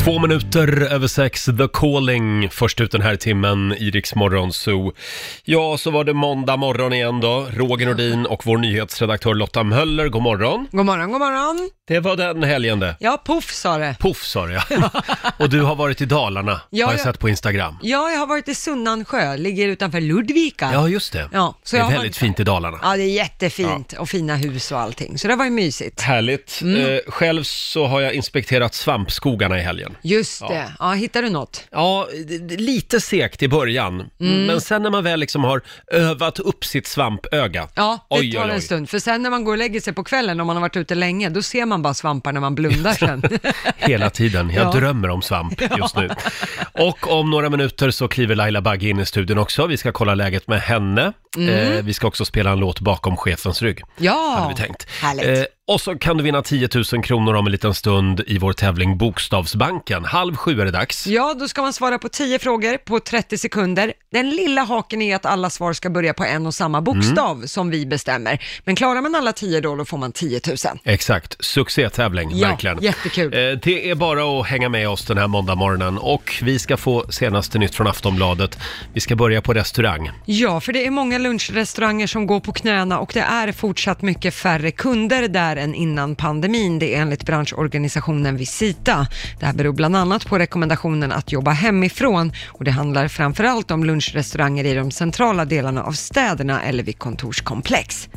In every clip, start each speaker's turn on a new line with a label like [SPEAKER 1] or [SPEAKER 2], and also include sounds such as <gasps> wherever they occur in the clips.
[SPEAKER 1] Två minuter över sex, The Calling, först ut den här timmen i Rix Morgon Zoo. Ja, så var det måndag morgon igen då. Roger Nordin och vår nyhetsredaktör Lotta Möller, god morgon.
[SPEAKER 2] God morgon, god morgon.
[SPEAKER 1] Det var den helgen det.
[SPEAKER 2] Ja, poff sa det.
[SPEAKER 1] Poff sa
[SPEAKER 2] <laughs>
[SPEAKER 1] jag. Och du har varit i Dalarna,
[SPEAKER 2] Ja,
[SPEAKER 1] har jag
[SPEAKER 2] ja.
[SPEAKER 1] sett på Instagram.
[SPEAKER 2] Ja, jag har varit i Sunnansjö, ligger utanför Ludvika.
[SPEAKER 1] Ja, just det.
[SPEAKER 2] Ja, så
[SPEAKER 1] det
[SPEAKER 2] jag
[SPEAKER 1] är
[SPEAKER 2] har
[SPEAKER 1] väldigt fint i Dalarna.
[SPEAKER 2] Ja, det är jättefint och fina hus och allting, så det var ju mysigt.
[SPEAKER 1] Härligt. Eh, själv så har jag inspekterat svampskogarna i helgen.
[SPEAKER 2] Just det, ja, hittade du något?
[SPEAKER 1] Ja, det- det- lite segt i början,
[SPEAKER 2] Mm.
[SPEAKER 1] men sen när man väl liksom har övat upp sitt svampöga.
[SPEAKER 2] Ja, det
[SPEAKER 1] Oj,
[SPEAKER 2] tar
[SPEAKER 1] oj, oj.
[SPEAKER 2] en stund, för sen när man går och lägger sig på kvällen, om man har varit ute länge, då ser man bara svampar när man
[SPEAKER 1] <laughs>
[SPEAKER 2] blundar sen. <laughs>
[SPEAKER 1] Hela tiden. Jag
[SPEAKER 2] Ja.
[SPEAKER 1] drömmer om
[SPEAKER 2] <laughs>
[SPEAKER 1] svamp just nu. Och om några minuter så kliver Laila Bagge in i studion också. Vi ska kolla läget med henne. Eh, vi ska också spela en låt bakom chefens rygg.
[SPEAKER 2] Mm. Ja,
[SPEAKER 1] Hade vi tänkt.
[SPEAKER 2] härligt.
[SPEAKER 1] Eh, och så kan du vinna 10 000 kronor om en liten stund i vår tävling Bokstavsbanken. Halv sju är det dags.
[SPEAKER 2] Ja, då ska man svara på 10 frågor på 30 sekunder. Den lilla haken är att alla svar ska börja på en och samma bokstav
[SPEAKER 1] Mm.
[SPEAKER 2] som vi bestämmer. Men klarar man alla 10 då, då får man 10 000.
[SPEAKER 1] Exakt, succétävling,
[SPEAKER 2] Ja,
[SPEAKER 1] verkligen.
[SPEAKER 2] jättekul.
[SPEAKER 1] Eh, Det är bara att hänga med oss den här måndagmorgonen och vi ska få senaste nytt från Aftonbladet. Vi ska börja på restaurang.
[SPEAKER 2] Ja, för det är många lunchrestauranger som går på knäna och det är fortsatt mycket färre kunder där än innan pandemin. Det är enligt branschorganisationen Visita. Det här beror bland annat på rekommendationen att jobba hemifrån och det handlar framförallt om lunchrestauranger i de centrala delarna av städerna eller vid kontorskomplex.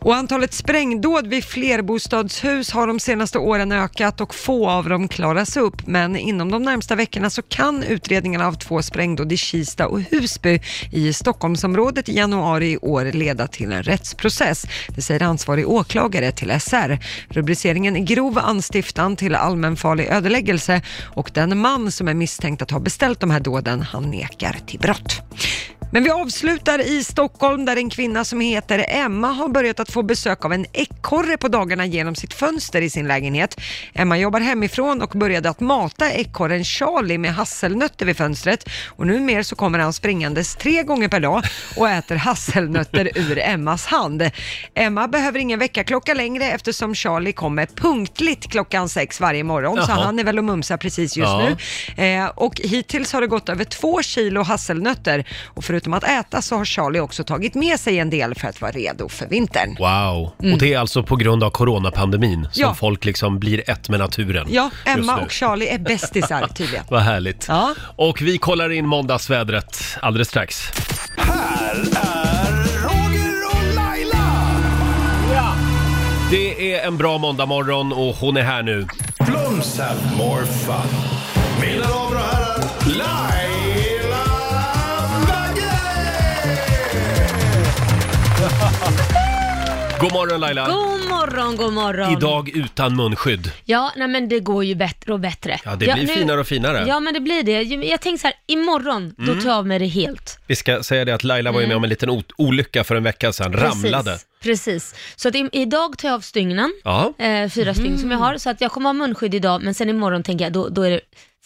[SPEAKER 2] Och antalet sprängdåd vid flerbostadshus har de senaste åren ökat och få av dem klaras upp. Men inom de närmsta veckorna så kan utredningarna av två sprängdåd i Kista och Husby i Stockholmsområdet i januari i år leda till en rättsprocess. Det säger ansvarig åklagare till SR. Rubriceringen är grov anstiftan till allmänfarlig ödeläggelse och den man som är misstänkt att ha beställt de här dåden, han nekar till brott. Men vi avslutar i Stockholm där en kvinna som heter Emma har börjat att få besök av en ekorre på dagarna genom sitt fönster i sin lägenhet. Emma jobbar hemifrån och började att mata ekorren Charlie med hasselnötter vid fönstret och numera så kommer han springandes tre gånger per dag och
[SPEAKER 1] <laughs>
[SPEAKER 2] äter hasselnötter ur Emmas hand. Emma behöver ingen väckarklocka längre eftersom Charlie kommer punktligt klockan sex varje morgon så
[SPEAKER 1] Jaha.
[SPEAKER 2] han är väl och mumsar precis just
[SPEAKER 1] Ja.
[SPEAKER 2] nu. Eh, och hittills har det gått över två kilo hasselnötter och förutom att äta så har Charlie också tagit med sig en del för att vara redo för vintern.
[SPEAKER 1] Wow, och det är alltså på grund av coronapandemin som
[SPEAKER 2] Mm. Ja.
[SPEAKER 1] folk liksom blir ett med naturen
[SPEAKER 2] Ja,
[SPEAKER 1] just
[SPEAKER 2] Emma
[SPEAKER 1] nu.
[SPEAKER 2] och Charlie är bästisar
[SPEAKER 3] <laughs>
[SPEAKER 2] tydligen.
[SPEAKER 1] Vad härligt.
[SPEAKER 2] Ja.
[SPEAKER 1] Och vi kollar in måndagsvädret alldeles strax.
[SPEAKER 4] Här är Roger och Laila!
[SPEAKER 1] Det är en bra måndagmorgon och hon är här nu.
[SPEAKER 4] Blooms have more fun. Mina damer och herrar, Laila Bagge!
[SPEAKER 1] God morgon Laila!
[SPEAKER 3] God morgon, god morgon.
[SPEAKER 1] Idag utan munskydd.
[SPEAKER 3] Ja, nej men det går ju bättre och bättre.
[SPEAKER 1] Ja, det blir finare och finare. Mm.
[SPEAKER 3] Ja, men det blir det. Ju- Jag tänker så här, imorgon, då tar jag av mig det helt.
[SPEAKER 1] Vi ska säga det att Laila var ju med
[SPEAKER 2] Mm.
[SPEAKER 1] om en liten o- olycka för en vecka sedan, ramlade.
[SPEAKER 3] Precis. Precis. Så att i, idag tar jag av stygnen,
[SPEAKER 1] Ja.
[SPEAKER 3] eh, fyra stygn
[SPEAKER 1] Mm.
[SPEAKER 3] som jag har, så att jag kommer ha munskydd idag, men sen imorgon tänker jag, då, då är det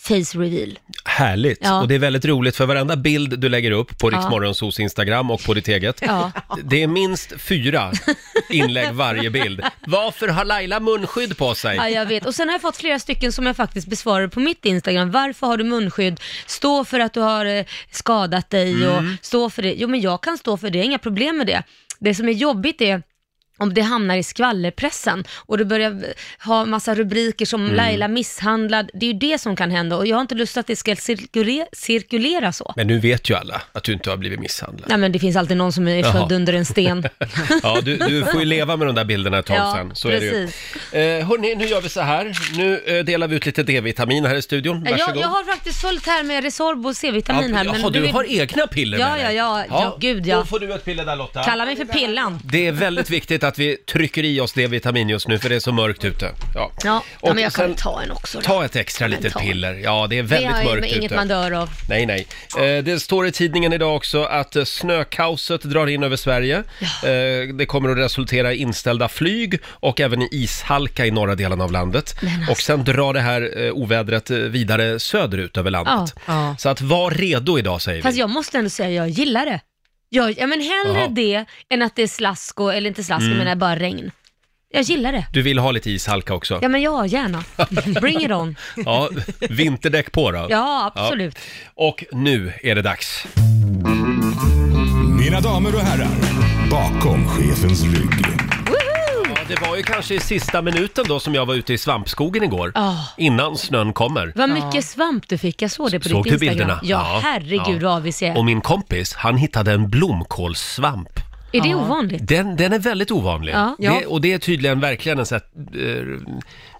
[SPEAKER 3] face reveal.
[SPEAKER 1] Härligt!
[SPEAKER 3] Ja.
[SPEAKER 1] Och det är väldigt roligt för varenda bild du lägger upp på Riksmorgonsos Instagram och på ditt eget,
[SPEAKER 3] Ja.
[SPEAKER 1] det är minst fyra inlägg varje bild. Varför har Laila munskydd på sig?
[SPEAKER 3] Ja, jag vet. Och sen har jag fått flera stycken som jag faktiskt besvarar på mitt Instagram. Varför har du munskydd? Stå för att du har eh, skadat dig och
[SPEAKER 1] Mm.
[SPEAKER 3] stå för det. Jo, men jag kan stå för det, Jag har inga problem med det. Det som är jobbigt är om det hamnar i skvallerpressen och du börjar eh, ha massa rubriker som
[SPEAKER 1] Mm.
[SPEAKER 3] Laila misshandlad. Det är ju det som kan hända och jag har inte lust att det ska cirkulera, cirkulera så.
[SPEAKER 1] Men nu vet ju alla att du inte har blivit misshandlad.
[SPEAKER 3] Nej, men det finns alltid någon som är
[SPEAKER 1] Jaha.
[SPEAKER 3] född under en sten.
[SPEAKER 1] <laughs> Ja, du, du får ju leva med de där bilderna ett tag
[SPEAKER 3] Ja,
[SPEAKER 1] sen. Så
[SPEAKER 3] precis.
[SPEAKER 1] är det ju. Eh, hörni, nu gör vi så här. Nu eh, delar vi ut lite D-vitamin här i studion.
[SPEAKER 3] jag,
[SPEAKER 1] Varsågod.
[SPEAKER 3] jag har faktiskt fullt här med Resorb och C-vitamin här.
[SPEAKER 1] jaha, du,
[SPEAKER 3] är-
[SPEAKER 1] har egna piller
[SPEAKER 3] Ja,
[SPEAKER 1] med dig?
[SPEAKER 3] ja, ja, ja, gud, ja.
[SPEAKER 1] Då får du ett piller där Lotta.
[SPEAKER 3] Kalla mig för Pillan.
[SPEAKER 1] Det är väldigt viktigt att vi trycker i oss D-vitamin just nu för det är så mörkt ute. Ja,
[SPEAKER 3] Ja, ja
[SPEAKER 1] Och
[SPEAKER 3] men jag kan
[SPEAKER 1] sen-
[SPEAKER 3] väl ta en också då.
[SPEAKER 1] Ta ett extra
[SPEAKER 3] Ja, men
[SPEAKER 1] litet
[SPEAKER 3] ta.
[SPEAKER 1] piller. Ja, det är
[SPEAKER 3] det har
[SPEAKER 1] väldigt
[SPEAKER 3] ju
[SPEAKER 1] mörkt ute.
[SPEAKER 3] inget man dör av.
[SPEAKER 1] Nej, nej. Eh, det står i tidningen idag också att eh, snökaoset drar in över Sverige. Eh, det kommer att resultera i inställda flyg och även i ishalka i norra delen av landet.
[SPEAKER 3] alltså.
[SPEAKER 1] Och sen drar det här eh, ovädret eh, vidare söderut över landet.
[SPEAKER 2] Ja.
[SPEAKER 1] Så att var redo idag säger
[SPEAKER 3] Fast
[SPEAKER 1] vi.
[SPEAKER 3] jag måste ändå säga jag gillar det. Jag, ja men hellre
[SPEAKER 1] Jaha. Mm.
[SPEAKER 3] det än att det är slask och, eller inte slask, jag menar bara regn. Jag gillar det.
[SPEAKER 1] Du vill ha lite ishalka också?
[SPEAKER 3] Ja, men ja, gärna. Bring
[SPEAKER 1] <laughs>
[SPEAKER 3] it on.
[SPEAKER 1] Ja, vinterdäck på då.
[SPEAKER 3] Ja, absolut.
[SPEAKER 1] Och nu är det dags.
[SPEAKER 4] Mina damer och herrar, bakom chefens rygg.
[SPEAKER 1] Ja, det var ju kanske i sista minuten då som jag var ute i svampskogen igår.
[SPEAKER 3] Ja.
[SPEAKER 1] Innan snön kommer.
[SPEAKER 3] Vad mycket svamp du fick. Jag såg det på
[SPEAKER 1] Såg
[SPEAKER 3] ditt
[SPEAKER 1] du
[SPEAKER 3] Instagram.
[SPEAKER 1] bilderna?
[SPEAKER 3] Ja,
[SPEAKER 1] Ja.
[SPEAKER 3] herregud
[SPEAKER 1] Ja.
[SPEAKER 3] vad avis jag är.
[SPEAKER 1] Och min kompis, han hittade en blomkålssvamp.
[SPEAKER 3] Är det ovanligt?
[SPEAKER 1] Den, den är väldigt ovanlig.
[SPEAKER 3] Ja.
[SPEAKER 1] Det, och det är tydligen verkligen en sån här, eh,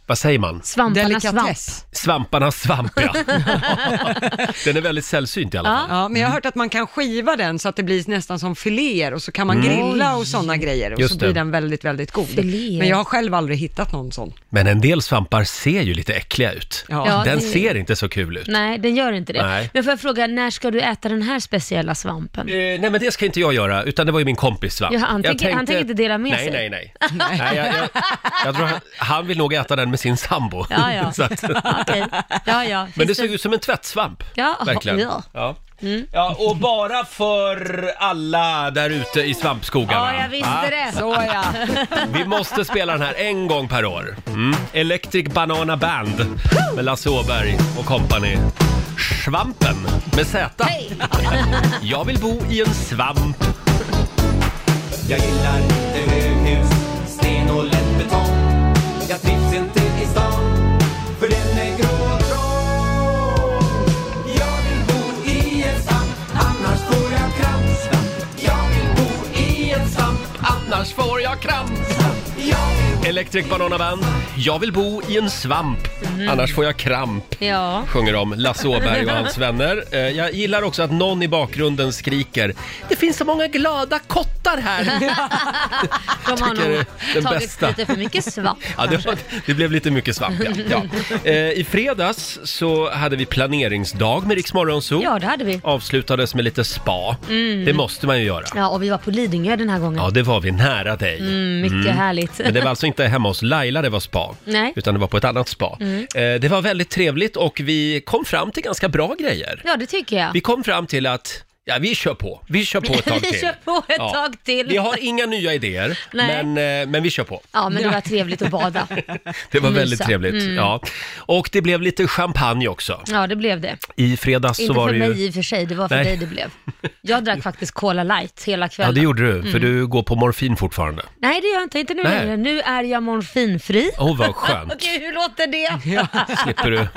[SPEAKER 1] vad säger man?
[SPEAKER 3] Svamparnas svamp.
[SPEAKER 2] Delikatess.
[SPEAKER 1] Svamparnas svamp,
[SPEAKER 3] <laughs>
[SPEAKER 1] ja. den är väldigt sällsynt i alla fall.
[SPEAKER 2] Ja, men jag har hört att man kan skiva den så att det blir nästan som filéer och så kan man grilla och sådana grejer och
[SPEAKER 1] Mm. Just
[SPEAKER 2] så
[SPEAKER 1] det.
[SPEAKER 2] blir den väldigt, väldigt god.
[SPEAKER 3] Filéer.
[SPEAKER 2] Men jag har själv aldrig hittat någon sån.
[SPEAKER 1] Men en del svampar ser ju lite äckliga ut.
[SPEAKER 2] Ja.
[SPEAKER 3] Ja,
[SPEAKER 1] den
[SPEAKER 3] det-
[SPEAKER 1] ser inte så kul ut.
[SPEAKER 3] Nej, den gör inte det.
[SPEAKER 1] Nej.
[SPEAKER 3] Men får jag fråga, när ska du äta den här speciella svampen?
[SPEAKER 1] Eh, nej men det ska inte jag göra, utan det var ju min kompis svamp.
[SPEAKER 3] Ja, han
[SPEAKER 1] Jag
[SPEAKER 3] tänker- han tänker inte dela med
[SPEAKER 1] nej,
[SPEAKER 3] sig.
[SPEAKER 1] Nej,
[SPEAKER 3] <laughs>
[SPEAKER 1] nej, nej. jag, jag, jag tror han, han vill nog äta den med sin sambo. <laughs>
[SPEAKER 3] Ja, ja.
[SPEAKER 1] Så att,
[SPEAKER 3] Okej. Ja, ja.
[SPEAKER 1] men det
[SPEAKER 3] Finns
[SPEAKER 1] såg ut som en tvättsvamp.
[SPEAKER 3] Ja,
[SPEAKER 1] verkligen.
[SPEAKER 3] ja. Mm.
[SPEAKER 1] Ja. ja, och bara för alla där ute i svampskogarna.
[SPEAKER 3] Ja, jag visste
[SPEAKER 1] va?
[SPEAKER 3] det.
[SPEAKER 2] Såja.
[SPEAKER 1] Vi måste spela den här en gång per år. Mm. Electric Banana Band med Lasse Åberg och company. Svampen med
[SPEAKER 3] <laughs>
[SPEAKER 1] Z.
[SPEAKER 3] Hej.
[SPEAKER 1] Jag vill bo i en svamp.
[SPEAKER 5] Jag gillar inte höghus, sten och lätt betong Jag trivs inte i stan, för den är grå och trång Jag vill bo i en svamp, annars får jag kramp Jag vill bo i en svamp,
[SPEAKER 1] Annars får jag kramp.
[SPEAKER 5] jag vill
[SPEAKER 1] Electric Banana Band. Jag vill bo i en svamp.
[SPEAKER 3] Mhm.
[SPEAKER 1] Annars får jag kramp.
[SPEAKER 3] Ja.
[SPEAKER 1] Sjunger om Lasse Åberg och
[SPEAKER 3] <laughs>
[SPEAKER 1] hans vänner. Eh, Jag gillar också att någon i bakgrunden skriker Det finns så många glada kottar
[SPEAKER 3] <laughs>
[SPEAKER 1] här!
[SPEAKER 3] De har
[SPEAKER 1] tycker det
[SPEAKER 3] nog
[SPEAKER 1] är den
[SPEAKER 3] tagit
[SPEAKER 1] bästa.
[SPEAKER 3] lite för mycket
[SPEAKER 1] <laughs>
[SPEAKER 3] svamp.
[SPEAKER 1] Ja, det, var, det blev lite mycket svamp ja. ja. Eh, I fredags så hade vi planeringsdag med Rix Morgon Zoo.
[SPEAKER 3] Ja, det hade vi. Mm.
[SPEAKER 1] Avslutades med lite spa. Det måste man ju göra.
[SPEAKER 3] Ja, och vi var på Lidingö den här gången.
[SPEAKER 1] Ja, det var vi nära dig.
[SPEAKER 3] Mm, mycket härligt.
[SPEAKER 1] Men det var alltså inte hemma hos Laila det var spa,
[SPEAKER 3] Nej. Mm.
[SPEAKER 1] utan det var på ett annat spa. Eh, det var väldigt trevligt och vi kom fram till ganska bra grejer.
[SPEAKER 3] Ja, det tycker jag.
[SPEAKER 1] Vi kom fram till att Ja, vi kör på. Vi kör på ett tag
[SPEAKER 3] <laughs> Vi
[SPEAKER 1] till.
[SPEAKER 3] kör på ett tag till.
[SPEAKER 1] Vi har inga nya idéer,
[SPEAKER 3] Nej.
[SPEAKER 1] men, eh, men vi kör på.
[SPEAKER 3] Ja, men det var trevligt att bada.
[SPEAKER 1] Det var väldigt
[SPEAKER 3] Mysa. Mm.
[SPEAKER 1] trevligt. Ja. Och det blev lite champagne också.
[SPEAKER 3] Ja, det blev det.
[SPEAKER 1] I fredags
[SPEAKER 3] Inte
[SPEAKER 1] så var
[SPEAKER 3] för
[SPEAKER 1] det ju...
[SPEAKER 3] mig i och för sig, det var för
[SPEAKER 1] Nej.
[SPEAKER 3] dig det blev.
[SPEAKER 1] <laughs>
[SPEAKER 3] Jag drack faktiskt Cola Light hela
[SPEAKER 1] Ja,
[SPEAKER 3] kvällen.
[SPEAKER 1] det gjorde du,
[SPEAKER 3] Mm.
[SPEAKER 1] för du går på morfin fortfarande.
[SPEAKER 3] Nej, det gör jag inte. Inte nu
[SPEAKER 1] Nej.
[SPEAKER 3] längre. Nu är jag morfinfri.
[SPEAKER 1] Åh, vad skönt.
[SPEAKER 3] <laughs> Okej, hur låter det?
[SPEAKER 1] Slipper du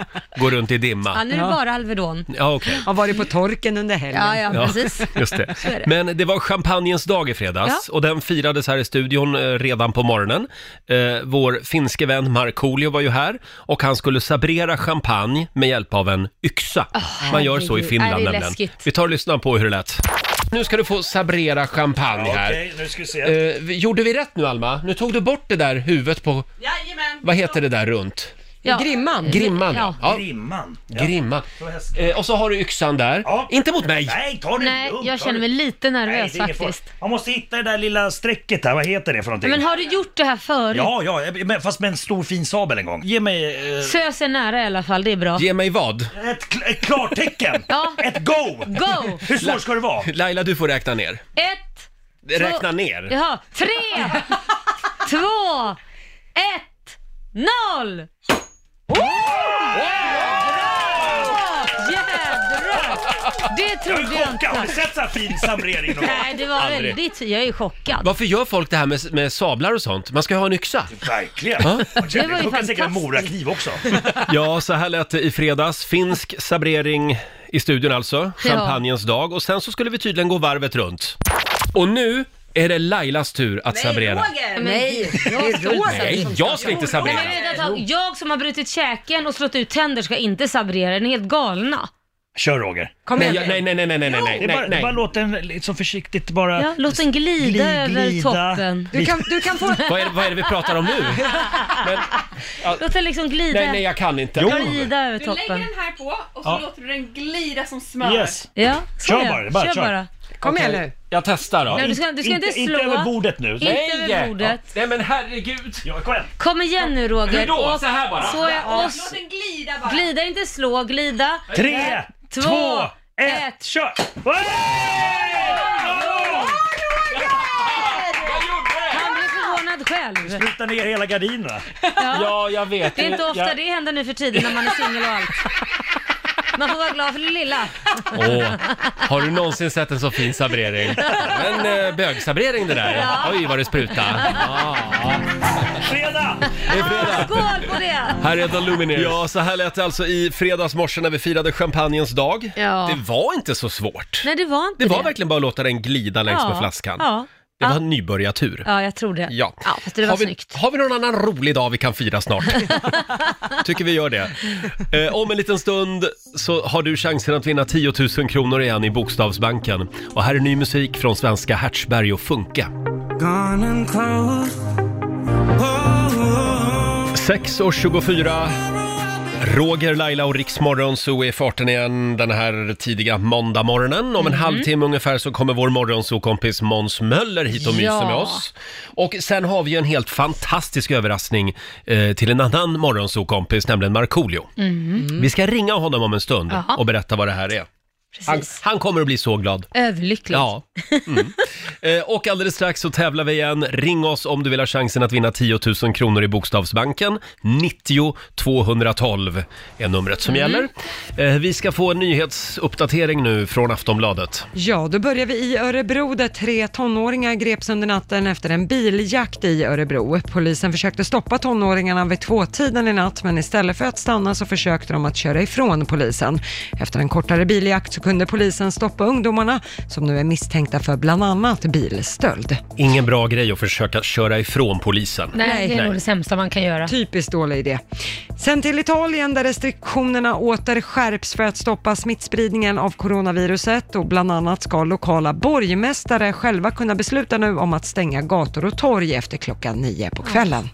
[SPEAKER 1] gå runt i
[SPEAKER 3] Ja,
[SPEAKER 1] dimma.
[SPEAKER 3] nu är det bara Alvedon.
[SPEAKER 1] Ja, okej.
[SPEAKER 2] <laughs> Har varit på torken under helgen.
[SPEAKER 3] Ja, ja,
[SPEAKER 1] Ja,
[SPEAKER 3] precis.
[SPEAKER 1] <laughs> Just det.
[SPEAKER 3] Så är det.
[SPEAKER 1] Men det var champagnens dag i fredags och den firades här i studion eh, redan på morgonen. Eh, vår finske vän Markoolio var ju här och han skulle sabrera champagne med hjälp av en yxa. Man gör så i
[SPEAKER 3] herregud.
[SPEAKER 1] Finland
[SPEAKER 3] Nej, det är
[SPEAKER 1] nämligen.
[SPEAKER 3] läskigt.
[SPEAKER 1] Vi tar och lyssnar på hur det lät. Nu ska du få sabrera champagne här.
[SPEAKER 6] Okej, nu ska vi se.
[SPEAKER 1] Eh, vi- gjorde vi rätt nu Alma? Nu tog du bort det där huvudet på... Jajamän! Vad heter det där runt?
[SPEAKER 3] Ja.
[SPEAKER 2] Grimman.
[SPEAKER 1] Grimman ja.
[SPEAKER 3] Ja.
[SPEAKER 1] ja.
[SPEAKER 6] Grimman.
[SPEAKER 1] Grimman.
[SPEAKER 6] Så häst-
[SPEAKER 1] Eh, och så har du yxan där.
[SPEAKER 6] Ja.
[SPEAKER 1] Inte mot mig!
[SPEAKER 6] Nej, ta det
[SPEAKER 3] Nej,
[SPEAKER 6] lugnt,
[SPEAKER 3] jag
[SPEAKER 6] ta
[SPEAKER 3] känner
[SPEAKER 6] det-
[SPEAKER 3] mig lite
[SPEAKER 6] Nej,
[SPEAKER 3] nervös
[SPEAKER 6] det är ingen fara.
[SPEAKER 3] faktiskt.
[SPEAKER 6] Man måste hitta det där lilla strecket här, vad heter det för någonting?
[SPEAKER 3] Men har du gjort det här förut?
[SPEAKER 6] Ja, ja, men- fast med en stor fin sabel en gång. Ge mig eh,
[SPEAKER 3] Sös är nära i alla fall, det är bra.
[SPEAKER 1] Ge mig vad?
[SPEAKER 6] ett, kl- ett klartecken!
[SPEAKER 3] <laughs> Ja.
[SPEAKER 6] Ett go!
[SPEAKER 3] Go!
[SPEAKER 6] Hur svårt ska
[SPEAKER 3] <laughs>
[SPEAKER 6] det vara?
[SPEAKER 1] Laila, du får räkna ner.
[SPEAKER 3] Ett,
[SPEAKER 1] Räkna ner.
[SPEAKER 3] jaha, tre,
[SPEAKER 6] <laughs>
[SPEAKER 3] två, ett, noll! Oh! Jädrar! Det
[SPEAKER 6] Jag är
[SPEAKER 3] trodde jag
[SPEAKER 6] chockad, har du
[SPEAKER 3] inte.
[SPEAKER 6] sett så här fin samrering någon gång?
[SPEAKER 3] Nej, det var
[SPEAKER 1] Aldrig.
[SPEAKER 3] väldigt... Jag är chockad.
[SPEAKER 1] Varför gör folk det här med, med sablar och sånt? Man ska ju ha en yxa.
[SPEAKER 6] Verkligen!
[SPEAKER 3] Det var ju
[SPEAKER 6] fantastiskt. säkert en
[SPEAKER 3] fantastiskt.
[SPEAKER 6] morakniv också.
[SPEAKER 1] <laughs> Ja, så här lät det i fredags. Finsk sabrering i studion alltså.
[SPEAKER 3] Ja.
[SPEAKER 1] Champagnens dag. Och sen så skulle vi tydligen gå varvet runt. Och nu är det Lailas tur att sabrera.
[SPEAKER 3] Nej, <laughs> jag ska inte
[SPEAKER 1] Nej, jag ska inte
[SPEAKER 3] Nej,
[SPEAKER 1] sabrera.
[SPEAKER 3] men vänta ett tag. Jag som har brutit käken och slått ut tänder ska inte sabrera, ni är helt galna.
[SPEAKER 6] Kör Roger.
[SPEAKER 2] Kom
[SPEAKER 1] Nej,
[SPEAKER 2] igen
[SPEAKER 1] jag- nej, nej, nej, nej, nej,
[SPEAKER 6] Det
[SPEAKER 1] nej,
[SPEAKER 6] är bara,
[SPEAKER 1] nej,
[SPEAKER 6] det är bara
[SPEAKER 1] nej.
[SPEAKER 6] låt den liksom försiktigt bara...
[SPEAKER 3] Ja, låt den glida, över toppen.
[SPEAKER 2] du kan, du kan
[SPEAKER 3] <laughs>
[SPEAKER 2] få...
[SPEAKER 1] Vad är, vad är det vi pratar om nu? Men,
[SPEAKER 3] Låt den liksom glida,
[SPEAKER 1] nej, nej, jag kan inte.
[SPEAKER 3] glida över
[SPEAKER 7] Du lägger
[SPEAKER 3] toppen.
[SPEAKER 7] den här på och så
[SPEAKER 6] Ja.
[SPEAKER 7] låter du den glida som smör.
[SPEAKER 6] Yes.
[SPEAKER 3] Ja, så
[SPEAKER 6] Kör
[SPEAKER 3] ja.
[SPEAKER 6] bara, bara
[SPEAKER 3] kör
[SPEAKER 6] kör.
[SPEAKER 3] bara.
[SPEAKER 2] Kom igen nu.
[SPEAKER 1] Jag testar då.
[SPEAKER 3] Nej, du ska, du ska inte, slå.
[SPEAKER 6] Inte över bordet nu.
[SPEAKER 3] Inte över bordet.
[SPEAKER 1] Nej, men herregud.
[SPEAKER 6] Ja, kom igen.
[SPEAKER 3] Kom igen nu Roger.
[SPEAKER 1] Hur då?
[SPEAKER 3] Och-
[SPEAKER 1] Så här bara?
[SPEAKER 3] Så ja, och
[SPEAKER 7] Låt
[SPEAKER 3] s-
[SPEAKER 7] den glida bara.
[SPEAKER 3] glida, inte slå, glida.
[SPEAKER 6] Tre,
[SPEAKER 3] Två,
[SPEAKER 6] två,
[SPEAKER 3] ett.
[SPEAKER 6] ett, kör! Hey!
[SPEAKER 3] Han blev förvånad själv. själv.
[SPEAKER 6] Sluta ner hela gardinerna.
[SPEAKER 1] Ja, jag vet.
[SPEAKER 3] Det är inte ofta
[SPEAKER 1] Jag-
[SPEAKER 3] det händer nu för tiden när man är singel och allt. Man får vara glad för det lilla.
[SPEAKER 1] Åh, har du någonsin sett en så fin sabrering? En eh, bögsabrering det där.
[SPEAKER 3] Ja.
[SPEAKER 1] Oj, vad det spruta. Ja.
[SPEAKER 6] Fredag!
[SPEAKER 1] Det är fredag.
[SPEAKER 3] Skål på det!
[SPEAKER 1] Här är The Lumineers. Ja, så här lät det alltså i fredags morse när vi firade champagnens dag.
[SPEAKER 3] Ja.
[SPEAKER 1] Det var inte så svårt.
[SPEAKER 3] Nej, det var inte
[SPEAKER 1] Det
[SPEAKER 3] det.
[SPEAKER 1] var verkligen bara att låta den glida längs med flaskan.
[SPEAKER 3] Ja.
[SPEAKER 1] Det var
[SPEAKER 3] Ja.
[SPEAKER 1] nybörjartur.
[SPEAKER 3] ja, jag tror det.
[SPEAKER 1] Ja.
[SPEAKER 3] ja fast det var
[SPEAKER 1] har, vi,
[SPEAKER 3] snyggt.
[SPEAKER 1] har vi någon annan rolig dag vi kan fira
[SPEAKER 3] <laughs>
[SPEAKER 1] snart? Tycker vi gör det. Eh, om en liten stund så har du chansen att vinna 10 000 kronor igen i Bokstavsbanken. Och här är ny musik från svenska Hertzberg och Funke. Sex och 24. Roger, Laila och Riksmorgon så är farten igen den här tidiga måndagmorgonen.
[SPEAKER 3] Mm.
[SPEAKER 1] Om en halvtimme ungefär så kommer vår morgonsokompis Måns Möller hit och myser
[SPEAKER 3] Ja.
[SPEAKER 1] med oss. Och sen har vi ju en helt fantastisk överraskning eh, till en annan morgonsokompis, nämligen Markoolio. Vi ska ringa honom om en stund
[SPEAKER 3] Mm. Jaha.
[SPEAKER 1] och berätta vad det här är. Han,
[SPEAKER 3] Precis.
[SPEAKER 1] han kommer att bli så glad.
[SPEAKER 3] Överlyckligt.
[SPEAKER 1] Ja. <laughs> Mm. Eh, Och alldeles strax så tävlar vi igen. Ring oss om du vill ha chansen att vinna 10 000 kronor i Bokstavsbanken. 90 212 är numret som
[SPEAKER 3] Mm.
[SPEAKER 1] gäller. Eh, Vi ska få en nyhetsuppdatering nu från Aftonbladet.
[SPEAKER 2] Ja, då börjar vi i Örebro där tre tonåringar greps under natten efter en biljakt i Örebro. Polisen försökte stoppa tonåringarna vid tvåtiden i natt men istället för att stanna så försökte de att köra ifrån polisen. Efter en kortare biljakt så kunde polisen stoppa ungdomarna som nu är misstänkta för bland annat bilstöld.
[SPEAKER 1] Ingen bra grej att försöka köra ifrån polisen.
[SPEAKER 3] Nej, det är
[SPEAKER 1] Nej.
[SPEAKER 3] nog det sämsta man kan göra.
[SPEAKER 2] Typiskt dålig idé. Sen till Italien där restriktionerna åter skärps för att stoppa smittspridningen av coronaviruset och bland annat ska lokala borgmästare själva kunna besluta nu om att stänga gator och torg efter klockan nio på kvällen.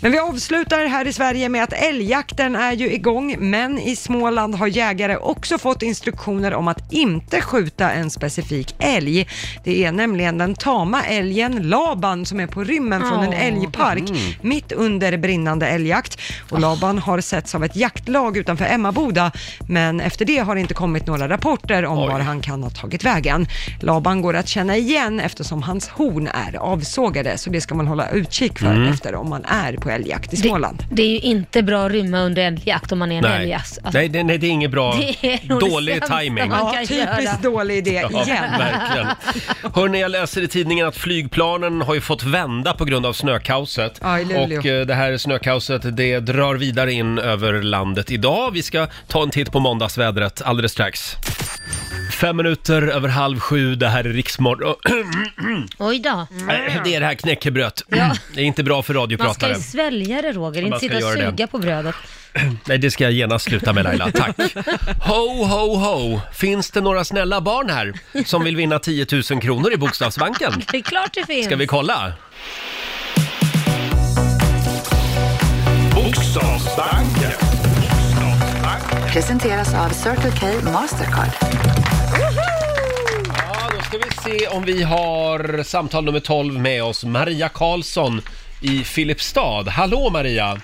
[SPEAKER 2] Men vi avslutar här i Sverige med att älgjakten är ju igång, men i Småland har jägare också fått instruktioner om att inte skjuta en specifik älg. Det är nämligen den tama älgen Laban som är på rymmen från en
[SPEAKER 3] Åh.
[SPEAKER 2] älgpark
[SPEAKER 1] Mm.
[SPEAKER 2] mitt under brinnande älgjakt. Och Laban har setts av ett jaktlag utanför Emmaboda, men efter det har det inte kommit några rapporter om
[SPEAKER 1] Oj.
[SPEAKER 2] var han kan ha tagit vägen. Laban går att känna igen eftersom hans horn är avsågade, så det ska man hålla utkik för
[SPEAKER 1] Mm.
[SPEAKER 2] efter om man är på älgjakt i Småland.
[SPEAKER 3] Det är ju inte bra att rymma under älgjakt om man är en
[SPEAKER 1] Nej.
[SPEAKER 3] älgjass. Alltså,
[SPEAKER 1] Nej, det, nej, det är inget bra.
[SPEAKER 3] <laughs> Det är nog det
[SPEAKER 1] Dålig
[SPEAKER 3] sämsta
[SPEAKER 1] timing.
[SPEAKER 3] man
[SPEAKER 2] Ja,
[SPEAKER 3] kan
[SPEAKER 2] typiskt
[SPEAKER 3] göra.
[SPEAKER 2] dålig idé
[SPEAKER 1] Ja,
[SPEAKER 2] <laughs> igen.
[SPEAKER 1] verkligen. Hörrni, jag läser i tidningen att flygplanen har ju fått vända på grund av snökaoset.
[SPEAKER 2] Ja, i Luleå.
[SPEAKER 1] och eh, det här snökaoset, det drar vidare in över landet idag. Vi ska ta en titt på måndagsvädret alldeles strax. Fem minuter över halv sju, det här är Riksmorgon... <clears throat>
[SPEAKER 3] Oj då.
[SPEAKER 1] det är det här knäckebrödet. Det är inte bra för
[SPEAKER 3] Man ska
[SPEAKER 1] radiopratare.
[SPEAKER 3] ju svälja det Roger,
[SPEAKER 1] Man ska
[SPEAKER 3] inte sitta och
[SPEAKER 1] göra det.
[SPEAKER 3] suga på brödet.
[SPEAKER 1] Nej, det ska jag genast sluta med Laila. Tack. Ho, ho, ho. Finns det några snälla barn här som vill vinna 10 000 kronor i Bokstavsbanken?
[SPEAKER 3] Det är klart det finns.
[SPEAKER 1] Ska vi kolla?
[SPEAKER 4] Bokstavsbanken.
[SPEAKER 8] Presenteras av Circle K Mastercard.
[SPEAKER 1] Ja, då ska vi se om vi har samtal nummer 12 med oss. Maria Karlsson i Filipstad. Hallå Maria!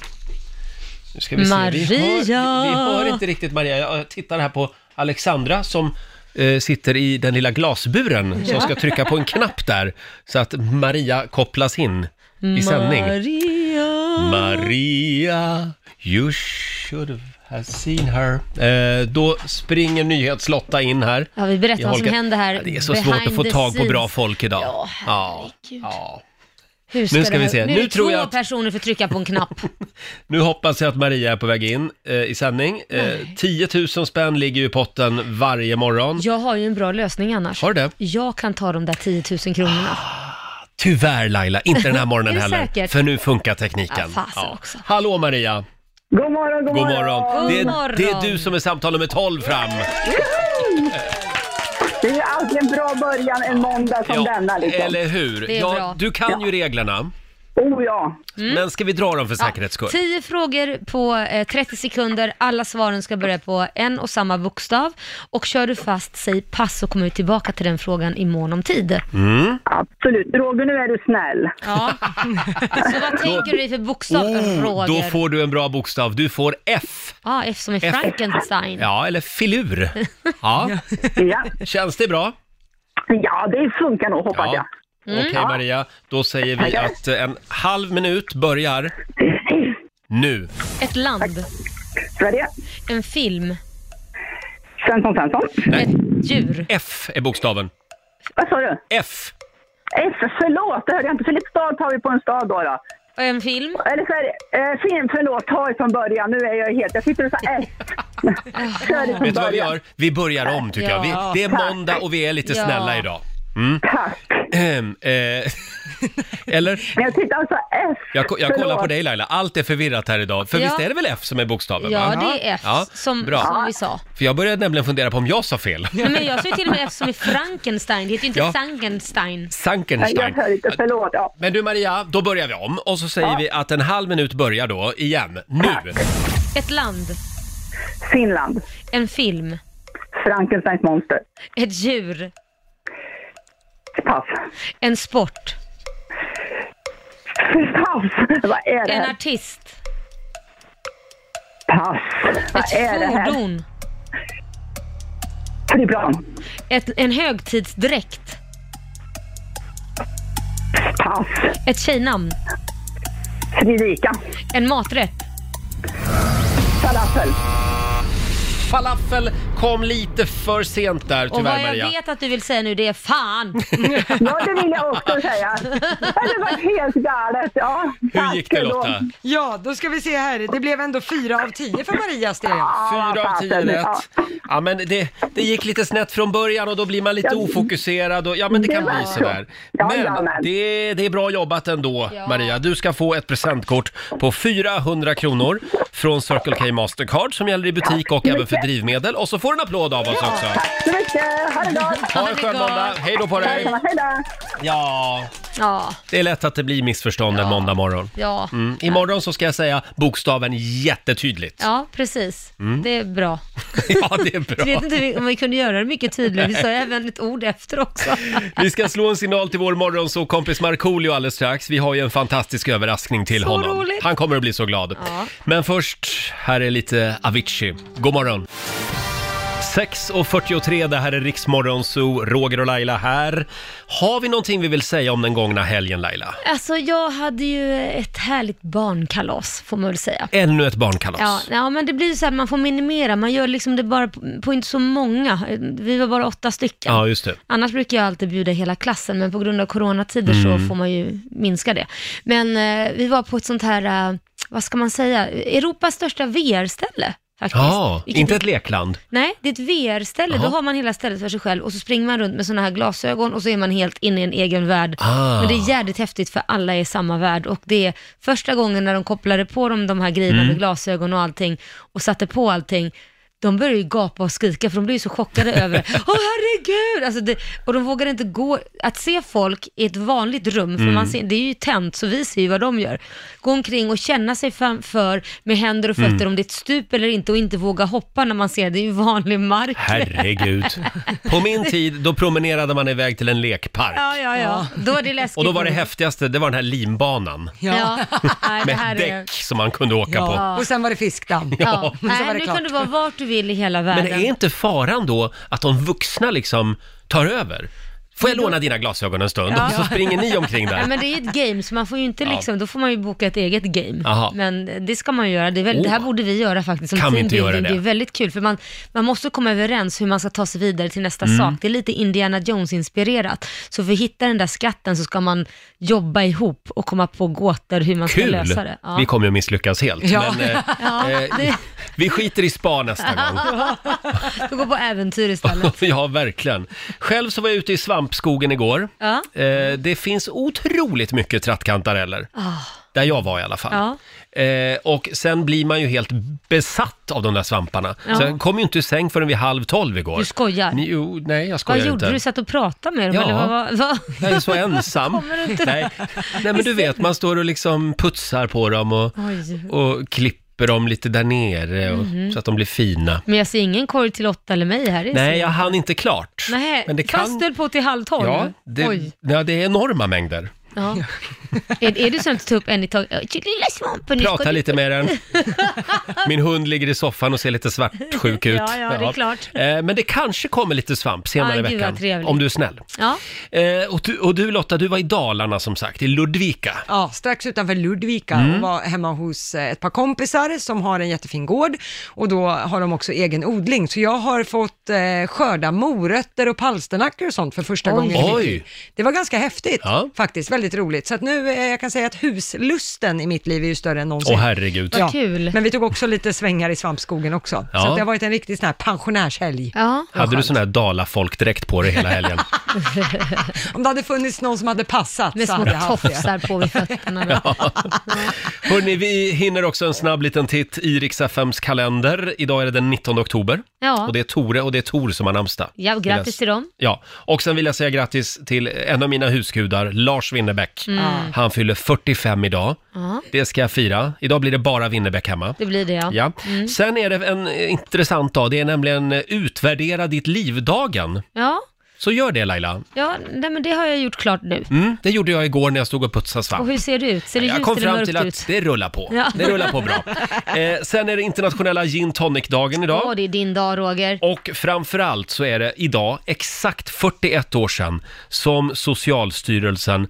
[SPEAKER 1] Nu ska vi Se. Vi, hör,
[SPEAKER 3] Maria!
[SPEAKER 1] vi, vi hör inte riktigt Maria. Jag tittar här på Alexandra som eh, sitter i den lilla glasburen som ska trycka på en knapp där så att Maria kopplas in i sändning.
[SPEAKER 3] Maria.
[SPEAKER 1] Maria, you should have seen her. Eh, då springer nyhetslotta in här.
[SPEAKER 3] Ja, vi berättar
[SPEAKER 1] Jag
[SPEAKER 3] vad som
[SPEAKER 1] Holger-
[SPEAKER 3] händer här.
[SPEAKER 1] Ja, Det är så
[SPEAKER 3] behind
[SPEAKER 1] svårt att få
[SPEAKER 3] the
[SPEAKER 1] tag på bra
[SPEAKER 3] scenes.
[SPEAKER 1] folk idag.
[SPEAKER 3] Ja,
[SPEAKER 1] ja,
[SPEAKER 3] herregud.
[SPEAKER 1] ja.
[SPEAKER 3] Hur ska
[SPEAKER 1] Nu ska
[SPEAKER 3] det
[SPEAKER 1] vi
[SPEAKER 3] här-
[SPEAKER 1] se.
[SPEAKER 3] Nu,
[SPEAKER 1] Nu
[SPEAKER 3] är det
[SPEAKER 1] tror
[SPEAKER 3] två
[SPEAKER 1] jag att-
[SPEAKER 3] personer för att trycka på
[SPEAKER 1] <laughs>
[SPEAKER 3] en knapp.
[SPEAKER 1] Nu hoppas jag att Maria är på väg in eh, i sändning. Eh, 10 000 spänn ligger ju i potten varje morgon.
[SPEAKER 3] Jag har ju en bra lösning annars.
[SPEAKER 1] Har du det?
[SPEAKER 3] Jag kan ta de där 10 000 kronorna.
[SPEAKER 1] Tyvärr Laila, inte
[SPEAKER 3] <laughs>
[SPEAKER 1] den här morgonen
[SPEAKER 3] Är det
[SPEAKER 1] heller.
[SPEAKER 3] säkert?
[SPEAKER 1] För nu funkar tekniken.
[SPEAKER 3] Ja, fasen också.
[SPEAKER 1] Hallå Maria!
[SPEAKER 9] God morgon, god,
[SPEAKER 1] God
[SPEAKER 9] morgon.
[SPEAKER 1] morgon.
[SPEAKER 3] God
[SPEAKER 1] Det, är,
[SPEAKER 3] morgon.
[SPEAKER 1] det är du som är samtal nummer 12 fram.
[SPEAKER 9] Det är ju alltid en bra början en måndag som denna. Liksom.
[SPEAKER 1] eller hur?
[SPEAKER 3] Det är
[SPEAKER 1] Ja,
[SPEAKER 3] bra. Mm.
[SPEAKER 1] du kan ju reglerna.
[SPEAKER 9] Oh ja.
[SPEAKER 1] Men ska vi dra dem för säkerhets skull?
[SPEAKER 3] 10 frågor på eh, 30 sekunder. Alla svaren ska börja på en och samma bokstav. Och kör du fast, säg pass och kommer vi tillbaka till den frågan i mån om tid.
[SPEAKER 1] Mm.
[SPEAKER 9] Absolut. Roger, nu är du snäll.
[SPEAKER 3] Ja. <laughs> Så vad tänker du dig för bokstav, Eh, Roger?
[SPEAKER 1] Oh, Mm. Då får du en bra bokstav. Du får F.
[SPEAKER 3] ah, F som i
[SPEAKER 1] F.
[SPEAKER 3] Frankenstein.
[SPEAKER 1] Ja, eller
[SPEAKER 3] <laughs>
[SPEAKER 1] filur. Ja,
[SPEAKER 9] Ja,
[SPEAKER 1] känns det bra?
[SPEAKER 9] ja det funkar nog, hoppas
[SPEAKER 1] Ja.
[SPEAKER 9] jag.
[SPEAKER 3] Mm.
[SPEAKER 1] Okej Maria, då säger vi att eh, en halv minut börjar nu.
[SPEAKER 3] Ett land.
[SPEAKER 9] Sverige.
[SPEAKER 3] En film.
[SPEAKER 9] Svensson, Svensson.
[SPEAKER 3] Ett djur.
[SPEAKER 1] F är bokstaven.
[SPEAKER 9] Vad sa du?
[SPEAKER 1] F.
[SPEAKER 9] S, förlåt, det hörde jag inte. Filipstad tar vi på en stad då. då.
[SPEAKER 3] Och en film.
[SPEAKER 9] Eller så är det, eh, film, förlåt, ta det från början. Nu är jag helt... Jag sitter och sa S. Kör det från
[SPEAKER 1] Vet du vad vi
[SPEAKER 9] början.
[SPEAKER 1] gör? Vi börjar om tycker jag. Vi,
[SPEAKER 3] Ja.
[SPEAKER 1] det är måndag och vi är lite
[SPEAKER 3] Ja.
[SPEAKER 1] snälla idag. Mm.
[SPEAKER 9] Tack.
[SPEAKER 1] Ehm, eh, <laughs> Eller?
[SPEAKER 9] Men jag tyckte alltså S.
[SPEAKER 1] Jag, ko- jag kollar
[SPEAKER 9] Förlåt.
[SPEAKER 1] på dig Laila, allt är förvirrat här idag. För
[SPEAKER 3] Ja.
[SPEAKER 1] visst är det väl F som är bokstaven?
[SPEAKER 3] Ja,
[SPEAKER 1] va?
[SPEAKER 3] det är F
[SPEAKER 1] Ja,
[SPEAKER 3] som,
[SPEAKER 1] bra.
[SPEAKER 3] som vi sa.
[SPEAKER 1] För jag började nämligen fundera på om jag sa fel.
[SPEAKER 3] Nej, <laughs> men jag sa ju till och med F som i Frankenstein. Det heter ju inte
[SPEAKER 1] Ja.
[SPEAKER 3] Sankenstein.
[SPEAKER 9] Nej, Jag
[SPEAKER 1] Sankenstein.
[SPEAKER 9] hör inte, förlåt. Ja.
[SPEAKER 1] Men du Maria, då börjar vi om och så säger vi att en halv minut börjar då, igen, nu.
[SPEAKER 3] Ett land.
[SPEAKER 9] Finland.
[SPEAKER 3] En film.
[SPEAKER 9] Frankensteins monster.
[SPEAKER 3] Ett djur.
[SPEAKER 9] Pass.
[SPEAKER 3] En sport.
[SPEAKER 9] Pass! Vad är det
[SPEAKER 3] En
[SPEAKER 9] här?
[SPEAKER 3] artist.
[SPEAKER 9] Pass. Vad är det
[SPEAKER 3] Ett
[SPEAKER 9] här?
[SPEAKER 3] fordon.
[SPEAKER 9] Flygplan.
[SPEAKER 3] Ett, en högtidsdräkt.
[SPEAKER 9] Pass.
[SPEAKER 3] Ett tjejnamn.
[SPEAKER 9] Fredrika.
[SPEAKER 3] En maträtt.
[SPEAKER 9] Falafel.
[SPEAKER 1] Falafel kom lite för sent där
[SPEAKER 3] Och vad
[SPEAKER 1] tyvärr
[SPEAKER 3] jag
[SPEAKER 1] Maria.
[SPEAKER 3] vet att du vill säga nu det
[SPEAKER 1] <laughs>
[SPEAKER 3] är fan.
[SPEAKER 9] Ja, det vill jag också säga. Det var helt galet. Ja,
[SPEAKER 1] Hur
[SPEAKER 9] tack
[SPEAKER 1] gick det
[SPEAKER 9] då.
[SPEAKER 1] Lotta?
[SPEAKER 2] Ja, då ska vi se här. Det blev ändå fyra av tio för Marias del.
[SPEAKER 9] Ja,
[SPEAKER 1] Fyra av
[SPEAKER 9] fasen,
[SPEAKER 1] tio
[SPEAKER 9] ja.
[SPEAKER 1] rätt. Ja men det, det gick lite snett från början och då blir man lite
[SPEAKER 9] Ja.
[SPEAKER 1] ofokuserad och ja men det
[SPEAKER 9] Det
[SPEAKER 1] kan
[SPEAKER 9] var
[SPEAKER 1] bli
[SPEAKER 9] så.
[SPEAKER 1] sådär.
[SPEAKER 9] Ja, ja,
[SPEAKER 1] Men
[SPEAKER 9] men.
[SPEAKER 1] det, det är bra jobbat ändå
[SPEAKER 3] Ja.
[SPEAKER 1] Maria. Du ska få ett presentkort på 400 kronor från Circle K Mastercard som gäller i butik och även för drivmedel. Och så får du en applåd av oss också.
[SPEAKER 9] Tack så mycket. Ha det gott.
[SPEAKER 1] Ha en skön måndag. Hej då på dig.
[SPEAKER 9] Detsamma. Hej då.
[SPEAKER 1] Ja,
[SPEAKER 3] Ja,
[SPEAKER 1] det är lätt att det blir missförstånd en måndag morgon.
[SPEAKER 3] ja,
[SPEAKER 1] Mm. Imorgon så ska jag säga bokstaven jättetydligt.
[SPEAKER 3] ja precis. Det är bra.
[SPEAKER 1] <laughs> Ja, det är
[SPEAKER 3] Jag vet
[SPEAKER 1] Mm. bra.
[SPEAKER 3] inte om vi kunde göra det mycket tydligare. Vi
[SPEAKER 1] <laughs>
[SPEAKER 3] sa även ett ord efter också.
[SPEAKER 1] Vi ska slå en signal till vår morgonsåkompis Markoolio alldeles strax. Vi har ju en fantastisk överraskning till
[SPEAKER 3] Så
[SPEAKER 1] honom.
[SPEAKER 3] roligt.
[SPEAKER 1] Han kommer att bli så glad.
[SPEAKER 3] Ja.
[SPEAKER 1] Men först, här är lite Avicii. God morgon! 6.43, det här är Riksmorgon Zoo, Roger och Laila här. Har vi någonting vi vill säga om den gångna helgen Laila?
[SPEAKER 3] Alltså jag hade ju ett härligt barnkalas får man väl säga.
[SPEAKER 1] Ännu ett barnkalas.
[SPEAKER 3] Ja, ja, men det blir ju så här, man får minimera, man gör liksom det bara på, på inte så många. Vi var bara åtta stycken.
[SPEAKER 1] ja just det.
[SPEAKER 3] Annars brukar jag alltid bjuda hela klassen, men på grund av coronatider
[SPEAKER 1] Mm.
[SPEAKER 3] så får man ju minska det. Men eh, vi var på ett sånt här, eh, vad ska man säga, Europas största VR-ställe. Faktiskt.
[SPEAKER 1] Ja,
[SPEAKER 3] Vilket-
[SPEAKER 1] inte ett lekland.
[SPEAKER 3] Nej, det är ett VR-ställe. Då
[SPEAKER 1] Jaha.
[SPEAKER 3] har man hela stället för sig själv och så springer man runt med sådana här glasögon och så är man helt inne i en egen värld.
[SPEAKER 1] Ah.
[SPEAKER 3] Men det är jävligt häftigt för alla är i samma värld och det är första gången när de kopplade på dem de här grejerna
[SPEAKER 1] Mm.
[SPEAKER 3] med glasögon och allting och satte på allting. De började ju gapa och skrika för de blev ju
[SPEAKER 1] <laughs>
[SPEAKER 3] så chockade över det. Åh herregud! Alltså det, och de vågade inte gå, att se folk i ett vanligt rum,
[SPEAKER 1] Mm.
[SPEAKER 3] för man ser, det är ju tänt så vi ser ju vad de gör. Gå omkring och känna sig fram- för med händer och
[SPEAKER 1] Mm.
[SPEAKER 3] fötter om det är ett stup eller inte och inte våga hoppa när man ser det, det är ju vanlig mark.
[SPEAKER 1] Herregud. På min tid, då promenerade man iväg till en lekpark.
[SPEAKER 3] Ja, ja, ja. Då är det läskigt.
[SPEAKER 1] Och då var det häftigaste, det var den här linbanan.
[SPEAKER 3] Ja. Nej, det här
[SPEAKER 1] Med
[SPEAKER 3] är...
[SPEAKER 1] däck som man kunde åka på.
[SPEAKER 2] Ja. Och sen var det fiskdamm.
[SPEAKER 3] Ja.
[SPEAKER 2] Men så var
[SPEAKER 3] Nej,
[SPEAKER 2] det
[SPEAKER 3] nu
[SPEAKER 2] klart.
[SPEAKER 3] kan du vara vart du vill i hela världen.
[SPEAKER 1] Men är inte faran då att de vuxna liksom tar över? Får jag låna dina glasögon en stund? Och så springer ni omkring
[SPEAKER 3] Nej,
[SPEAKER 1] där.
[SPEAKER 3] men det är ju ett game, så man får ju inte liksom, då får man ju boka ett eget game.
[SPEAKER 1] Jaha.
[SPEAKER 3] Men det ska man ju göra. Det, är väl, det här
[SPEAKER 1] Oh.
[SPEAKER 3] borde vi göra faktiskt som
[SPEAKER 1] Kan vi inte
[SPEAKER 3] teambuilding.
[SPEAKER 1] göra det?
[SPEAKER 3] det är väldigt kul, för man, man måste komma överens hur man ska ta sig vidare till nästa
[SPEAKER 1] Mm.
[SPEAKER 3] sak. Det är lite Indiana Jones-inspirerat. Så för att hitta den där skatten så ska man jobba ihop och komma på gåtor hur man ska
[SPEAKER 1] Kul!
[SPEAKER 3] lösa det. Ja.
[SPEAKER 1] Vi kommer ju misslyckas helt.
[SPEAKER 2] Ja.
[SPEAKER 1] Men, eh,
[SPEAKER 3] <laughs> Ja,
[SPEAKER 1] eh,
[SPEAKER 3] det-
[SPEAKER 1] vi skiter i spa
[SPEAKER 3] <laughs>
[SPEAKER 1] nästa gång.
[SPEAKER 3] Vi går på äventyr istället.
[SPEAKER 1] <laughs> Ja, verkligen. Själv så var jag ute i svampskogen igår.
[SPEAKER 3] Ja.
[SPEAKER 1] Eh, det finns otroligt mycket trattkantareller.
[SPEAKER 3] Ah.
[SPEAKER 1] Där jag var i alla fall. Eh, och sen blir man ju helt besatt av de där svamparna.
[SPEAKER 3] Ja.
[SPEAKER 1] Så jag kom ju inte i säng förrän vid halv tolv igår.
[SPEAKER 3] Du skojar.
[SPEAKER 1] Ni- Jo, nej jag
[SPEAKER 3] Vad
[SPEAKER 1] skojar
[SPEAKER 3] gjorde
[SPEAKER 1] inte.
[SPEAKER 3] du? Satt och pratade med dem?
[SPEAKER 1] Ja.
[SPEAKER 3] Eller vad, vad, vad?
[SPEAKER 1] Jag är så ensam.
[SPEAKER 3] <laughs> Kommer du inte-
[SPEAKER 1] Nej. nej,
[SPEAKER 3] <laughs>
[SPEAKER 1] men du vet, man står och liksom putsar på dem och,
[SPEAKER 3] Oj.
[SPEAKER 1] och klipper dem lite där nere och, så att de blir fina.
[SPEAKER 3] Men jag ser ingen korg till åtta eller mig här. Det är
[SPEAKER 1] Nej,
[SPEAKER 3] så-
[SPEAKER 1] jag hann inte klart.
[SPEAKER 3] Nej,
[SPEAKER 1] men det
[SPEAKER 3] fast
[SPEAKER 1] kan...
[SPEAKER 3] höll på till halv tolv.
[SPEAKER 1] Ja,
[SPEAKER 3] Oj.
[SPEAKER 1] <laughs> det, ja, det är enorma mängder.
[SPEAKER 3] Ja. Är, är det sånt att ta upp en i taget? Lilla svampen, nu
[SPEAKER 1] Prata
[SPEAKER 3] ska du-
[SPEAKER 1] lite med den. Min hund ligger i soffan och ser lite svartsjuk ut.
[SPEAKER 3] <laughs> Ja, ja, det är klart.
[SPEAKER 1] Eh, Men det kanske kommer lite svamp senare
[SPEAKER 3] Aj,
[SPEAKER 1] i
[SPEAKER 3] gud, vad
[SPEAKER 1] veckan.
[SPEAKER 3] trevligt.
[SPEAKER 1] Om du är snäll.
[SPEAKER 3] <laughs> Ja,
[SPEAKER 1] Eh, Och du, och du Lotta, du var i Dalarna som sagt, i Ludvika.
[SPEAKER 2] Ja, strax utanför Ludvika och
[SPEAKER 1] Mm.
[SPEAKER 2] var hemma hos eh, ett par kompisar som har en jättefin gård och då har de också egen odling. Så jag har fått eh, skörda morötter och palsternackor och sånt för första gången i
[SPEAKER 1] Oj.
[SPEAKER 2] mitt liv. Det var ganska häftigt
[SPEAKER 1] Ja.
[SPEAKER 2] faktiskt, väldigt roligt. Så att nu, eh, jag kan säga att huslusten i mitt liv är ju större än någonsin.
[SPEAKER 1] Åh herregud.
[SPEAKER 3] Vad kul.
[SPEAKER 2] Men vi tog också lite svängar i svampskogen också.
[SPEAKER 1] Ja.
[SPEAKER 2] Så att det har varit en riktig sån här pensionärshelg.
[SPEAKER 3] ja.
[SPEAKER 1] Hade du sån här dalafolkdräkt på dig hela
[SPEAKER 3] <laughs>
[SPEAKER 1] helgen?
[SPEAKER 2] Om det hade funnits någon som hade passat
[SPEAKER 3] Med
[SPEAKER 2] så
[SPEAKER 3] små
[SPEAKER 2] hade jag haft det.
[SPEAKER 3] tofsar på vid fötterna.
[SPEAKER 1] <laughs> Hörni, vi hinner också en snabb liten titt i Rix FMs kalender. Idag är det den 19 oktober.
[SPEAKER 3] Ja.
[SPEAKER 1] Och det är Tore och det är Tor som har namnsdag.
[SPEAKER 3] Ja, och grattis
[SPEAKER 1] Vill jag-
[SPEAKER 3] till dem.
[SPEAKER 1] Ja, och sen vill jag säga grattis till en av mina husgudar, Lars Winnerbäck.
[SPEAKER 3] Mm.
[SPEAKER 1] Han fyller 45 idag. Det ska jag fira. Idag blir det bara Winnerbäck hemma.
[SPEAKER 3] Det blir det ja.
[SPEAKER 1] Ja. Sen är det en eh, intressant dag, det är nämligen eh, utvärdera ditt liv-dagen.
[SPEAKER 3] Ja,
[SPEAKER 1] Så gör det Laila.
[SPEAKER 3] ja nej, men det har jag gjort klart nu.
[SPEAKER 1] Mm, det gjorde jag igår när jag stod och putsade svamp.
[SPEAKER 3] Och hur ser det ut? Ser det
[SPEAKER 1] Jag
[SPEAKER 3] ljust
[SPEAKER 1] kom
[SPEAKER 3] eller
[SPEAKER 1] fram
[SPEAKER 3] mörkt
[SPEAKER 1] till att
[SPEAKER 3] ut?
[SPEAKER 1] det rullar på.
[SPEAKER 3] Ja.
[SPEAKER 1] Det rullar på
[SPEAKER 3] <laughs>
[SPEAKER 1] bra. Eh, sen är det internationella gin tonic-dagen idag.
[SPEAKER 3] Åh, det är din dag Roger.
[SPEAKER 1] Och framförallt så är det idag exakt 41 år sedan som Socialstyrelsen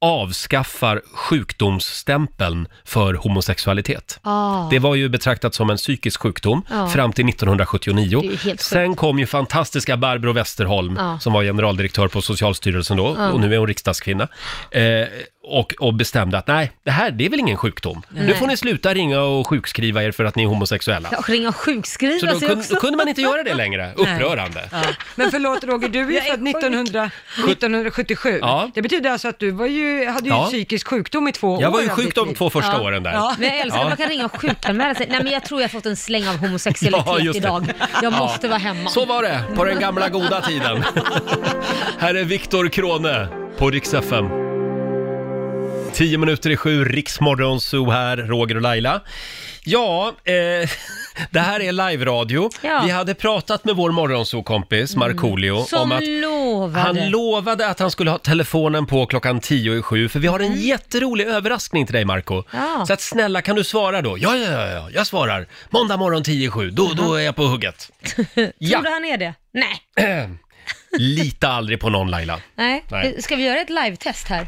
[SPEAKER 1] avskaffar sjukdomsstämpeln för homosexualitet.
[SPEAKER 3] Ah.
[SPEAKER 1] Det var ju betraktat som en psykisk sjukdom
[SPEAKER 3] Ja.
[SPEAKER 1] fram till
[SPEAKER 3] Det är ju
[SPEAKER 1] 1979.
[SPEAKER 3] helt sjukt.
[SPEAKER 1] Sen kom ju fantastiska Barbro Westerholm
[SPEAKER 3] Ja.
[SPEAKER 1] som var generaldirektör på Socialstyrelsen då och nu är hon riksdagskvinna. Eh, och, och bestämde att nej, det här det är väl ingen sjukdom. Nu får ni sluta ringa och sjukskriva er för att ni är homosexuella.
[SPEAKER 3] Ja, ringa och sjukskriva
[SPEAKER 1] Så då
[SPEAKER 3] sig
[SPEAKER 1] kunde,
[SPEAKER 3] också.
[SPEAKER 1] då kunde man inte göra det längre. Upprörande.
[SPEAKER 2] Ja. Men förlåt Roger, du är ju
[SPEAKER 3] Jag är
[SPEAKER 2] född 1900, 1977.
[SPEAKER 1] Ja.
[SPEAKER 2] Det betyder alltså att du var ju, hade ju
[SPEAKER 1] Ja.
[SPEAKER 2] psykisk sjukdom i två
[SPEAKER 1] Jag
[SPEAKER 2] år
[SPEAKER 1] var ju
[SPEAKER 2] av
[SPEAKER 1] sjuk
[SPEAKER 2] ditt
[SPEAKER 1] de
[SPEAKER 2] liv.
[SPEAKER 1] två första
[SPEAKER 3] Ja.
[SPEAKER 1] åren där.
[SPEAKER 2] Ja.
[SPEAKER 3] Men jag älskar
[SPEAKER 1] Ja.
[SPEAKER 3] att man kan ringa och sjukanmäla sig. Nej men jag tror jag har fått en släng av homosexualitet
[SPEAKER 1] Ja, just det.
[SPEAKER 3] idag. Jag måste vara hemma.
[SPEAKER 1] Så var det på den gamla goda
[SPEAKER 3] <laughs>
[SPEAKER 1] tiden. Här är Viktor Krone på Rix FM. Tio minuter i sju, Riksmorgon Zoo här, Roger och Laila. Ja, eh, <laughs> det här är live-radio.
[SPEAKER 3] Ja. Mm.
[SPEAKER 1] Vi hade pratat med vår morgonzoo-kompis Markoolio om
[SPEAKER 3] Som
[SPEAKER 1] att
[SPEAKER 3] lovade.
[SPEAKER 1] han lovade att han skulle ha telefonen på klockan tio i sju, för vi har en jätterolig överraskning till dig Marco.
[SPEAKER 3] Mm. Ja.
[SPEAKER 1] Så att snälla kan du svara då? Ja, ja, ja, ja, jag svarar. Måndag morgon tio i sju, då, då är jag på hugget.
[SPEAKER 3] Mm. <laughs> Tror
[SPEAKER 1] ja,
[SPEAKER 3] du han är det? Nej.
[SPEAKER 1] lita aldrig på någon Laila.
[SPEAKER 3] Nej.
[SPEAKER 1] Nej.
[SPEAKER 3] Ska vi göra ett live-test här?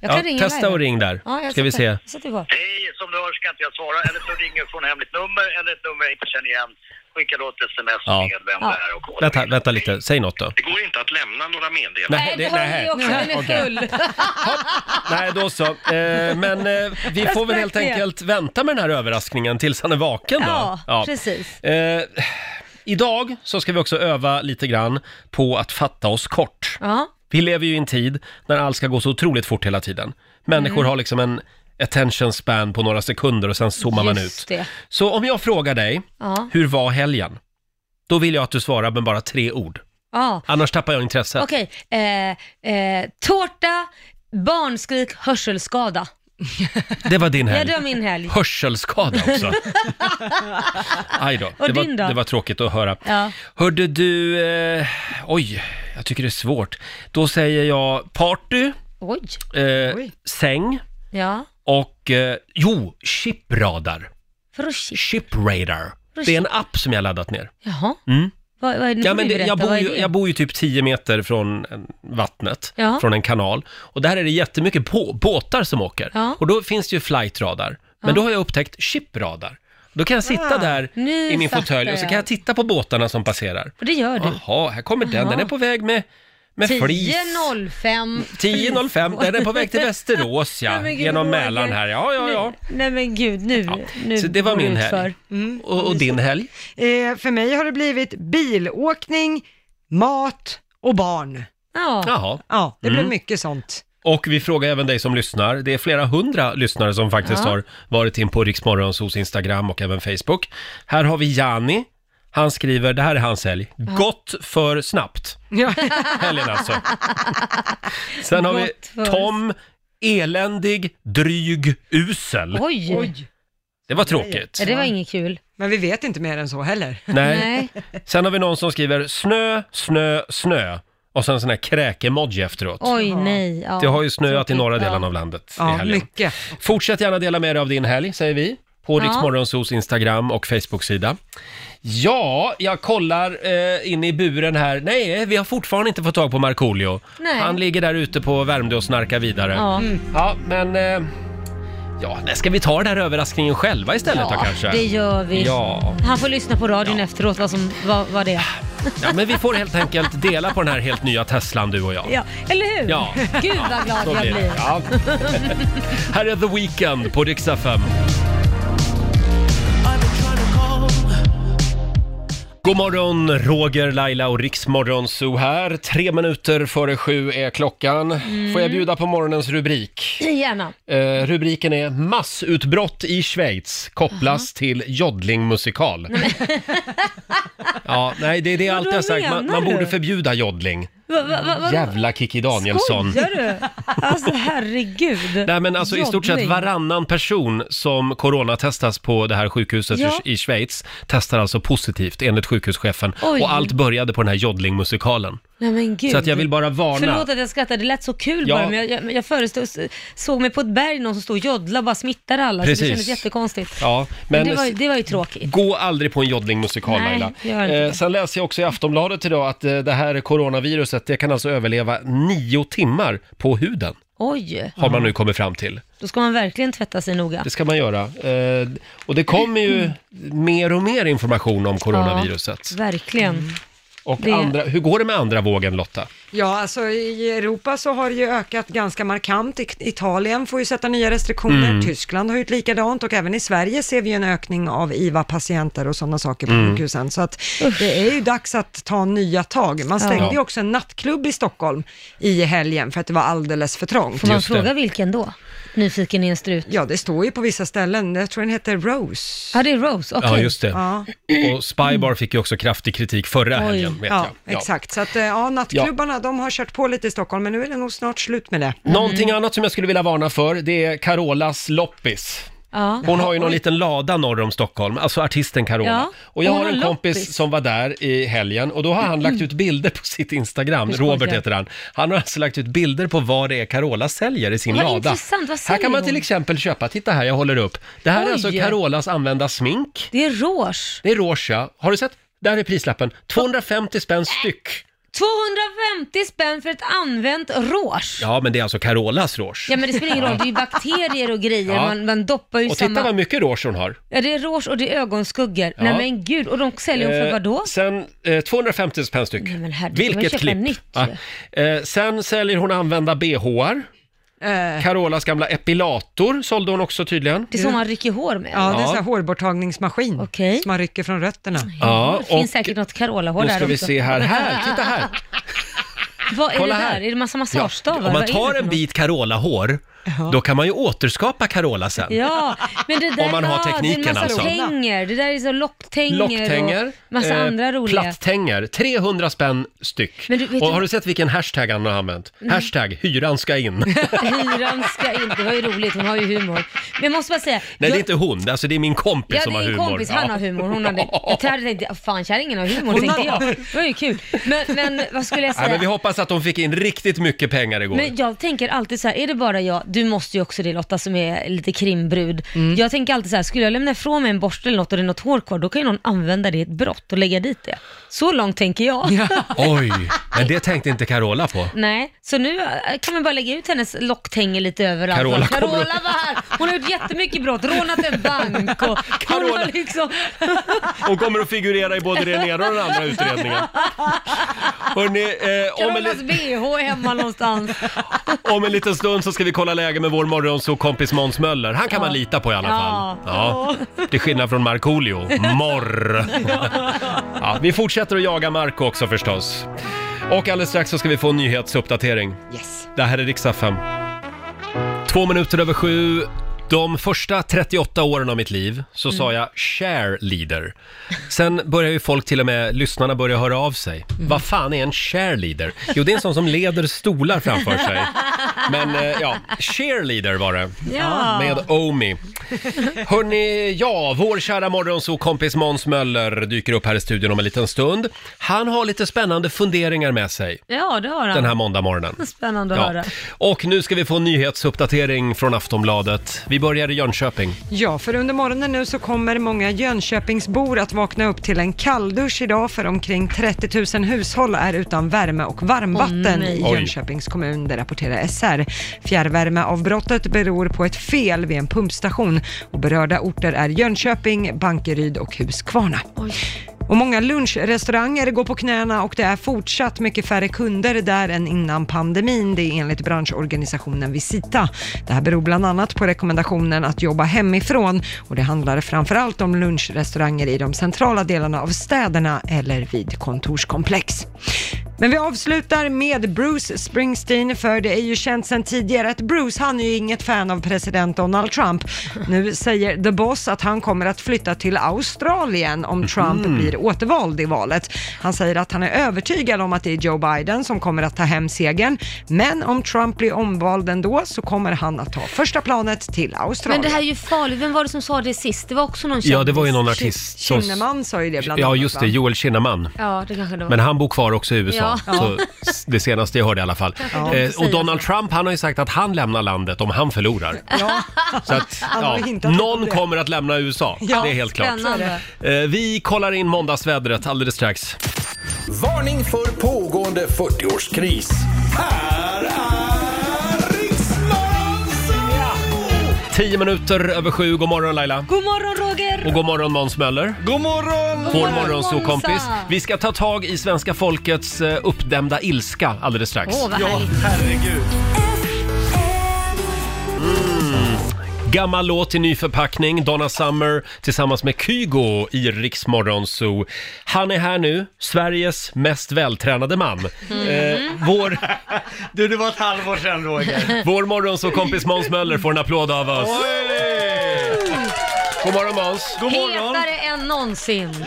[SPEAKER 3] Jag
[SPEAKER 1] Ja,
[SPEAKER 3] kan ringa
[SPEAKER 1] testa
[SPEAKER 3] live.
[SPEAKER 1] och ring där,
[SPEAKER 3] Ja, jag
[SPEAKER 1] ska vi
[SPEAKER 3] sätter-
[SPEAKER 1] se.
[SPEAKER 3] jag sätter på.
[SPEAKER 10] Hej, som du hör ska inte jag svara. Eller så ringer du från hemligt nummer eller ett nummer jag inte känner igen. Skicka då ett sms
[SPEAKER 1] Ja.
[SPEAKER 10] med vem det är och kolla.
[SPEAKER 1] Vänta, vänta lite, säg något då.
[SPEAKER 10] Det går inte att lämna några meddelanden.
[SPEAKER 3] Nej, det har
[SPEAKER 1] nej.
[SPEAKER 3] vi också. Den är
[SPEAKER 1] Okej.
[SPEAKER 3] full.
[SPEAKER 1] Nej, då så. Eh, men eh, vi får väl helt
[SPEAKER 3] sprack det.
[SPEAKER 1] enkelt vänta med den här överraskningen tills han är vaken då.
[SPEAKER 3] <laughs> Ja, precis.
[SPEAKER 1] Eh, idag så ska vi också öva lite grann på att fatta oss kort.
[SPEAKER 3] Ja.
[SPEAKER 1] Vi lever ju i en tid när allt ska gå så otroligt fort hela tiden. Människor
[SPEAKER 3] Mm.
[SPEAKER 1] har liksom en attention span på några sekunder och sen zoomar man ut.
[SPEAKER 3] Just det.
[SPEAKER 1] Så om jag frågar dig,
[SPEAKER 3] Ja.
[SPEAKER 1] hur var helgen? Då vill jag att du svarar med bara tre ord.
[SPEAKER 3] ja.
[SPEAKER 1] Annars tappar jag intresset.
[SPEAKER 3] Okej. Eh, eh, tårta, barnskrik, hörselskada.
[SPEAKER 1] Det var din
[SPEAKER 3] Ja,
[SPEAKER 1] helg.
[SPEAKER 3] det var min helg.
[SPEAKER 1] Hörselskada
[SPEAKER 3] <laughs>
[SPEAKER 1] också. Aj då.
[SPEAKER 3] Och
[SPEAKER 1] Det, var,
[SPEAKER 3] din då?
[SPEAKER 1] det var tråkigt att höra.
[SPEAKER 3] Ja.
[SPEAKER 1] Hörde du, eh, oj, jag tycker det är svårt. Då säger jag party,
[SPEAKER 3] Oj.
[SPEAKER 1] eh,
[SPEAKER 2] Oj.
[SPEAKER 1] säng
[SPEAKER 3] Ja.
[SPEAKER 1] och, eh, jo, chipradar.
[SPEAKER 3] Vadå shit?
[SPEAKER 1] Shipradar. Det är en app som jag laddat ner.
[SPEAKER 3] Jaha. Mm. Vad, vad, nu
[SPEAKER 1] Ja,
[SPEAKER 3] får
[SPEAKER 1] men
[SPEAKER 3] du
[SPEAKER 1] det, jag,
[SPEAKER 3] berätta,
[SPEAKER 1] bor
[SPEAKER 3] vad är
[SPEAKER 1] ju,
[SPEAKER 3] det?
[SPEAKER 1] jag bor ju typ 10 meter från eh, vattnet,
[SPEAKER 3] Ja.
[SPEAKER 1] från en kanal. Och där är det jättemycket på, båtar som åker.
[SPEAKER 3] Ja.
[SPEAKER 1] Och då finns det ju flightradar. Men då har jag upptäckt shipradar. Då kan jag sitta
[SPEAKER 3] Ah,
[SPEAKER 1] där
[SPEAKER 3] nu
[SPEAKER 1] i min
[SPEAKER 3] fattar
[SPEAKER 1] fåtölj och så
[SPEAKER 3] jag.
[SPEAKER 1] kan jag titta på båtarna som passerar.
[SPEAKER 3] Och det gör du.
[SPEAKER 1] Jaha, här kommer den. Den är på väg med, med flis.
[SPEAKER 3] 10.05.
[SPEAKER 1] 10.05. Den är på väg till Västerås,
[SPEAKER 3] <laughs>
[SPEAKER 1] ja.
[SPEAKER 3] Nej, men gud,
[SPEAKER 1] genom
[SPEAKER 3] Roger.
[SPEAKER 1] Mälaren här. Ja, ja, ja.
[SPEAKER 3] Nej men gud, nu, nu Mm.
[SPEAKER 1] Så det var
[SPEAKER 3] går
[SPEAKER 1] min
[SPEAKER 3] utför.
[SPEAKER 1] helg. Och, och din helg?
[SPEAKER 2] Eh, för mig har det blivit bilåkning, mat och barn.
[SPEAKER 3] Ja.
[SPEAKER 1] Jaha.
[SPEAKER 2] Ja, det
[SPEAKER 1] Mm.
[SPEAKER 2] blev mycket sånt.
[SPEAKER 1] Och vi frågar även dig som lyssnar. Det är flera hundra lyssnare som faktiskt
[SPEAKER 3] Ja.
[SPEAKER 1] har varit in på Riksmorgonsos Instagram och även Facebook. Här har vi Jani. Han skriver, det här är hans helg. Gott för snabbt.
[SPEAKER 2] Ja.
[SPEAKER 1] Helgen
[SPEAKER 3] <laughs>
[SPEAKER 1] alltså. Sen har vi
[SPEAKER 3] Gott för-
[SPEAKER 1] Tom, eländig, dryg, usel.
[SPEAKER 3] Oj.
[SPEAKER 1] Det var tråkigt.
[SPEAKER 3] Ja, det var inget kul.
[SPEAKER 2] <laughs> Men vi vet inte mer än så heller.
[SPEAKER 1] Nej.
[SPEAKER 3] Nej.
[SPEAKER 1] Sen har vi någon som skriver snö, snö, snö. och sen en sån här kräk-emoji efteråt.
[SPEAKER 3] Oj, nej. Ja.
[SPEAKER 1] Det har ju snöat i norra
[SPEAKER 3] Tråkigt.
[SPEAKER 1] delen
[SPEAKER 3] Ja.
[SPEAKER 1] av landet i
[SPEAKER 2] Ja,
[SPEAKER 1] helgen.
[SPEAKER 2] mycket.
[SPEAKER 1] Fortsätt gärna dela med dig av din helg, säger vi. På
[SPEAKER 3] Ja.
[SPEAKER 1] Rix Morgonzos Instagram och Facebook-sida. Ja, jag kollar eh, in i buren här. Nej, vi har fortfarande inte fått tag på Markoolio.
[SPEAKER 3] Nej.
[SPEAKER 1] Han ligger där ute på Värmdö och snarkar vidare.
[SPEAKER 3] Ja.
[SPEAKER 1] Ja, men... Eh, ja, nej, ska vi ta den här överraskningen själva istället då kanske?
[SPEAKER 3] det gör vi.
[SPEAKER 1] Ja.
[SPEAKER 3] Han får lyssna på radion efteråt vad, som, vad, vad det är.
[SPEAKER 1] ja, men vi får helt enkelt dela på den här helt nya Teslan du och jag.
[SPEAKER 3] Ja, eller hur?
[SPEAKER 1] Ja.
[SPEAKER 3] <laughs> Gud vad glad
[SPEAKER 1] Så
[SPEAKER 3] jag
[SPEAKER 1] blir det.
[SPEAKER 3] blir.
[SPEAKER 1] Ja. här är The Weeknd på Rix FM. God morgon, Roger, Laila och Riksmorgon Zoo här. Tre minuter före sju är klockan. Får jag bjuda på morgonens rubrik?
[SPEAKER 3] <clears throat> Gärna.
[SPEAKER 1] Eh, rubriken är “Massutbrott i Schweiz kopplas till joddlingmusikal”. ja, nej, det är det jag alltid har sagt. Man,
[SPEAKER 3] menar
[SPEAKER 1] man borde
[SPEAKER 3] du?
[SPEAKER 1] förbjuda joddling.
[SPEAKER 3] Va, va, va, va,
[SPEAKER 1] Jävla Kikki Danielsson.
[SPEAKER 3] Skojar du? Alltså herregud.
[SPEAKER 1] Nej men alltså i stort sett
[SPEAKER 3] Jobbning.
[SPEAKER 1] varannan person som coronatestas på det här sjukhuset
[SPEAKER 3] Ja.
[SPEAKER 1] i i Schweiz testar alltså positivt enligt sjukhuschefen.
[SPEAKER 3] Oj.
[SPEAKER 1] Och allt började på den här joddlingmusikalen.
[SPEAKER 3] Nej men gud.
[SPEAKER 1] Så att jag vill bara varna.
[SPEAKER 3] Förlåt att jag skrattade, det lät så kul
[SPEAKER 1] Ja.
[SPEAKER 3] bara. Men jag, jag, jag förestod, såg mig på ett berg någon som stod och joddlade och bara smittade alla. Så
[SPEAKER 1] Precis.
[SPEAKER 3] det kändes jättekonstigt.
[SPEAKER 1] Ja,
[SPEAKER 3] Men
[SPEAKER 1] men
[SPEAKER 3] det, var, ju- det var ju tråkigt.
[SPEAKER 1] Gå aldrig på en joddlingmusikal
[SPEAKER 3] Nej, gör
[SPEAKER 1] Laila.
[SPEAKER 3] inte
[SPEAKER 1] Eh,
[SPEAKER 3] det.
[SPEAKER 1] sen läser jag också i Aftonbladet idag att eh, det här coronaviruset, det kan alltså överleva nio timmar på huden.
[SPEAKER 3] Oj,
[SPEAKER 1] Har man nu kommit fram till.
[SPEAKER 3] då ska man verkligen tvätta sig noga.
[SPEAKER 1] Det ska man göra. Eh, och det kommer ju mer och mer information om coronaviruset.
[SPEAKER 3] Ja, verkligen.
[SPEAKER 1] Mm. Och
[SPEAKER 3] Det-
[SPEAKER 1] andra, hur går det med andra vågen Lotta?
[SPEAKER 2] Ja, alltså i Europa så har det ju ökat ganska markant. I- Italien får ju sätta nya restriktioner, Tyskland har gjort likadant och även i Sverige ser vi en ökning av IVA-patienter och sådana saker på sjukhusen. Så att det är ju dags att ta nya tag. Man stängde
[SPEAKER 1] Ja.
[SPEAKER 2] ju också en nattklubb i Stockholm i helgen för att det var alldeles för trångt.
[SPEAKER 3] Får man
[SPEAKER 1] Just det.
[SPEAKER 3] fråga vilken då? Nyfiken i en strut.
[SPEAKER 2] Ja, det står ju på vissa ställen. Jag tror den heter Rose.
[SPEAKER 3] Ja, det är Rose, okej.
[SPEAKER 1] Ja, just det.
[SPEAKER 2] Ja,
[SPEAKER 1] Och Spybar fick ju också kraftig kritik förra
[SPEAKER 3] Oj.
[SPEAKER 1] helgen, vet
[SPEAKER 2] ja,
[SPEAKER 1] jag. Ja.
[SPEAKER 2] exakt. Så att eh, ja, nattklubbarna, de har kört på lite i Stockholm, men nu är det nog snart slut med det.
[SPEAKER 1] Någonting annat som jag skulle vilja varna för, det är Carolas loppis.
[SPEAKER 3] Ja.
[SPEAKER 1] Hon har ju någon liten lada norr om Stockholm, alltså artisten Carola.
[SPEAKER 3] Ja,
[SPEAKER 1] Och jag
[SPEAKER 3] hon
[SPEAKER 1] har
[SPEAKER 3] har
[SPEAKER 1] en kompis
[SPEAKER 3] loppis.
[SPEAKER 1] som var där i helgen och då har han lagt ut bilder på sitt Instagram,
[SPEAKER 3] Du skojar.
[SPEAKER 1] Robert heter han. Han har alltså lagt ut bilder på vad det är Carola säljer i sin
[SPEAKER 3] Vad
[SPEAKER 1] lada.
[SPEAKER 3] intressant, vad
[SPEAKER 1] här
[SPEAKER 3] säljer
[SPEAKER 1] kan man
[SPEAKER 3] hon?
[SPEAKER 1] till exempel köpa, titta här jag håller upp. Det här är
[SPEAKER 3] Oj.
[SPEAKER 1] alltså Carolas använda smink.
[SPEAKER 3] Det är Rouge.
[SPEAKER 1] Det är rouge, ja. Har du sett? Där är prislappen, 250 spänn styck.
[SPEAKER 3] 250 spänn för ett använt rouge. Ja.
[SPEAKER 1] Ja, men det är alltså Carolas rouge.
[SPEAKER 3] men det spelar
[SPEAKER 1] <laughs>
[SPEAKER 3] ingen roll, det är ju bakterier och grejer.
[SPEAKER 1] Ja.
[SPEAKER 3] Man, man doppar ju
[SPEAKER 1] Och titta
[SPEAKER 3] samma...
[SPEAKER 1] vad mycket rouge hon har.
[SPEAKER 3] Ja, det är rouge och det är ögonskuggor.
[SPEAKER 1] Ja.
[SPEAKER 3] Nej men gud, och de säljer de för
[SPEAKER 1] Eh,
[SPEAKER 3] vad då?
[SPEAKER 1] Sen eh, 250 spänn styck.
[SPEAKER 3] Nej, men herregud, man
[SPEAKER 1] Vilket
[SPEAKER 3] köper
[SPEAKER 1] klipp!
[SPEAKER 3] nytt
[SPEAKER 1] Ja. Eh, sen säljer hon använda bhar.
[SPEAKER 2] Eh,
[SPEAKER 1] Carolas gamla epilator sålde hon också tydligen.
[SPEAKER 3] Det är så man rycker hår med.
[SPEAKER 2] Ja, det är
[SPEAKER 1] Ja.
[SPEAKER 2] en sån här hårborttagningsmaskin
[SPEAKER 3] Okej.
[SPEAKER 2] som man rycker från rötterna.
[SPEAKER 1] Ja,
[SPEAKER 3] Det finns
[SPEAKER 1] och
[SPEAKER 3] säkert något Carola-hår
[SPEAKER 1] nu
[SPEAKER 3] där
[SPEAKER 1] ska vi
[SPEAKER 3] också.
[SPEAKER 1] se här. Här, titta
[SPEAKER 3] <laughs>
[SPEAKER 1] här!
[SPEAKER 3] Vad är
[SPEAKER 1] Kolla
[SPEAKER 3] det där?
[SPEAKER 1] här.
[SPEAKER 3] Är det massa
[SPEAKER 1] Ja,
[SPEAKER 3] massagestavar?
[SPEAKER 1] om man
[SPEAKER 3] Vad är
[SPEAKER 1] tar
[SPEAKER 3] det för
[SPEAKER 1] en
[SPEAKER 3] något?
[SPEAKER 1] bit Carola-hår, då kan man ju återskapa Carola sen.
[SPEAKER 3] Ja, men det där,
[SPEAKER 1] Om man har
[SPEAKER 3] ja,
[SPEAKER 1] tekniken
[SPEAKER 3] det är en massa
[SPEAKER 1] alltså.
[SPEAKER 3] Tänger. Det där är så locktänger,
[SPEAKER 1] Locktänger,
[SPEAKER 3] och massa
[SPEAKER 1] eh,
[SPEAKER 3] andra roliga.
[SPEAKER 1] plattänger, 300 spänn styck.
[SPEAKER 3] Men du, vet Mm.
[SPEAKER 1] och
[SPEAKER 3] du-
[SPEAKER 1] har du sett vilken hashtag han har använt? Hashtag hyran ska in.
[SPEAKER 3] <laughs> Hyran ska in. Det var ju roligt, hon har ju humor. Men jag måste bara säga.
[SPEAKER 1] Nej, det
[SPEAKER 3] jag-
[SPEAKER 1] är inte hon, alltså det är min kompis
[SPEAKER 3] Ja,
[SPEAKER 1] som
[SPEAKER 3] det
[SPEAKER 1] har
[SPEAKER 3] är en
[SPEAKER 1] humor.
[SPEAKER 3] kompis, han
[SPEAKER 1] <laughs> Ja.
[SPEAKER 3] har humor. Hon hade, jag hade tänkt, fan kärringen har humor, tänkte jag. Det var ju kul. Men, men vad skulle jag
[SPEAKER 1] Nej,
[SPEAKER 3] säga?
[SPEAKER 1] men vi hoppas att de fick in riktigt mycket pengar igår.
[SPEAKER 3] Men jag tänker alltid så här, är det bara jag, du måste ju också det Lotta som är lite krimbrud.
[SPEAKER 1] Mm.
[SPEAKER 3] Jag tänker alltid så här, skulle jag lämna ifrån mig en borste eller något och det är något hår kvar, då kan ju någon använda det i ett brott och lägga dit det. Så långt tänker jag.
[SPEAKER 1] Oj, men det tänkte inte Carola på.
[SPEAKER 3] Nej, så nu eh, kan man bara lägga ut hennes locktänger lite överallt.
[SPEAKER 1] Carola kommer-
[SPEAKER 3] Carola var här, hon har gjort jättemycket brott, rånat en
[SPEAKER 1] <laughs>
[SPEAKER 3] bank och Carola liksom...
[SPEAKER 1] Hon kommer att figurera i både den ena och den andra
[SPEAKER 3] <laughs>
[SPEAKER 1] utredningen. Hörrni, eh, om, en,
[SPEAKER 3] Carolas
[SPEAKER 1] li-
[SPEAKER 3] bh hemma någonstans.
[SPEAKER 1] om en liten stund så ska vi kolla läge med vår morgonsåkompis Måns Möller. Han kan man lita på i alla
[SPEAKER 3] Ja.
[SPEAKER 1] fall. Ja. Till skillnad från Markoolio.
[SPEAKER 3] <laughs>
[SPEAKER 1] Morr! Ja, vi fortsätter att jaga Marco också förstås. Och alldeles strax så ska vi få en nyhetsuppdatering.
[SPEAKER 2] Yes.
[SPEAKER 1] Det här är riksdag 5. Två minuter över sju. De första 38 åren av mitt liv så sa
[SPEAKER 3] Mm.
[SPEAKER 1] jag cheerleader. Sen börjar ju folk till och med, lyssnarna börjar höra av sig.
[SPEAKER 3] Mm.
[SPEAKER 1] Vad fan är en cheerleader? Jo, det är en sån som leder stolar framför sig. Men eh, ja, cheerleader var det.
[SPEAKER 5] Ja.
[SPEAKER 1] Med Omi. Hörni, ja, vår kära morgonsokompis Måns Möller dyker upp här i studion om en liten stund. Han har lite spännande funderingar med sig
[SPEAKER 3] Ja, det har han.
[SPEAKER 1] den här måndagmorgonen.
[SPEAKER 3] Spännande att
[SPEAKER 1] Ja.
[SPEAKER 3] höra.
[SPEAKER 1] Och nu ska vi få en nyhetsuppdatering från Aftonbladet. Vi börjar i Jönköping.
[SPEAKER 2] Ja, för under morgonen nu så kommer många Jönköpingsbor att vakna upp till en kalldusch idag för omkring 30 000 hushåll är utan värme och varmvatten
[SPEAKER 5] nej.
[SPEAKER 2] i
[SPEAKER 5] Oj.
[SPEAKER 2] Jönköpings kommun, det rapporterar SR. Fjärrvärmeavbrottet beror på ett fel vid en pumpstation och berörda orter är Jönköping, Bankeryd och Huskvarna. Och många lunchrestauranger går på knäna och det är fortsatt mycket färre kunder där än innan pandemin. Det är enligt branschorganisationen Visita. Det här beror bland annat på rekommendationen att jobba hemifrån och det handlar framförallt om lunchrestauranger i de centrala delarna av städerna eller vid kontorskomplex. Men vi avslutar med Bruce Springsteen, för det är ju känt sedan tidigare att Bruce, han är ju inget fan av president Donald Trump. Nu säger The Boss att han kommer att flytta till Australien om Trump
[SPEAKER 1] Mm.
[SPEAKER 5] Mhm.
[SPEAKER 2] blir återvald i valet. Han säger att han är övertygad om att det är Joe Biden som kommer att ta hem segern, men om Trump blir omvald ändå så kommer han att ta första planet till Australien.
[SPEAKER 3] Men det här är ju farligt. Vem var det som sa det sist? Det var också någon
[SPEAKER 1] Ja, det var ju någon
[SPEAKER 3] kändis.
[SPEAKER 1] artist som...
[SPEAKER 2] Kinnaman sa ju det bland
[SPEAKER 1] Ja,
[SPEAKER 2] annat,
[SPEAKER 1] just
[SPEAKER 2] va?
[SPEAKER 1] det. Joel Kinnaman.
[SPEAKER 3] Ja, det kanske det var.
[SPEAKER 1] Men han bor kvar också i USA,
[SPEAKER 3] Ja.
[SPEAKER 1] så s- det senaste jag hörde i alla fall.
[SPEAKER 3] Kanske inte
[SPEAKER 1] Eh, och
[SPEAKER 3] säga
[SPEAKER 1] Donald Trump, han har ju sagt att han lämnar landet om han förlorar.
[SPEAKER 2] Ja.
[SPEAKER 1] Så att,
[SPEAKER 2] Han har
[SPEAKER 1] ja,
[SPEAKER 2] ju hintat lite om
[SPEAKER 1] någon
[SPEAKER 2] det.
[SPEAKER 1] kommer att lämna USA,
[SPEAKER 2] Ja,
[SPEAKER 1] det är helt klart.
[SPEAKER 2] spännande.
[SPEAKER 1] Eh, vi kollar in måndagsvädret alldeles strax.
[SPEAKER 4] Varning för pågående 40-årskris. Här är Riksmorgon
[SPEAKER 1] Tio minuter över sju, god morgon Laila.
[SPEAKER 3] God morgon Roger!
[SPEAKER 1] Och god morgon Måns Möller.
[SPEAKER 6] God morgon!
[SPEAKER 1] Vår
[SPEAKER 3] morgon,
[SPEAKER 1] morgonsokompis.
[SPEAKER 3] Månsa.
[SPEAKER 1] Vi ska ta tag i svenska folkets eh, uppdämda ilska alldeles strax.
[SPEAKER 3] Åh, vad härligt.
[SPEAKER 6] herregud.
[SPEAKER 1] Mm. Gammal låt i ny förpackning, Donna Summer tillsammans med Kygo i Rix Morgon Zoo. Han är här nu, Sveriges mest vältränade man. Eh, vår...
[SPEAKER 6] Du, det var ett halvår sedan Roger.
[SPEAKER 1] vår morgonsåkompis Måns Möller får en applåd av oss. God morgon Måns!
[SPEAKER 3] Hetare än någonsin.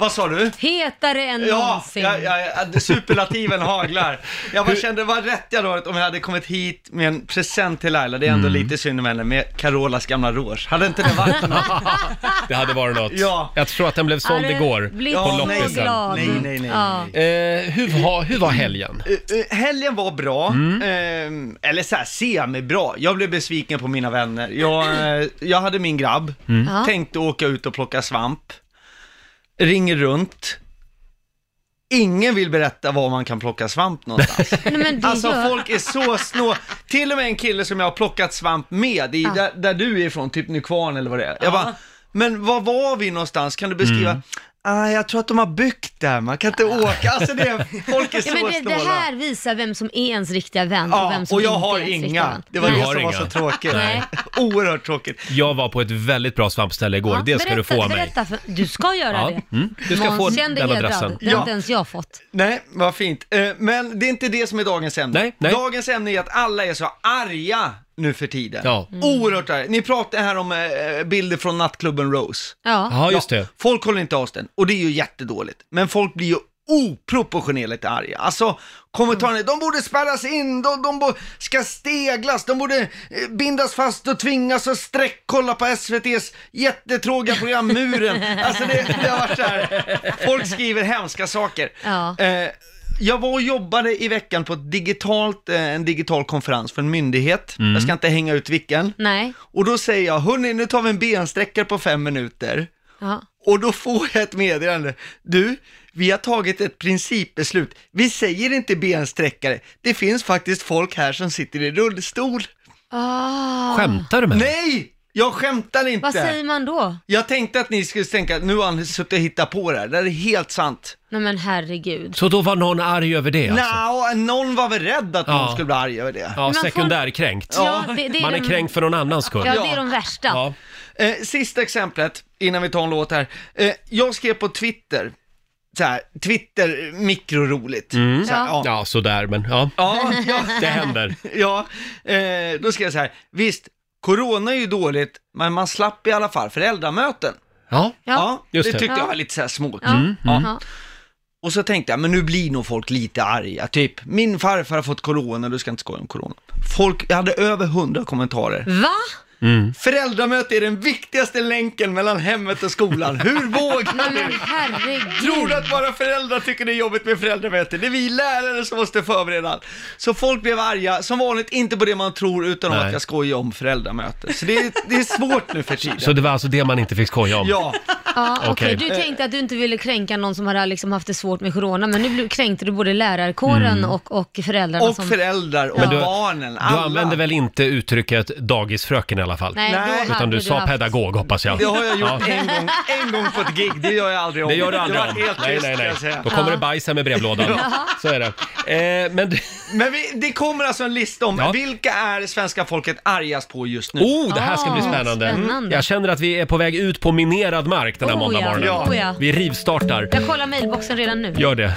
[SPEAKER 6] Vad sa du?
[SPEAKER 3] Hetare än
[SPEAKER 6] Ja,
[SPEAKER 3] någonsin.
[SPEAKER 6] ja, ja, ja, superlativen haglar. Jag bara kände, vad rätt jag hade varit om jag hade kommit hit med en present till Laila, det är ändå lite synd om henne, med Carolas gamla rouge. Hade inte det varit något?
[SPEAKER 1] Det hade varit något.
[SPEAKER 6] Ja.
[SPEAKER 1] Jag tror att den blev såld
[SPEAKER 6] Ja, det
[SPEAKER 1] igår
[SPEAKER 6] blir
[SPEAKER 1] på
[SPEAKER 6] så
[SPEAKER 1] loppisen.
[SPEAKER 6] glad. Nej, nej, nej, nej. Ja.
[SPEAKER 1] Eh, hur, var, hur var helgen?
[SPEAKER 6] Eh, eh, Helgen var bra, Ehm, eller så här, semi-bra. Jag blev besviken på mina vänner. Jag, eh, jag hade min grabb,
[SPEAKER 5] Mm. Ja.
[SPEAKER 6] tänkte åka ut och plocka svamp, ringer runt. Ingen vill berätta var man kan plocka svamp någonstans.
[SPEAKER 3] men det
[SPEAKER 6] alltså
[SPEAKER 3] gör-
[SPEAKER 6] folk är så snå. Till och med en kille som jag har plockat svamp med, i, där, där du är ifrån, typ Nykvarn eller vad det är. Jag bara, men var var vi någonstans? Kan du beskriva? Ah, jag tror att de har byggt där, man kan inte åka. Alltså det är, folk är så
[SPEAKER 3] ja, men det,
[SPEAKER 6] snåla.
[SPEAKER 3] det här visar vem som är ens riktiga vän och vem som
[SPEAKER 6] Och jag
[SPEAKER 3] inte
[SPEAKER 6] har
[SPEAKER 3] är ens riktiga
[SPEAKER 6] inga.
[SPEAKER 3] vän.
[SPEAKER 6] Det var
[SPEAKER 1] Du
[SPEAKER 6] det
[SPEAKER 1] har
[SPEAKER 6] som var
[SPEAKER 1] inga.
[SPEAKER 6] så tråkigt.
[SPEAKER 3] Nej.
[SPEAKER 6] Oerhört tråkigt.
[SPEAKER 1] Jag var på ett väldigt bra svampställe igår,
[SPEAKER 3] Ja,
[SPEAKER 1] det ska du
[SPEAKER 3] berätta-
[SPEAKER 1] få av mig.
[SPEAKER 3] berätta För, du ska göra det.
[SPEAKER 1] Mm. Du ska
[SPEAKER 3] Måns,
[SPEAKER 1] få
[SPEAKER 3] känn dig
[SPEAKER 1] den
[SPEAKER 3] hedrad.
[SPEAKER 1] adressen.
[SPEAKER 3] Det har inte ens jag fått.
[SPEAKER 6] Nej, vad fint. Eh, Men det är inte det som är dagens ämne. Dagens ämne är att alla är så arga nu för tiden.
[SPEAKER 1] Ja.
[SPEAKER 3] Mm.
[SPEAKER 6] Oerhört arga. Ni pratade här om eh, bilder från nattklubben Rose.
[SPEAKER 3] Ja.
[SPEAKER 1] Ja, just det.
[SPEAKER 6] folk håller inte avstånd och det är ju jättedåligt. Men folk blir ju oproportionerligt arga. Alltså kommentarerna, de borde spärras in, de, de bo- ska steglas, de borde eh, bindas fast och tvingas att sträckkolla på SVT's jättetråkiga program Muren. Alltså det, det har varit så här, folk skriver hemska saker.
[SPEAKER 3] Ja.
[SPEAKER 6] Eh, jag var och jobbade i veckan på ett digitalt, eh, en digital konferens för en myndighet.
[SPEAKER 5] Mm.
[SPEAKER 6] Jag ska inte hänga ut vilken.
[SPEAKER 3] Nej.
[SPEAKER 6] Och då säger jag, hörni nu tar vi en bensträckare på fem minuter.
[SPEAKER 3] Ja.
[SPEAKER 6] Och då får jag ett meddelande. Du, vi har tagit ett principbeslut. Vi säger inte bensträckare. Det finns faktiskt folk här som sitter i rullstol.
[SPEAKER 3] Ah.
[SPEAKER 1] Skämtar du med mig?
[SPEAKER 6] Nej! Jag skämtar inte.
[SPEAKER 3] Vad säger man då?
[SPEAKER 6] Jag tänkte att ni skulle tänka att nu har han suttit och hittat på det här. Det här är helt sant.
[SPEAKER 3] Nej men herregud.
[SPEAKER 1] Så då var någon arg över det alltså?
[SPEAKER 6] Nja, någon var väl rädd att
[SPEAKER 1] Ja.
[SPEAKER 6] någon skulle bli arg över det.
[SPEAKER 1] Ja,
[SPEAKER 3] Men folk-
[SPEAKER 1] sekundärkränkt.
[SPEAKER 3] Ja, det- det är
[SPEAKER 1] Man är
[SPEAKER 3] de-
[SPEAKER 1] kränkt för någon annans skull.
[SPEAKER 3] Ja, det är de värsta.
[SPEAKER 1] Ja.
[SPEAKER 6] Eh, sista exemplet, innan vi tar en låt här. Eh, jag skrev på Twitter, så här, Twitter, eh, mikroroligt.
[SPEAKER 1] Mm.
[SPEAKER 6] Så här,
[SPEAKER 1] Ja. ja, sådär men ja.
[SPEAKER 6] Ja, ja. <laughs>
[SPEAKER 1] Det händer.
[SPEAKER 6] Ja, eh, då ska jag så här. Visst, Corona är ju dåligt, men man slapp i alla fall föräldramöten.
[SPEAKER 1] Ja,
[SPEAKER 6] ja
[SPEAKER 1] just
[SPEAKER 6] det
[SPEAKER 1] det.
[SPEAKER 6] tyckte
[SPEAKER 1] Ja.
[SPEAKER 6] jag var lite så här småkul.
[SPEAKER 1] Ja, Mm,
[SPEAKER 6] Ja.
[SPEAKER 1] mm.
[SPEAKER 6] Och så tänkte jag, men nu blir nog folk lite arga, typ min farfar har fått corona, du ska inte skoja om corona. Folk, jag hade över hundra kommentarer.
[SPEAKER 3] Va?
[SPEAKER 1] Mm.
[SPEAKER 6] Föräldramöte är den viktigaste länken mellan hemmet och skolan.
[SPEAKER 1] <laughs>
[SPEAKER 6] Hur vågar
[SPEAKER 3] Men
[SPEAKER 6] du?
[SPEAKER 3] herregud.
[SPEAKER 6] Tror du att bara föräldrar tycker det är jobbigt med föräldramöte? Det är vi lärare som måste förbereda allt. Så folk blev arga, som vanligt inte på det man tror utan om
[SPEAKER 1] Nej.
[SPEAKER 6] att jag skojar om föräldramöte. Så det är, det är svårt nu för tiden.
[SPEAKER 1] Så det var alltså det man inte fick skoja om?
[SPEAKER 6] Ja.
[SPEAKER 3] Ja, okej.
[SPEAKER 1] Okej.
[SPEAKER 3] Du tänkte att du inte ville kränka någon som hade liksom haft det svårt med corona, men nu blev- kränkte du både lärarkåren
[SPEAKER 1] Mm.
[SPEAKER 3] och, och föräldrarna.
[SPEAKER 6] Och
[SPEAKER 3] som...
[SPEAKER 6] föräldrar och
[SPEAKER 1] Men du-
[SPEAKER 6] barnen,
[SPEAKER 1] Du
[SPEAKER 6] alla.
[SPEAKER 1] använde väl inte uttrycket dagisfröken i alla fall?
[SPEAKER 3] Nej, då Nej. hade
[SPEAKER 1] Utan du
[SPEAKER 3] du
[SPEAKER 1] sa
[SPEAKER 3] haft-
[SPEAKER 1] pedagog hoppas jag.
[SPEAKER 6] Det har jag gjort
[SPEAKER 1] Ja.
[SPEAKER 6] en, gång, en gång på ett gig, det gör jag aldrig om.
[SPEAKER 1] Det gör du aldrig
[SPEAKER 6] jag
[SPEAKER 1] om.
[SPEAKER 6] var helt
[SPEAKER 1] Nej,
[SPEAKER 6] tyst,
[SPEAKER 1] nej,
[SPEAKER 6] kan jag
[SPEAKER 1] nej.
[SPEAKER 6] säga.
[SPEAKER 1] Då kommer det bajs här med brevlådan.
[SPEAKER 6] Ja.
[SPEAKER 1] Så är det. Eh, men du...
[SPEAKER 6] Men vi, det kommer alltså en lista om vilka är det svenska folket argast på just nu.
[SPEAKER 1] Oh, det här ska
[SPEAKER 3] Ah,
[SPEAKER 1] bli spännande. Mm. Jag känner att vi är på väg ut på minerad mark den här
[SPEAKER 3] Oh,
[SPEAKER 1] måndag
[SPEAKER 3] ja. Oh, ja.
[SPEAKER 1] morgonen. Vi rivstartar.
[SPEAKER 3] Jag kollar mailboxen redan nu.
[SPEAKER 1] Gör det.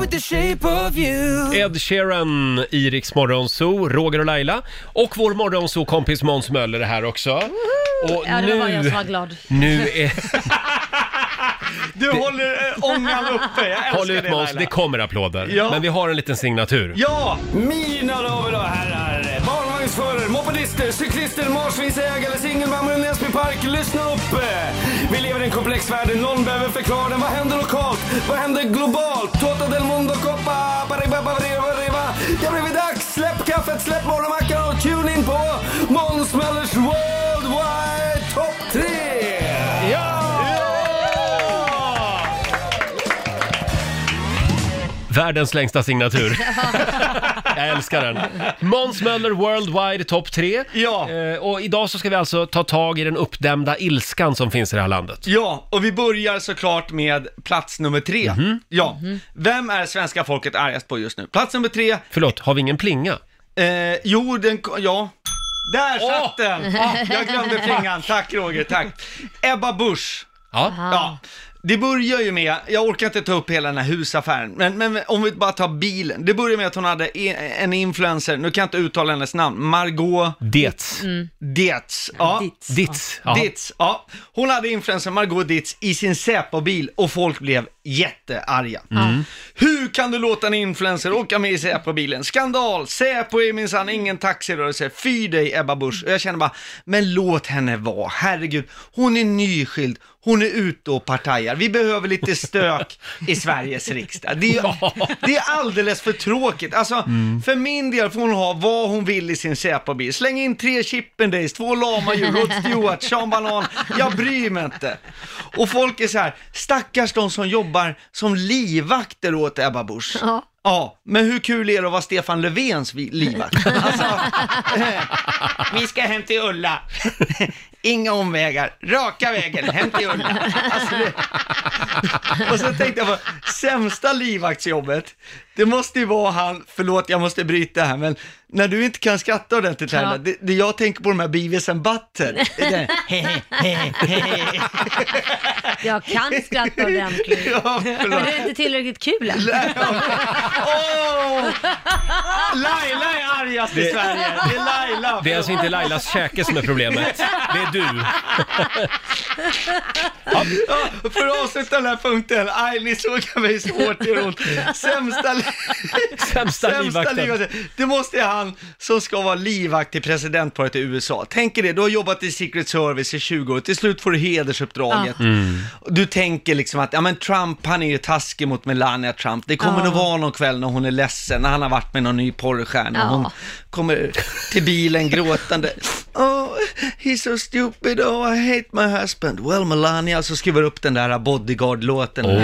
[SPEAKER 5] With the shape of you.
[SPEAKER 1] Ed Sheeran i Rix Morgonzoo, Roger och Laila och vår morgonzoo-kompis Måns Möller är här också. Och
[SPEAKER 3] Ja, det var bara
[SPEAKER 1] nu,
[SPEAKER 3] jag som var glad.
[SPEAKER 1] nu är,
[SPEAKER 3] <laughs>
[SPEAKER 6] Du håller eh, ångan uppe, jag älskar
[SPEAKER 1] håll ut
[SPEAKER 6] det
[SPEAKER 1] Måns,
[SPEAKER 6] Laila.
[SPEAKER 1] det kommer applåder.
[SPEAKER 6] Ja.
[SPEAKER 1] Men vi har en liten signatur.
[SPEAKER 6] Ja!
[SPEAKER 4] Mina damer och herrar, barnvagnsförare, mopedister, cyklister, marsvinsägare, singelmammor i Näsby Park. Lyssna upp! Vi lever i en komplex värld, någon behöver förklara den. Vad händer lokalt? Vad händer globalt? Toto del mondo coppa, bariba, bariba, bariba. Det har blivit dags! Släpp kaffet, släpp morgonmackan och tune in på Måns Möllers Worldwide Top 3!
[SPEAKER 1] Världens längsta signatur. <laughs> Jag älskar den. Måns Möller Worldwide Top 3.
[SPEAKER 6] Ja.
[SPEAKER 1] Eh, och idag så ska vi alltså ta tag i den uppdämda ilskan som finns i det här landet.
[SPEAKER 6] Ja, och vi börjar såklart med plats nummer tre.
[SPEAKER 4] Mhm.
[SPEAKER 6] Ja. Vem är svenska folket argast på just nu? Plats nummer tre,
[SPEAKER 1] Förlåt, har vi ingen plinga?
[SPEAKER 6] eh, jo den, ko- ja. Där
[SPEAKER 1] Åh! <laughs>
[SPEAKER 6] satt den! Ah, jag glömde flingan, tack Roger, tack. Ebba Busch.
[SPEAKER 1] Ja.
[SPEAKER 6] Ja. Det börjar ju med, jag orkar inte ta upp hela den här husaffären, men, men om vi bara tar bilen. Det börjar med att hon hade e- en influencer, nu kan jag inte uttala hennes namn, Margot
[SPEAKER 1] Dets.
[SPEAKER 6] Mm. Dietz. Ja.
[SPEAKER 1] Dits. Ja.
[SPEAKER 6] Ditz, ja. Hon hade influensen Margot Ditz i sin Säpo-bil och folk blev jättearga. Hur kan du låta en influencer åka med i Säpo-bilen? Skandal! Säpo är minsann ingen taxirörelse. Fy dig Ebba Busch. Och jag känner bara, men låt henne vara. Herregud, hon är nyskild. Hon är ute och partajar. Vi behöver lite stök i Sveriges riksdag. Det är, det är alldeles för tråkigt. Alltså, för min del får hon ha vad hon vill i sin Säpo-bil. Släng in tre Chippendales, två lama djur, Rod Stewart, Sean Banan. Jag bryr mig inte. Och folk är så här, stackars de som jobbar som livvakter åt Ebba Busch.
[SPEAKER 3] Ja.
[SPEAKER 6] Ja, men hur kul är det att vara Stefan Löfvens vi- livvakt? Alltså, <laughs> eh, vi ska hem till Ulla. <laughs> Inga omvägar, raka vägen, hem till Ulla. Alltså, det... <laughs> Och så tänkte jag på, sämsta livvaktsjobbet, det måste ju vara han, förlåt jag måste bryta här, men när du inte kan skratta ordentligt Laila,
[SPEAKER 3] Ja.
[SPEAKER 6] det, det jag tänker på de här Beavis and Butthead. Det där, he, he, he, he.
[SPEAKER 3] Jag kan skratta ordentligt.
[SPEAKER 6] Ja,
[SPEAKER 3] Men
[SPEAKER 6] förlåt.
[SPEAKER 3] det är inte tillräckligt kul än.
[SPEAKER 6] Åh! Laila är argast i Sverige. Det är Laila.
[SPEAKER 1] Det är alltså inte Lailas käke som är problemet. Det är du.
[SPEAKER 6] Ja, för att avsluta den här punkten. Aj, ni såg mig så hårt i ont. Sämsta, li-
[SPEAKER 1] Sämsta, livvakten.
[SPEAKER 6] Det måste är han som ska vara livvakt till presidentparet i USA. Tänk er det, du har jobbat i Secret Service i 20 år. Till slut får du hedersuppdraget.
[SPEAKER 1] Mm.
[SPEAKER 6] Du tänker liksom att, ja men Trump, han är ju taskig mot Melania Trump. Det kommer
[SPEAKER 3] Ja.
[SPEAKER 6] nog vara någon kväll när hon är ledsen, när han har varit med någon ny porrstjärna.
[SPEAKER 3] Ja.
[SPEAKER 6] Hon kommer till bilen gråtande. <laughs> Oh, he's so stupid, oh I hate my husband. Well Melania, så skriver upp den där bodyguard-låten. Oh.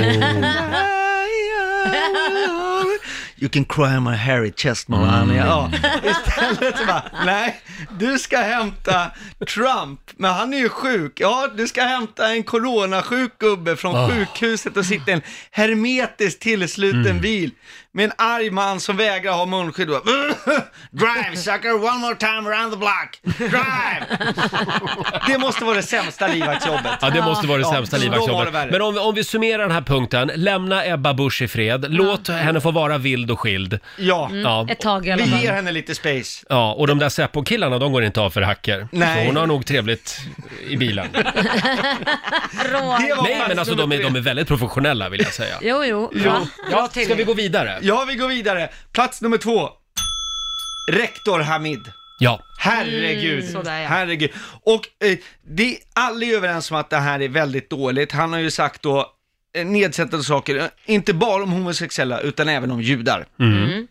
[SPEAKER 6] <laughs> You can cry my hairy chest Melania. Ja, istället så bara, nej, du ska hämta Trump, men han är ju sjuk. Ja, du ska hämta en coronasjuk gubbe från sjukhuset och sitta i en hermetiskt tillsluten bil med en arg man som vägrar ha munskydd. Och bara, Drive sucker, one more time around the block. Drive! det måste vara det sämsta livvaktsjobbet.
[SPEAKER 1] Ja, det måste vara det
[SPEAKER 6] Ja,
[SPEAKER 1] sämsta
[SPEAKER 6] då var det
[SPEAKER 1] livvaktsjobbet.
[SPEAKER 6] värre. Mm.
[SPEAKER 1] Men om vi, om vi summerar den här punkten, lämna Ebba Busch i fred, låt henne få vara vild och skild.
[SPEAKER 6] Ja.
[SPEAKER 1] Ja.
[SPEAKER 3] Ett tag i alla
[SPEAKER 6] Vi
[SPEAKER 3] fall.
[SPEAKER 6] ger henne lite space.
[SPEAKER 1] Ja, och de där Säpo-killarna, de går inte av för hacker.
[SPEAKER 6] Nej.
[SPEAKER 1] Så hon har nog trevligt i <laughs> bilen.
[SPEAKER 3] Roger.
[SPEAKER 1] Nej, men alltså de är, de är väldigt professionella vill jag säga.
[SPEAKER 3] Jo, jo. Va?
[SPEAKER 1] Ja, ska vi gå vidare?
[SPEAKER 6] Ja, vi går vidare. Plats nummer två. Rektor Hamid.
[SPEAKER 1] Ja.
[SPEAKER 6] Herregud.
[SPEAKER 2] Mm, sådär, ja.
[SPEAKER 6] Herregud. Och eh, det, alla är överens om att det här är väldigt dåligt. Han har ju sagt då eh, nedsättande saker, eh, inte bara om homosexuella utan även om judar.
[SPEAKER 2] Mm.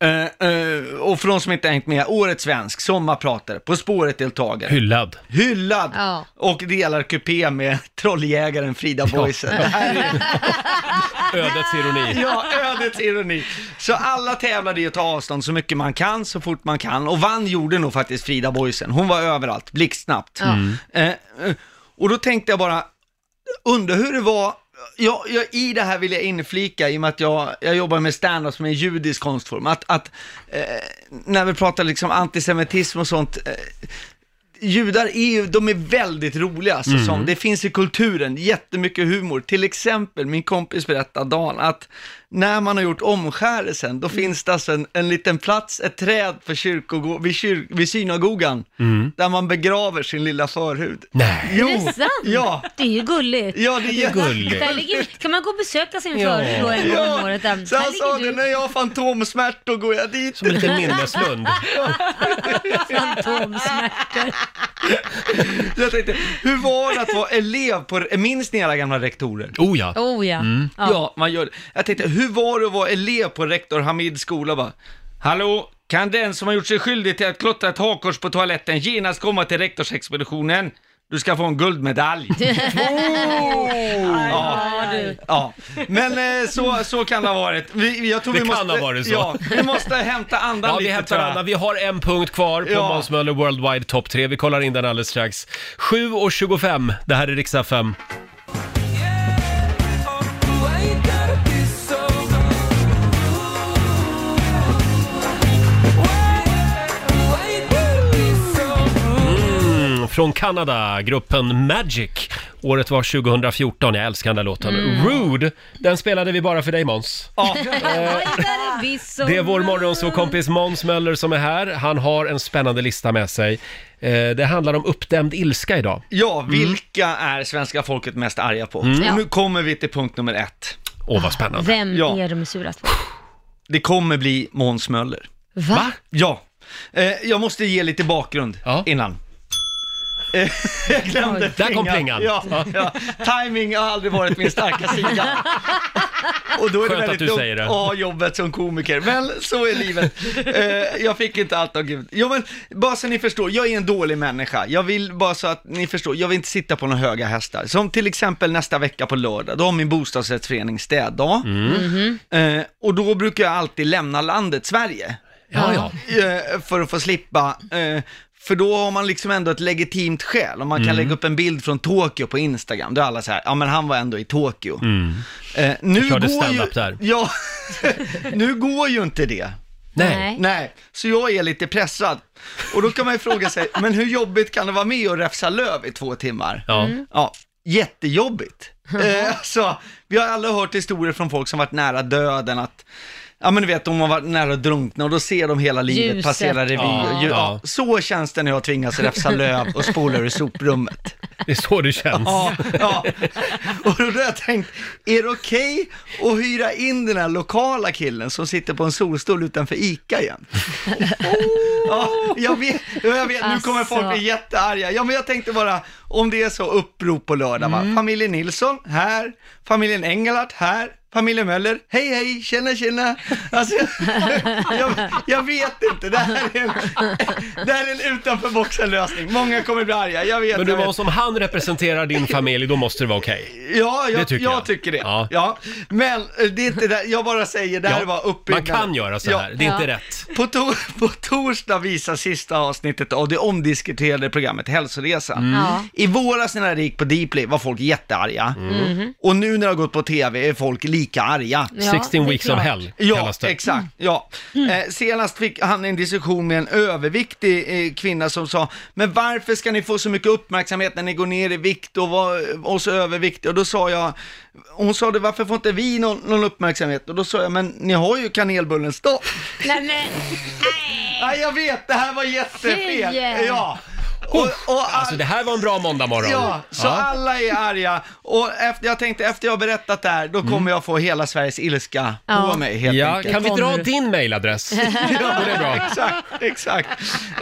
[SPEAKER 6] Eh, eh, och för de som inte hängt med, Årets svensk, sommarpratare, På spåret-deltagare,
[SPEAKER 1] Hyllad.
[SPEAKER 6] hyllad
[SPEAKER 3] Ja.
[SPEAKER 6] och delar kupé med trolljägaren Frida Boisen. Det här är
[SPEAKER 1] Ödets ironi.
[SPEAKER 6] <laughs> Ja, ödets ironi. Så alla tävlade i att ta avstånd så mycket man kan, så fort man kan. Och vann gjorde nog faktiskt Frida Boisen. Hon var överallt, blixtsnabbt. Eh, eh, och då tänkte jag bara, undra hur det var, jag, jag, i det här vill jag inflika, i och med att jag, jag jobbar med stand-up som är en judisk konstform, att, att eh, när vi pratar liksom antisemitism och sånt, eh, Judar är ju, de är väldigt roliga, alltså, som, det finns i kulturen, jättemycket humor. Till exempel, min kompis berättade Dan, att när man har gjort omskärelsen, då finns det alltså en, en liten plats, ett träd för kyrkogå- vid, kyr- vid synagogan, där man begraver sin lilla förhud.
[SPEAKER 1] Nej.
[SPEAKER 6] Jo,
[SPEAKER 3] Är det sant?
[SPEAKER 6] Ja.
[SPEAKER 3] Det är ju gulligt.
[SPEAKER 6] Ja, det är
[SPEAKER 1] Gulligt.
[SPEAKER 3] Där ligger, kan man gå och besöka sin
[SPEAKER 1] Ja.
[SPEAKER 3] förut då en gång om året? Där,
[SPEAKER 6] Så han
[SPEAKER 3] ligger
[SPEAKER 6] sa
[SPEAKER 3] du.
[SPEAKER 6] det, när jag har fantomsmärtor går jag dit.
[SPEAKER 1] Som en liten minneslund.
[SPEAKER 3] Fantomsmärtor.
[SPEAKER 6] Jag tänkte, hur var det att vara elev på, minns ni alla gamla rektorer?
[SPEAKER 1] Oh ja.
[SPEAKER 3] Oh ja.
[SPEAKER 6] Ja. man gör det. Jag tänkte, hur var det att vara elev på rektor Hamids skola? Bara, Hallå, kan den som har gjort sig skyldig till att klottra ett hakkors på toaletten genast komma till rektorsexpeditionen? Du ska få en guldmedalj.
[SPEAKER 3] Ja, du.
[SPEAKER 6] Ja, men eh, så, så kan det ha varit. Vi, jag tror
[SPEAKER 1] Det
[SPEAKER 6] vi
[SPEAKER 1] kan
[SPEAKER 6] måste,
[SPEAKER 1] ha varit så.
[SPEAKER 6] Ja, vi måste hämta andan
[SPEAKER 1] Ja,
[SPEAKER 6] lite
[SPEAKER 1] vi hämtar
[SPEAKER 6] tror jag.
[SPEAKER 1] Anna. Vi har en punkt kvar på
[SPEAKER 6] Ja.
[SPEAKER 1] Måns Möller Worldwide Top 3. Vi kollar in den alldeles strax. 7.25, det här är riksdag 5. Mm, Från Kanada, gruppen Magic. Året var 2014, jag älskar den där låten. Rude, den spelade vi bara för dig Måns. Eh, <laughs> Det är vår morgonsåkompis Måns Möller som är här. Han har en spännande lista med sig. Eh, Det handlar om uppdämd ilska idag.
[SPEAKER 6] Ja, vilka är svenska folket mest arga på?
[SPEAKER 1] Mm.
[SPEAKER 6] Och nu kommer vi till punkt nummer ett.
[SPEAKER 1] Åh, vad spännande.
[SPEAKER 3] Vem
[SPEAKER 6] Ja.
[SPEAKER 3] är de surast på?
[SPEAKER 6] Det kommer bli Måns Möller.
[SPEAKER 3] Va?
[SPEAKER 6] Ja, eh, jag måste ge lite bakgrund
[SPEAKER 1] Ja.
[SPEAKER 6] innan. Eh, <laughs> Jag glömde
[SPEAKER 1] Där kom plingan.
[SPEAKER 6] Ja, ja. Timing har aldrig varit min starka sida. Och då är
[SPEAKER 1] Skönt
[SPEAKER 6] det
[SPEAKER 1] att
[SPEAKER 6] väldigt
[SPEAKER 1] du
[SPEAKER 6] dumt
[SPEAKER 1] säger det.
[SPEAKER 6] att ha jobbet som komiker, men så är livet. Eh, jag fick inte allt av Gud. Jo, men bara så ni förstår, jag är en dålig människa. Jag vill bara så att ni förstår, jag vill inte sitta på några höga hästar. Som till exempel nästa vecka på lördag, då har min bostadsrättsförening städdag.
[SPEAKER 1] Mm.
[SPEAKER 6] Eh, och då brukar jag alltid lämna landet Sverige
[SPEAKER 1] Ja, ja.
[SPEAKER 6] eh, för att få slippa. eh, För då har man liksom ändå ett legitimt skäl. Om man
[SPEAKER 1] Mm.
[SPEAKER 6] kan lägga upp en bild från Tokyo på Instagram, då är alla så här, ja men han var ändå i Tokyo.
[SPEAKER 1] Mm.
[SPEAKER 6] Eh, nu,
[SPEAKER 1] körde
[SPEAKER 6] går ju,
[SPEAKER 1] stand-up där.
[SPEAKER 6] Ja, <laughs> nu går ju inte det.
[SPEAKER 1] Nej.
[SPEAKER 6] Nej, så jag är lite pressad. Och då kan man ju fråga sig, men hur jobbigt kan det vara med att räfsa löv i två timmar?
[SPEAKER 1] Ja.
[SPEAKER 6] Ja, jättejobbigt. Eh, alltså, vi har alla hört historier från folk som varit nära döden, att Ja men du vet, de har varit nära att drunkna och då ser de hela livet
[SPEAKER 3] Ljuset.
[SPEAKER 6] passera revy.
[SPEAKER 1] Ja.
[SPEAKER 6] Ja.
[SPEAKER 1] Ja.
[SPEAKER 6] Så känns det när jag tvingas räfsa löv och spola ur soprummet.
[SPEAKER 1] Det är så det känns.
[SPEAKER 6] Ja, ja. Och då har jag tänkt, är det okej att hyra in den här lokala killen som sitter på en solstol utanför ICA igen? Ja, jag vet, ja, jag vet nu kommer folk bli
[SPEAKER 3] Alltså.
[SPEAKER 6] jättearga. Ja, men jag tänkte bara, om det är så upprop på lördag, va? familjen Nilsson här, familjen Engelhardt här, familjen Möller, hej hej, tjena tjena. Alltså, <laughs> jag, jag vet inte, det här är en, det här är en utanför boxen lösning. Många kommer bli arga, jag vet.
[SPEAKER 1] Men du
[SPEAKER 6] jag vet.
[SPEAKER 1] Måns, om han representerar din familj, då måste det vara okej.
[SPEAKER 6] Ja, jag,
[SPEAKER 1] Det tycker
[SPEAKER 6] jag.
[SPEAKER 1] jag.
[SPEAKER 6] tycker det.
[SPEAKER 1] Ja.
[SPEAKER 6] Ja. Men eh, det är inte där, jag bara säger, det här
[SPEAKER 1] Ja.
[SPEAKER 6] var
[SPEAKER 1] Man
[SPEAKER 6] uppbyggnaden.
[SPEAKER 1] kan göra så
[SPEAKER 6] Ja.
[SPEAKER 1] här, det är inte rätt.
[SPEAKER 6] På, to <laughs> på torsdag visar sista avsnittet av det omdiskuterade programmet Hälsoresan.
[SPEAKER 1] Mm.
[SPEAKER 3] Ja.
[SPEAKER 1] Mm.
[SPEAKER 6] I våras när det gick på Deeply var folk jättearga. Och nu när det har gått på TV är folk lika arga.
[SPEAKER 1] Ja, 16 det är weeks of klart. hell
[SPEAKER 6] Ja,
[SPEAKER 1] kallas det. Mm.
[SPEAKER 6] exakt. Ja. Eh, senast fick han en diskussion med en överviktig eh, kvinna som sa, men varför ska ni få så mycket uppmärksamhet när ni går ner i vikt och var och så överviktiga? Och då sa jag, hon sa det, varför får inte vi någon, någon uppmärksamhet? Och då sa jag, men ni har ju kanelbullens dag.
[SPEAKER 3] Nej men,
[SPEAKER 6] Nej, jag vet, det här var jättefel.
[SPEAKER 3] Fy!
[SPEAKER 6] Ja. Och, och
[SPEAKER 1] Alltså det här var en bra måndagmorgon.
[SPEAKER 6] Ja, så alla är arga. Och efter, jag tänkte, efter jag har berättat det här, då kommer jag få hela Sveriges ilska
[SPEAKER 3] Ja.
[SPEAKER 6] på mig helt
[SPEAKER 1] Mm. Ja,
[SPEAKER 6] enkelt.
[SPEAKER 1] kan vi dra
[SPEAKER 3] Kommer du?
[SPEAKER 1] din
[SPEAKER 6] <laughs>
[SPEAKER 1] mailadress?
[SPEAKER 6] Ja,
[SPEAKER 1] det är bra.
[SPEAKER 6] Exakt, exakt.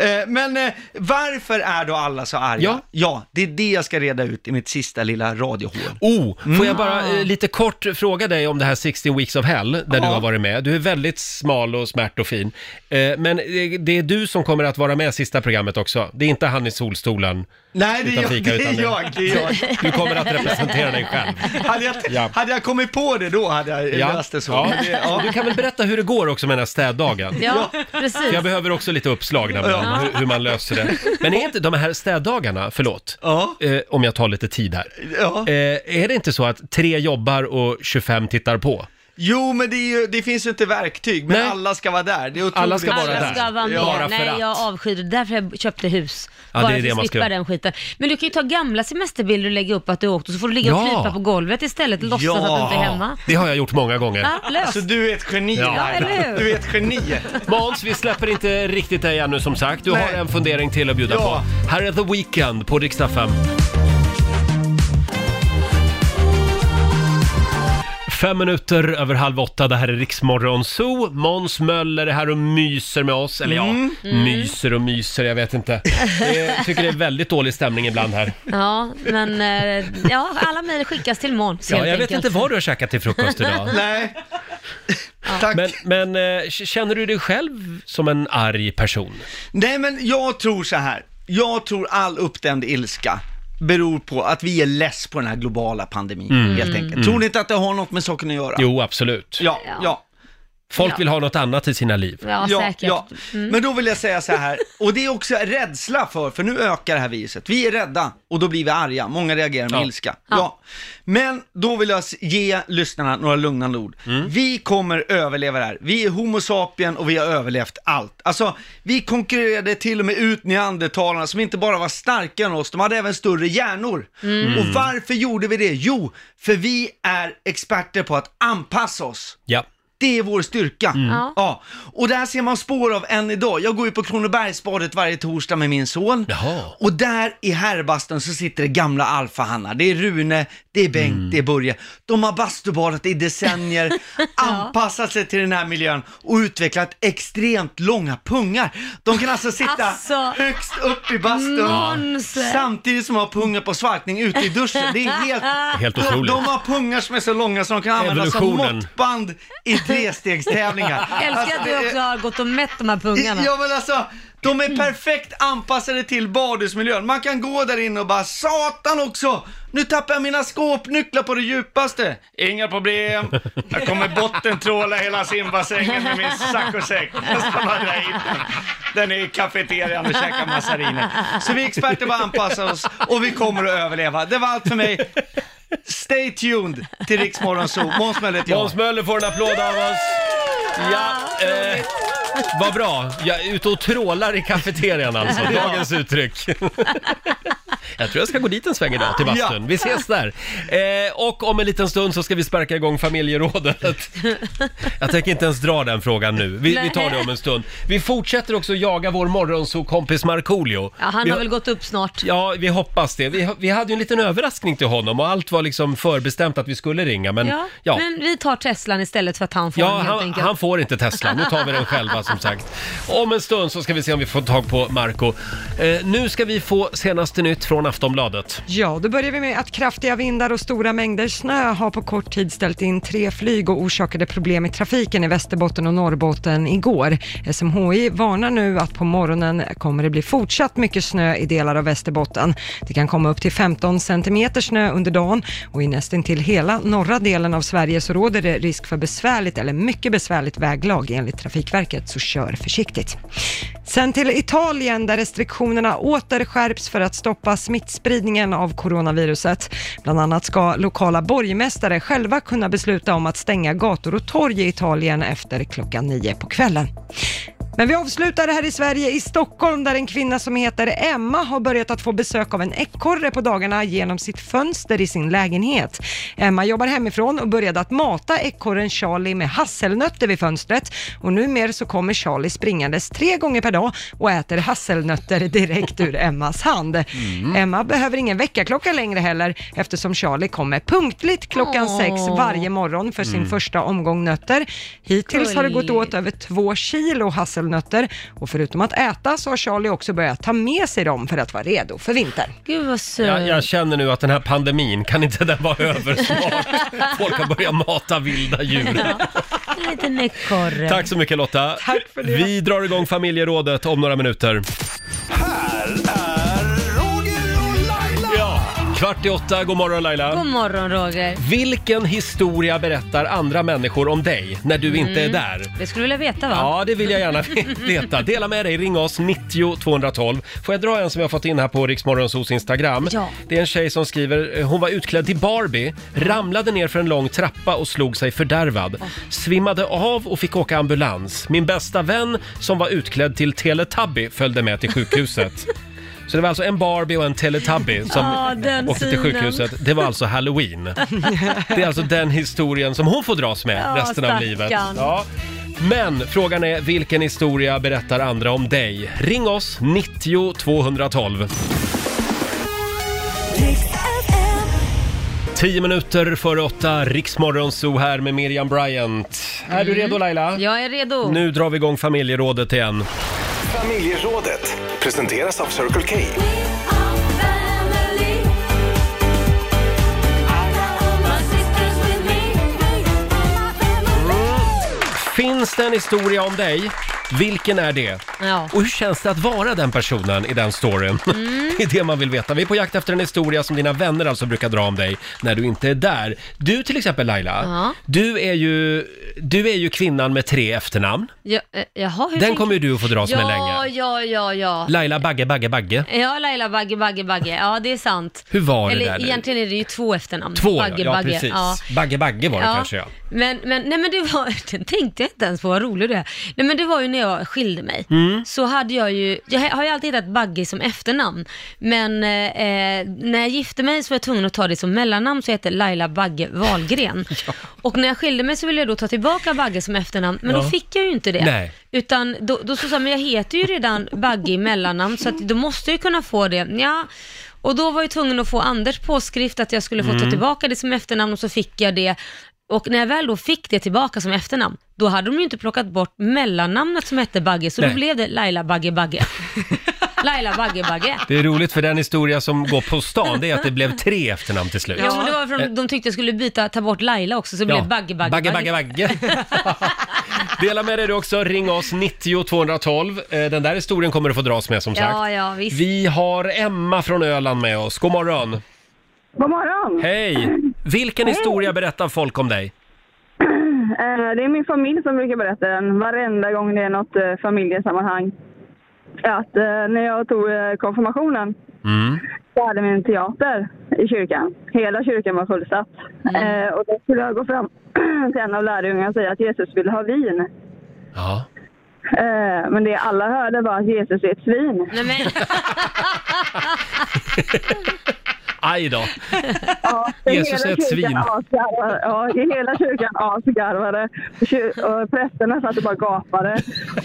[SPEAKER 6] Eh, Men eh, varför är då alla så arga?
[SPEAKER 1] Ja.
[SPEAKER 6] det är det jag ska reda ut i mitt sista lilla radiohål.
[SPEAKER 1] Oh, får jag bara eh, lite kort fråga dig om det här 16 weeks of hell, där du
[SPEAKER 6] Mm. Ja.
[SPEAKER 1] har varit med. Du är väldigt smal och smärt och fin. Eh, men eh, det är du som kommer att vara med i sista programmet också. Det är inte han i solstolen.
[SPEAKER 6] Nej, det är,
[SPEAKER 1] Utan
[SPEAKER 6] jag,
[SPEAKER 1] fika,
[SPEAKER 6] det
[SPEAKER 1] utan
[SPEAKER 6] är
[SPEAKER 1] det.
[SPEAKER 6] jag, det är jag.
[SPEAKER 1] Du kommer att representera dig själv.
[SPEAKER 6] Hade jag,
[SPEAKER 1] Ja.
[SPEAKER 6] hade jag kommit på <laughs> det då hade jag löst det så.
[SPEAKER 1] Ja.
[SPEAKER 6] Men det-
[SPEAKER 1] Och Du kan väl berätta hur det går också med den här städdagen?
[SPEAKER 3] ja,
[SPEAKER 1] För
[SPEAKER 3] precis.
[SPEAKER 1] Jag behöver också lite uppslag nämligen,
[SPEAKER 6] Ja.
[SPEAKER 1] hur, hur man löser det. Men är inte de här städdagarna, förlåt,
[SPEAKER 6] Ja.
[SPEAKER 1] eh, om jag tar lite tid här.
[SPEAKER 6] Ja.
[SPEAKER 1] Eh, är det inte så att tre jobbar och 25 tittar på?
[SPEAKER 6] Jo, men det, är ju, det finns ju inte verktyg, men
[SPEAKER 1] Nej.
[SPEAKER 6] alla ska vara där. Det är otroligt.
[SPEAKER 1] Alla ska vara
[SPEAKER 3] Alla
[SPEAKER 1] där.
[SPEAKER 3] ska vara med.
[SPEAKER 1] Bara för
[SPEAKER 3] Nej,
[SPEAKER 1] att.
[SPEAKER 3] jag avskyr det. Därför jag köpte hus.
[SPEAKER 1] Ja, det
[SPEAKER 3] bara
[SPEAKER 1] är det
[SPEAKER 3] för
[SPEAKER 1] man
[SPEAKER 3] att
[SPEAKER 1] ska
[SPEAKER 3] slippa
[SPEAKER 1] göra.
[SPEAKER 3] den skiten. Men du kan ju ta gamla semesterbilder och lägga upp att du åkt och så får du ligga och
[SPEAKER 1] Ja.
[SPEAKER 3] krypa på golvet istället. Låtsas
[SPEAKER 6] Ja.
[SPEAKER 3] att du inte är hemma.
[SPEAKER 1] Det har jag gjort många gånger.
[SPEAKER 3] Ja, löst.
[SPEAKER 6] Så Alltså, du är ett geni,
[SPEAKER 1] Ja,
[SPEAKER 6] Laila.
[SPEAKER 3] eller hur?
[SPEAKER 6] Du är ett geni.
[SPEAKER 1] Måns, vi släpper inte riktigt dig ännu som sagt. Du
[SPEAKER 6] Nej.
[SPEAKER 1] har en fundering till att bjuda
[SPEAKER 6] Ja.
[SPEAKER 1] på. Här är The Weeknd på riksdag 5. Fem minuter över halv åtta, det här är Riksmorgon Zoo. Måns Möller är här och myser med oss. Eller ja,
[SPEAKER 6] Mm.
[SPEAKER 1] myser och myser, jag vet inte. Jag tycker det är väldigt dålig stämning ibland här.
[SPEAKER 3] Ja, men eh, ja, alla mejl skickas till Måns
[SPEAKER 1] Ja,
[SPEAKER 3] helt
[SPEAKER 1] jag vet
[SPEAKER 3] enkelt.
[SPEAKER 1] inte vad du har käkat till frukost idag.
[SPEAKER 6] Nej. Tack.
[SPEAKER 1] Men, men eh, k- känner du dig själv som en arg person?
[SPEAKER 6] Nej, men jag tror så här. Jag tror all uppdämd ilska beror på att vi är less på den här globala pandemin, helt enkelt. Tror ni inte att det har något med saken att göra?
[SPEAKER 1] Jo, absolut.
[SPEAKER 6] Ja,
[SPEAKER 3] Ja.
[SPEAKER 6] ja.
[SPEAKER 1] Folk
[SPEAKER 3] Ja.
[SPEAKER 1] vill ha något annat i sina liv.
[SPEAKER 3] Ja, säkert. Mm.
[SPEAKER 6] Men då vill jag säga så här, och det är också rädsla för, för nu ökar det här viruset. Vi är rädda och då blir vi arga. Många reagerar med
[SPEAKER 1] Ja.
[SPEAKER 6] ilska. Ja. Men då vill jag s- ge lyssnarna några lugnande ord. Vi kommer överleva det här. Vi är homo sapien och vi har överlevt allt. Alltså, vi konkurrerade till och med ut neandertalarna som inte bara var starkare än oss, de hade även större hjärnor.
[SPEAKER 3] Mm.
[SPEAKER 6] Och varför gjorde vi det? Jo, för vi är experter på att anpassa oss.
[SPEAKER 1] Ja.
[SPEAKER 6] Det är vår styrka.
[SPEAKER 1] Mm.
[SPEAKER 3] Ja.
[SPEAKER 6] Ja. Och där ser man spår av än idag. Jag går ju på Kronobergsbadet varje torsdag med min son.
[SPEAKER 1] Jaha.
[SPEAKER 6] Och där i herrbastun så sitter det gamla alfahannar. Det är Rune, det är Bengt,
[SPEAKER 1] Mm.
[SPEAKER 6] det är Börje. De har bastubadat
[SPEAKER 3] <laughs>
[SPEAKER 6] i decennier, anpassat sig till den här miljön och utvecklat extremt långa pungar. De kan alltså sitta
[SPEAKER 3] Alltså.
[SPEAKER 6] högst upp i bastun
[SPEAKER 3] Måns.
[SPEAKER 6] samtidigt som de har pungar på svalkning ute i duschen. Det är helt...
[SPEAKER 1] <laughs> Helt otroligt.
[SPEAKER 6] De har pungar som är så långa som de kan användas som
[SPEAKER 1] Evolutionen.
[SPEAKER 6] måttband i trestegstävlingar.
[SPEAKER 3] <laughs> Älskar
[SPEAKER 6] Alltså,
[SPEAKER 3] att
[SPEAKER 6] det
[SPEAKER 3] du
[SPEAKER 6] är-
[SPEAKER 3] också har gått och mätt de här pungarna.
[SPEAKER 6] Ja men alltså, de är perfekt anpassade till badhusmiljön. Man kan gå där inne och bara satan också! Nu tappar jag mina skåpnycklar på det djupaste. Inga problem. Jag kommer bottentråla hela simbassängen med min saccosäck. Jag ska bara dra hit den. Den är i kafeterian och käkar massariner. Så vi är experter på att anpassa oss och vi kommer att överleva. Det var allt för mig. Stay tuned till Riksmorgon Zoo. Måns Möller heter jag.
[SPEAKER 1] Måns Möller får en applåd av oss. Ja, eh, vad bra. Jag är ute och trålar i kafeterian alltså, dagens uttryck. <laughs> Jag tror jag ska gå dit en sväng idag till bastun.
[SPEAKER 6] Ja.
[SPEAKER 1] Vi ses där. Eh, och om en liten stund så ska vi sparka igång
[SPEAKER 3] <laughs>
[SPEAKER 1] familjerådet. Jag tänker inte ens dra den frågan nu. Vi, vi tar det om en stund. Vi fortsätter också jaga vår morgonsokompis Markoolio.
[SPEAKER 3] Ja, han
[SPEAKER 1] Vi
[SPEAKER 3] har väl gått upp snart.
[SPEAKER 1] Ja, vi hoppas det. Vi, vi hade ju en liten överraskning till honom och allt var liksom förbestämt att vi skulle ringa. Men, ja,
[SPEAKER 3] Ja. Men vi tar Teslan istället för att han får
[SPEAKER 1] Ja,
[SPEAKER 3] den helt
[SPEAKER 1] han,
[SPEAKER 3] enkelt.
[SPEAKER 1] han får inte Tesla. Nu tar vi den själva som sagt. Om en stund så ska vi se om vi får tag på Marco. Eh, nu ska vi få senaste nytt från Aftonbladet.
[SPEAKER 2] Ja, då börjar vi med att kraftiga vindar och stora mängder snö har på kort tid ställt in tre flyg och orsakade problem i trafiken i Västerbotten och Norrbotten igår. SMHI varnar nu att på morgonen kommer det bli fortsatt mycket snö i delar av Västerbotten. Det kan komma upp till 15 centimeter snö under dagen och i nästan till hela norra delen av Sverige så råder det risk för besvärligt eller mycket besvärligt väglag enligt Trafikverket, så kör försiktigt. Sen till Italien där restriktionerna åter skärps för att stoppa smittspridningen av coronaviruset. Bland annat ska lokala borgmästare själva kunna besluta om att stänga gator och torg i Italien efter klockan nio på kvällen. Men vi avslutar det här i Sverige, i Stockholm, där en kvinna som heter Emma har börjat att få besök av en ekorre på dagarna genom sitt fönster i sin lägenhet. Emma jobbar hemifrån och började att mata ekorren Charlie med hasselnötter vid fönstret och numera så kommer Charlie springandes tre gånger per dag och äter hasselnötter direkt ur Emmas hand. Emma behöver ingen väckarklocka längre heller eftersom Charlie kommer punktligt klockan
[SPEAKER 3] Åh.
[SPEAKER 2] sex varje morgon för sin
[SPEAKER 3] Mm.
[SPEAKER 2] första omgång nötter. Hittills har det gått åt över två kilo hasselnötter och förutom att äta så har Charlie också börjat ta med sig dem för att vara redo för vintern.
[SPEAKER 3] Gud vad söt.
[SPEAKER 1] Jag, jag känner nu att den här pandemin, kan inte den vara <laughs> över snart? Folk har börjat mata vilda djur.
[SPEAKER 3] En liten ekorre.
[SPEAKER 1] Tack så mycket Lotta. Tack för det. Vi drar igång familjerådet om några minuter. Kvart i åtta, god morgon Laila.
[SPEAKER 3] God morgon Roger.
[SPEAKER 1] Vilken historia berättar andra människor om dig när du inte är
[SPEAKER 3] Mm.
[SPEAKER 1] där?
[SPEAKER 3] Det skulle du vilja veta va?
[SPEAKER 1] Ja, det vill jag gärna <laughs> veta. Dela med dig, ring oss 90 212. Får jag dra en som jag fått in här på Riksmorgonsos Instagram?
[SPEAKER 3] Ja.
[SPEAKER 1] Det är en tjej som skriver, eh, hon var utklädd till Barbie, ramlade ner för en lång trappa och slog sig fördärvad. Svimmade av och fick åka ambulans. Min bästa vän som var utklädd till Teletubby följde med till
[SPEAKER 3] <laughs>
[SPEAKER 1] sjukhuset. Så det var alltså en Barbie och en Teletubby som
[SPEAKER 3] Ah, den
[SPEAKER 1] åkte till
[SPEAKER 3] synen.
[SPEAKER 1] sjukhuset. Det var alltså halloween. Det är alltså den historien som hon får dras med
[SPEAKER 3] Ja,
[SPEAKER 1] resten av
[SPEAKER 3] stackarn.
[SPEAKER 1] livet. Ja. Men frågan är vilken historia berättar andra om dig? Ring oss 90 212. 10 minuter före åtta, Riksmorgon Zoo här med Miriam Bryant. Är du redo Laila?
[SPEAKER 3] Jag är redo.
[SPEAKER 1] Nu drar vi igång familjerådet igen.
[SPEAKER 11] Familjerådet presenteras av Circle K.
[SPEAKER 1] Finns det en historia om dig? Vilken är det?
[SPEAKER 3] Ja.
[SPEAKER 1] Och hur känns det att vara den personen i den storyn? <laughs> Det är det man vill veta. Vi är på jakt efter en historia som dina vänner alltså brukar dra om dig när du inte är där. Du till exempel Laila,
[SPEAKER 3] Ja.
[SPEAKER 1] du, är ju, du är ju kvinnan med tre efternamn.
[SPEAKER 3] Ja, eh, jaha, hur
[SPEAKER 1] Den
[SPEAKER 3] tänker-
[SPEAKER 1] kommer ju du att få dras
[SPEAKER 3] ja,
[SPEAKER 1] med länge.
[SPEAKER 3] Ja, ja, ja.
[SPEAKER 1] Laila Bagge Bagge Bagge.
[SPEAKER 3] Ja, Laila Bagge, Bagge, Bagge. Ja, det är sant.
[SPEAKER 1] Hur var det
[SPEAKER 3] Eller
[SPEAKER 1] där nu?
[SPEAKER 3] egentligen är det ju två efternamn.
[SPEAKER 1] Två
[SPEAKER 3] Bagge,
[SPEAKER 1] ja, ja
[SPEAKER 3] Bagge.
[SPEAKER 1] precis.
[SPEAKER 3] Ja.
[SPEAKER 1] Bagge Bagge var det
[SPEAKER 3] Ja.
[SPEAKER 1] kanske ja.
[SPEAKER 3] Men, men, nej men det var, <laughs> den tänkte jag inte ens på, vad rolig du är. Nej men det var ju när jag skilde mig.
[SPEAKER 1] Mm.
[SPEAKER 3] Så hade jag ju, jag har ju alltid hetat Baggy som efternamn. Men eh, när jag gifte mig så var jag tvungen att ta det som mellannamn, så jag hette Laila Bagge
[SPEAKER 1] <laughs>
[SPEAKER 3] Wahlgren. Och när jag skilde mig så ville jag då ta tillbaka Bagge som efternamn, men
[SPEAKER 1] Ja.
[SPEAKER 3] då fick jag ju inte det.
[SPEAKER 1] Nej.
[SPEAKER 3] Utan då, då så sa jag, men jag heter ju redan Bagge i mellannamn, så att då måste jag ju kunna få det. Ja. Och då var jag tvungen att få Anders påskrift att jag skulle få ta
[SPEAKER 12] Mm.
[SPEAKER 3] tillbaka det som efternamn och så fick jag det. Och när jag väl då fick det tillbaka som efternamn, då hade de ju inte plockat bort mellannamnet som hette Bagge, så
[SPEAKER 1] Nej.
[SPEAKER 3] då blev det Laila Bagge Bagge.
[SPEAKER 1] <laughs>
[SPEAKER 3] Laila Bagge Bagge.
[SPEAKER 1] Det är roligt för den historia som går på stan det är att det blev tre efternamn till slut.
[SPEAKER 3] Ja, men det var för
[SPEAKER 1] Eh,
[SPEAKER 3] de, de tyckte jag skulle byta, ta bort Laila också, så det
[SPEAKER 1] Ja.
[SPEAKER 3] blev Bagge Bagge
[SPEAKER 1] Bagge, Bagge, <laughs> Dela med dig du också, ring oss 90 212. Eh, Den där historien kommer du få dras med som sagt.
[SPEAKER 3] Ja, ja, visst.
[SPEAKER 1] Vi har Emma från Öland med oss, god morgon.
[SPEAKER 9] God morgon!
[SPEAKER 1] Hej! Vilken historia berättar folk om dig?
[SPEAKER 9] Eh, Det är min familj som brukar berätta den varenda gång det är något eh, familjesammanhang. Att eh, när jag tog eh, konfirmationen
[SPEAKER 5] Mm.
[SPEAKER 9] så hade vi en teater i kyrkan. Hela kyrkan var fullsatt. Eh, och då skulle jag gå fram <clears throat> till en av lärjungarna och säga att Jesus ville ha vin.
[SPEAKER 1] Ja.
[SPEAKER 9] Eh, men det alla hörde var att Jesus är ett svin.
[SPEAKER 1] <laughs>
[SPEAKER 3] Nej, men...
[SPEAKER 1] Aj då.
[SPEAKER 9] <laughs> Ja,
[SPEAKER 1] Jesus
[SPEAKER 9] hela
[SPEAKER 1] är ett
[SPEAKER 9] kyrkan
[SPEAKER 1] svin.
[SPEAKER 9] asgarvade. Ja, i hela kyrkan asgarvade. Kyr- och Prästerna satt och bara gapade.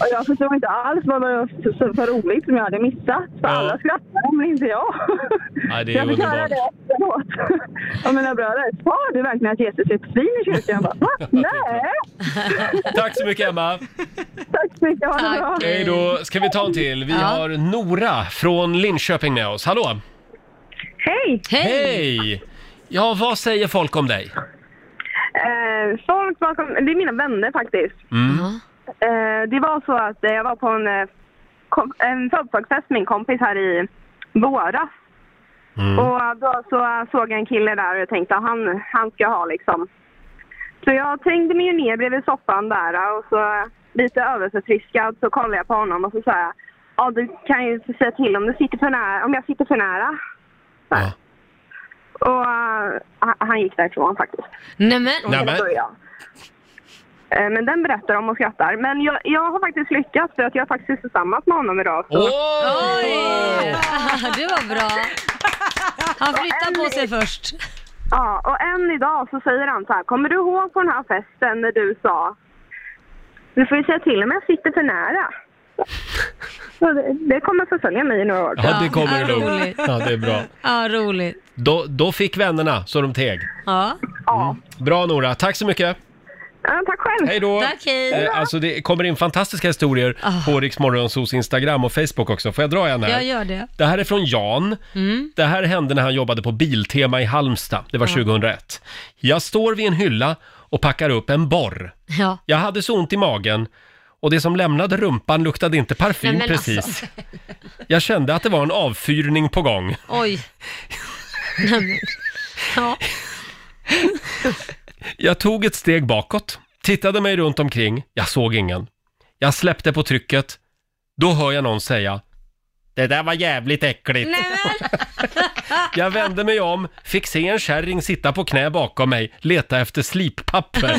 [SPEAKER 9] Och jag förstod inte alls vad det var för- för roligt som jag hade missat. För alla skrattade, men inte jag.
[SPEAKER 1] Nej, det är
[SPEAKER 9] jag fick höra
[SPEAKER 1] underbart.
[SPEAKER 9] det efteråt. Och mina bröder, sa du verkligen att Jesus är ett svin i kyrkan? Jag bara,
[SPEAKER 1] <laughs>
[SPEAKER 9] Va? Nej!
[SPEAKER 1] Tack så mycket Emma.
[SPEAKER 9] Tack så mycket, ha det bra!
[SPEAKER 1] Hej då. Ska vi ta en till? Vi
[SPEAKER 9] Ja.
[SPEAKER 1] har Nora från Linköping med oss. Hallå!
[SPEAKER 13] Hej!
[SPEAKER 1] Hej! Ja, vad säger folk om dig?
[SPEAKER 13] Eh, folk bakom, det är mina vänner faktiskt.
[SPEAKER 1] Mm.
[SPEAKER 13] Eh, det var så att eh, jag var på en, eh, kom, en födelsedagsfest med min kompis här i våras. Och då så såg jag en kille där och jag tänkte att han, han ska jag ha liksom. Så jag trängde mig ju ner bredvid soffan där eh, och så lite överförfriskad så kollade jag på honom och så sa jag Ja du kan ju säga till om, du sitter för nära, om jag sitter för nära. Så här. Och eh, han- han gick därifrån faktiskt.
[SPEAKER 3] Nämen.
[SPEAKER 13] Och det var jag. Eh, Men den berättar om och skrattar. Men jag, jag har faktiskt lyckats för att jag är faktiskt tillsammans med honom idag. Så.
[SPEAKER 3] Oj! Det var bra. Han flyttar på sig först.
[SPEAKER 13] Ja, och än idag så säger han så här, kommer du ihåg på den här festen när du sa du får ju säga till om jag sitter för nära. Så det, det kommer förfölja mig i några år.
[SPEAKER 1] Ja, det kommer det
[SPEAKER 3] Ja,
[SPEAKER 1] nog.
[SPEAKER 3] roligt.
[SPEAKER 1] Ja, det är bra.
[SPEAKER 3] Ja, roligt.
[SPEAKER 1] Då, då fick vännerna så de teg.
[SPEAKER 3] Ja.
[SPEAKER 1] Bra Nora, tack så mycket.
[SPEAKER 13] tack själv.
[SPEAKER 1] Hej då.
[SPEAKER 3] Tack, hej.
[SPEAKER 1] Eh, Alltså det kommer in fantastiska historier
[SPEAKER 3] Ah.
[SPEAKER 1] på Rix Morgonzos Instagram och Facebook också. Får jag dra en här?
[SPEAKER 3] Jag gör det.
[SPEAKER 1] Det här är från Jan.
[SPEAKER 3] Mm.
[SPEAKER 1] Det här hände när han jobbade på Biltema i Halmstad. Det var
[SPEAKER 3] Ja.
[SPEAKER 1] 2001. Jag står vid en hylla och packar upp en borr.
[SPEAKER 3] Ja.
[SPEAKER 1] Jag hade så ont i magen och det som lämnade rumpan luktade inte parfym
[SPEAKER 3] Nej, men
[SPEAKER 1] precis.
[SPEAKER 3] alltså.
[SPEAKER 1] Jag kände att det var en avfyrning på gång.
[SPEAKER 3] Oj. Nämen. Ja.
[SPEAKER 1] Jag tog ett steg bakåt, tittade mig runt omkring. Jag såg ingen. Jag släppte på trycket. Då hör jag någon säga Det där var jävligt äckligt. Jag vände mig om, fick se en kärring sitta på knä bakom mig, leta efter slippapper.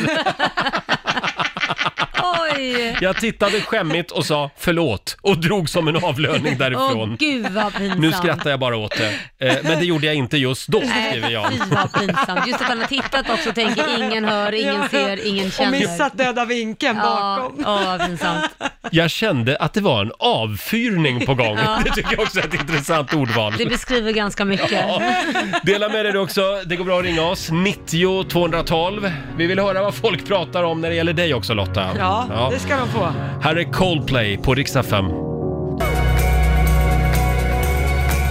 [SPEAKER 3] Oj.
[SPEAKER 1] Jag tittade skämmigt och sa förlåt och drog som en avlöning därifrån.
[SPEAKER 3] Åh, gud vad pinsamt.
[SPEAKER 1] nu skrattar jag bara åt det. Eh, Men det gjorde jag inte just då, skriver
[SPEAKER 3] Nej,
[SPEAKER 1] jag.
[SPEAKER 3] fy vad pinsamt. Just att han har tittat också och tänker ingen hör, ingen
[SPEAKER 2] Ja.
[SPEAKER 3] ser, ingen
[SPEAKER 2] Och
[SPEAKER 3] känner.
[SPEAKER 2] missat döda vinkeln bakom.
[SPEAKER 3] Ja, åh, vad pinsamt.
[SPEAKER 1] Jag kände att det var en avfyrning på gång.
[SPEAKER 3] Ja.
[SPEAKER 1] Det tycker jag också är ett intressant ordval.
[SPEAKER 3] Det beskriver ganska mycket.
[SPEAKER 1] Dela med dig du också. Det går bra att ringa oss. 90 212. Vi vill höra vad folk pratar om när det gäller dig också Lotta.
[SPEAKER 2] Ja, det ska de få.
[SPEAKER 1] Här är Coldplay på Rix FM.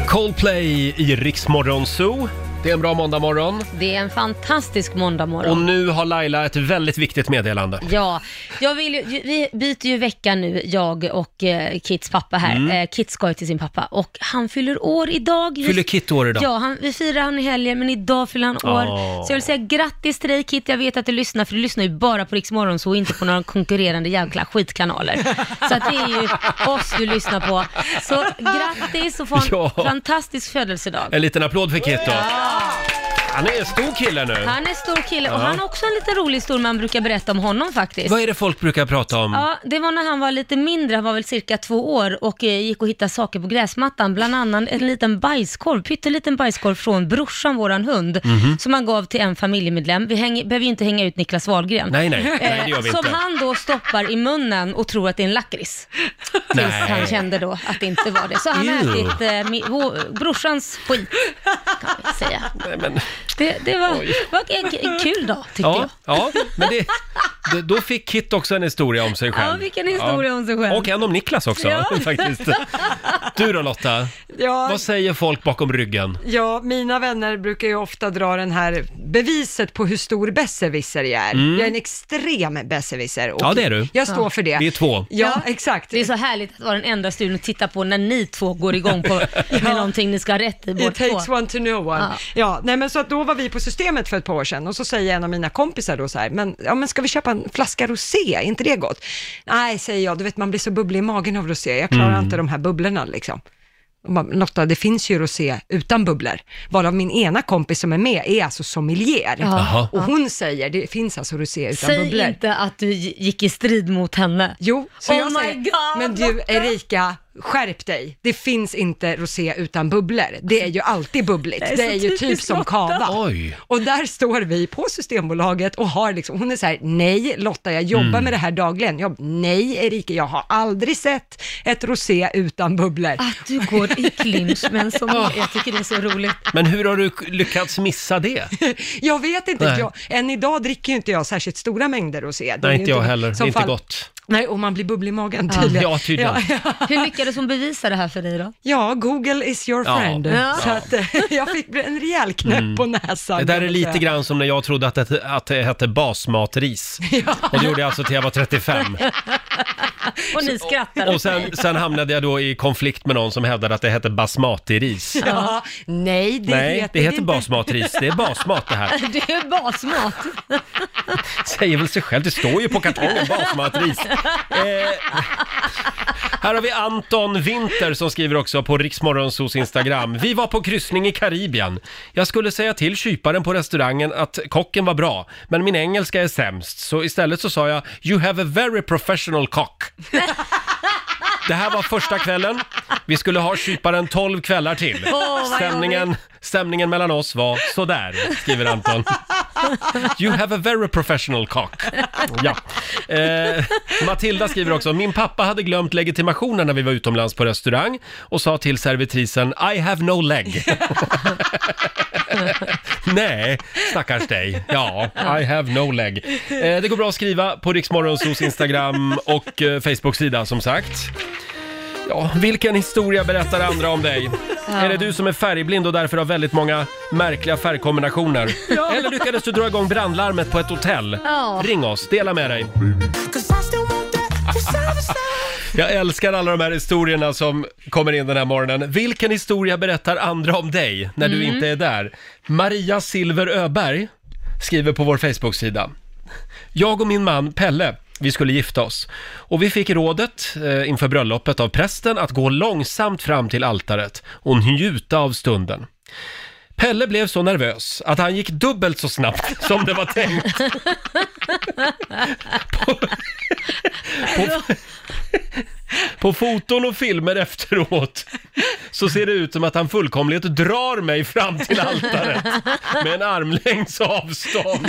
[SPEAKER 1] Coldplay i Rix Morgon Zoo. Det är en bra måndagmorgon.
[SPEAKER 3] Det är en fantastisk
[SPEAKER 1] Och
[SPEAKER 3] måndagmorgon.
[SPEAKER 1] nu har Laila ett väldigt viktigt meddelande.
[SPEAKER 3] Ja, jag vill ju, vi byter ju vecka nu, jag och eh, Kits pappa här.
[SPEAKER 1] Mm.
[SPEAKER 3] Eh, Kit ska ju till sin pappa och han fyller år idag. Vi-
[SPEAKER 1] Fyller Kit år idag?
[SPEAKER 3] Ja, han, vi firar han i helgen men idag fyller han år.
[SPEAKER 1] Åh.
[SPEAKER 3] Så jag vill säga grattis till dig Kit, jag vet att du lyssnar för du lyssnar ju bara på Rix Morgon, så och inte på några konkurrerande jävla skitkanaler. Så att det är ju oss du lyssnar på. Så grattis och få en
[SPEAKER 1] Ja.
[SPEAKER 3] fantastisk födelsedag.
[SPEAKER 1] En liten applåd för Kit då. Han är en stor kille nu.
[SPEAKER 3] Han är en stor kille och
[SPEAKER 1] Ja.
[SPEAKER 3] han har också en liten rolig historia man brukar berätta om honom faktiskt.
[SPEAKER 1] Vad är det folk brukar prata om?
[SPEAKER 3] Ja, det var när han var lite mindre, han var väl cirka två år och eh, gick och hittade saker på gräsmattan, bland annat en liten bajskorv, pytteliten bajskorv från brorsan, våran hund,
[SPEAKER 12] Mhm.
[SPEAKER 3] som han gav till en familjemedlem. Vi hänger, behöver ju inte hänga ut Niklas Wahlgren. Eh,
[SPEAKER 12] Nej, nej. Nej, det gör vi
[SPEAKER 3] som
[SPEAKER 12] inte.
[SPEAKER 3] han då stoppar i munnen och tror att det är
[SPEAKER 12] <laughs>
[SPEAKER 3] en lakrits. Tills
[SPEAKER 12] Nej.
[SPEAKER 3] han kände då att det inte var det. Så han har
[SPEAKER 1] Ew.
[SPEAKER 3] ätit eh, mi, vår, brorsans skit, kan man säga.
[SPEAKER 1] Nej, men...
[SPEAKER 3] Det, det var,
[SPEAKER 1] Oj.
[SPEAKER 3] var en, en kul dag, tyckte
[SPEAKER 1] ja,
[SPEAKER 3] jag.
[SPEAKER 1] Ja, men det, det, då fick Kit också en historia om sig själv.
[SPEAKER 3] Ja, vilken historia om sig själv.
[SPEAKER 1] Och en om Niklas också
[SPEAKER 2] Ja.
[SPEAKER 1] <laughs> faktiskt. Du då Lotta,
[SPEAKER 2] Ja.
[SPEAKER 1] vad säger folk bakom ryggen?
[SPEAKER 2] Ja, mina vänner brukar ju ofta dra den här beviset på hur stor besserwisser jag är.
[SPEAKER 1] Mm.
[SPEAKER 2] Jag är en extrem besserwisser. och
[SPEAKER 1] Ja, det är du.
[SPEAKER 2] Jag står för det.
[SPEAKER 1] Vi är två.
[SPEAKER 2] Ja, exakt.
[SPEAKER 3] Det är så härligt att vara den enda studion att titta på när ni två går
[SPEAKER 2] <laughs>
[SPEAKER 3] igång på med någonting ni ska ha rätt i båda
[SPEAKER 2] It takes
[SPEAKER 3] två.
[SPEAKER 2] one to know one.
[SPEAKER 3] Ja.
[SPEAKER 2] Ja. nej men så att då var vi på systemet för ett par år sedan och så säger en av mina kompisar då så här, men, ja, men ska vi köpa en flaska rosé, är inte det gott? Nej, säger jag, du vet man blir så bubblig i magen av rosé, jag klarar
[SPEAKER 12] Mm.
[SPEAKER 2] inte de här bubblorna liksom. Och man, Lotta, det finns ju rosé utan bubblor, varav min ena kompis som är med är alltså sommelier.
[SPEAKER 3] Ja. Jaha.
[SPEAKER 2] Och hon säger, det finns alltså rosé utan
[SPEAKER 3] Säg
[SPEAKER 2] bubblor.
[SPEAKER 3] inte att du gi- gick i strid mot henne.
[SPEAKER 2] Jo, Så
[SPEAKER 3] oh
[SPEAKER 2] jag
[SPEAKER 3] my
[SPEAKER 2] säger,
[SPEAKER 3] god.
[SPEAKER 2] men du Erika, skärp dig. Det finns inte rosé utan bubblor. Det är ju alltid bubbligt.
[SPEAKER 12] Det är
[SPEAKER 2] Det är,
[SPEAKER 12] så
[SPEAKER 2] ju typ
[SPEAKER 12] typiskt
[SPEAKER 2] som
[SPEAKER 12] Lotta.
[SPEAKER 2] kava.
[SPEAKER 12] Oj.
[SPEAKER 2] Och där står vi på Systembolaget och har liksom, hon är så här, nej Lotta, jag jobbar
[SPEAKER 12] Mm.
[SPEAKER 2] med det här dagligen. Jag, nej Erika, jag har aldrig sett ett rosé utan bubblor.
[SPEAKER 3] Att du går i clinch med en
[SPEAKER 2] <laughs>
[SPEAKER 3] som jag tycker det är så roligt.
[SPEAKER 1] Men hur har du k- lyckats missa det?
[SPEAKER 2] Jag vet inte,
[SPEAKER 1] Nej.
[SPEAKER 2] jag, än idag dricker ju inte jag särskilt stora mängder rosé. Det är
[SPEAKER 1] Nej,
[SPEAKER 2] ju
[SPEAKER 1] inte jag heller. Det är
[SPEAKER 2] som
[SPEAKER 1] inte
[SPEAKER 2] fall- Ah.
[SPEAKER 1] gott.
[SPEAKER 2] Nej, och man blir bubblig i magen
[SPEAKER 1] Ja.
[SPEAKER 2] tydligen.
[SPEAKER 1] Ja, tydligen.
[SPEAKER 3] Hur lyckades hon bevisa det här för dig då?
[SPEAKER 2] Ja, Google is your
[SPEAKER 1] Ja.
[SPEAKER 2] friend.
[SPEAKER 1] Ja.
[SPEAKER 2] Så att, <laughs> eh, jag fick en rejäl knäpp
[SPEAKER 1] Mm.
[SPEAKER 2] på näsan.
[SPEAKER 1] Det där
[SPEAKER 2] kan
[SPEAKER 1] är
[SPEAKER 2] man
[SPEAKER 1] lite
[SPEAKER 2] säga.
[SPEAKER 1] grann som när jag trodde att det, att det hette
[SPEAKER 2] <laughs>
[SPEAKER 1] basmatris. Och det gjorde jag alltså till jag var 35.
[SPEAKER 3] Och ni skrattar
[SPEAKER 1] Och
[SPEAKER 3] åt mig.
[SPEAKER 1] sen, sen hamnade jag då i konflikt med någon som hävdade att det hette basmatiris.
[SPEAKER 2] Ja, nej, det
[SPEAKER 1] Nej,
[SPEAKER 2] heter
[SPEAKER 1] det heter
[SPEAKER 2] inte.
[SPEAKER 1] basmatris. Det är basmat det här.
[SPEAKER 3] Det är basmat.
[SPEAKER 1] Säger väl sig själv, det står ju på kartongen basmatris. Eh, Här har vi Anton Winter som skriver också på Riksmorgonsos Instagram. Vi var på kryssning i Karibien. Jag skulle säga till kyparen på restaurangen att kocken var bra, men min engelska är sämst. Så istället så sa jag “You have a very professional cock”. Det här var första kvällen. Vi skulle ha kyparen 12 kvällar till.
[SPEAKER 5] Åh, vad
[SPEAKER 1] stämningen, stämningen mellan oss var sådär, skriver Anton. You have a very professional cock. Ja. Eh, Matilda skriver också, min pappa hade glömt legitimationen när vi var utomlands på restaurang och sa till servitrisen I have no leg. <laughs> Nej, stackars dig. Ja, I have no leg. Eh, det går bra att skriva på Riksmorgonsos Instagram och eh, Facebook-sida som sagt. Ja, vilken historia berättar andra om dig?
[SPEAKER 5] Ja.
[SPEAKER 1] Är det du som är färgblind och därför har väldigt många märkliga färgkombinationer?
[SPEAKER 5] Ja.
[SPEAKER 1] Eller lyckades du dra igång brandlarmet på ett hotell?
[SPEAKER 5] Ja.
[SPEAKER 1] Ring oss, dela med dig. <laughs> Jag älskar alla de här historierna som kommer in den här morgonen. Vilken historia berättar andra om dig när du
[SPEAKER 5] Mm.
[SPEAKER 1] inte är där? Maria Silver Öberg skriver på vår Facebook-sida. Jag och min man Pelle, vi skulle gifta oss. Och vi fick rådet eh, inför bröllopet av prästen att gå långsamt fram till altaret och njuta av stunden. Pelle blev så nervös att han gick dubbelt så snabbt <laughs> som det var tänkt. På foton och filmer efteråt så ser det ut som att han fullkomligt drar mig fram till altaret med en armlängds avstånd.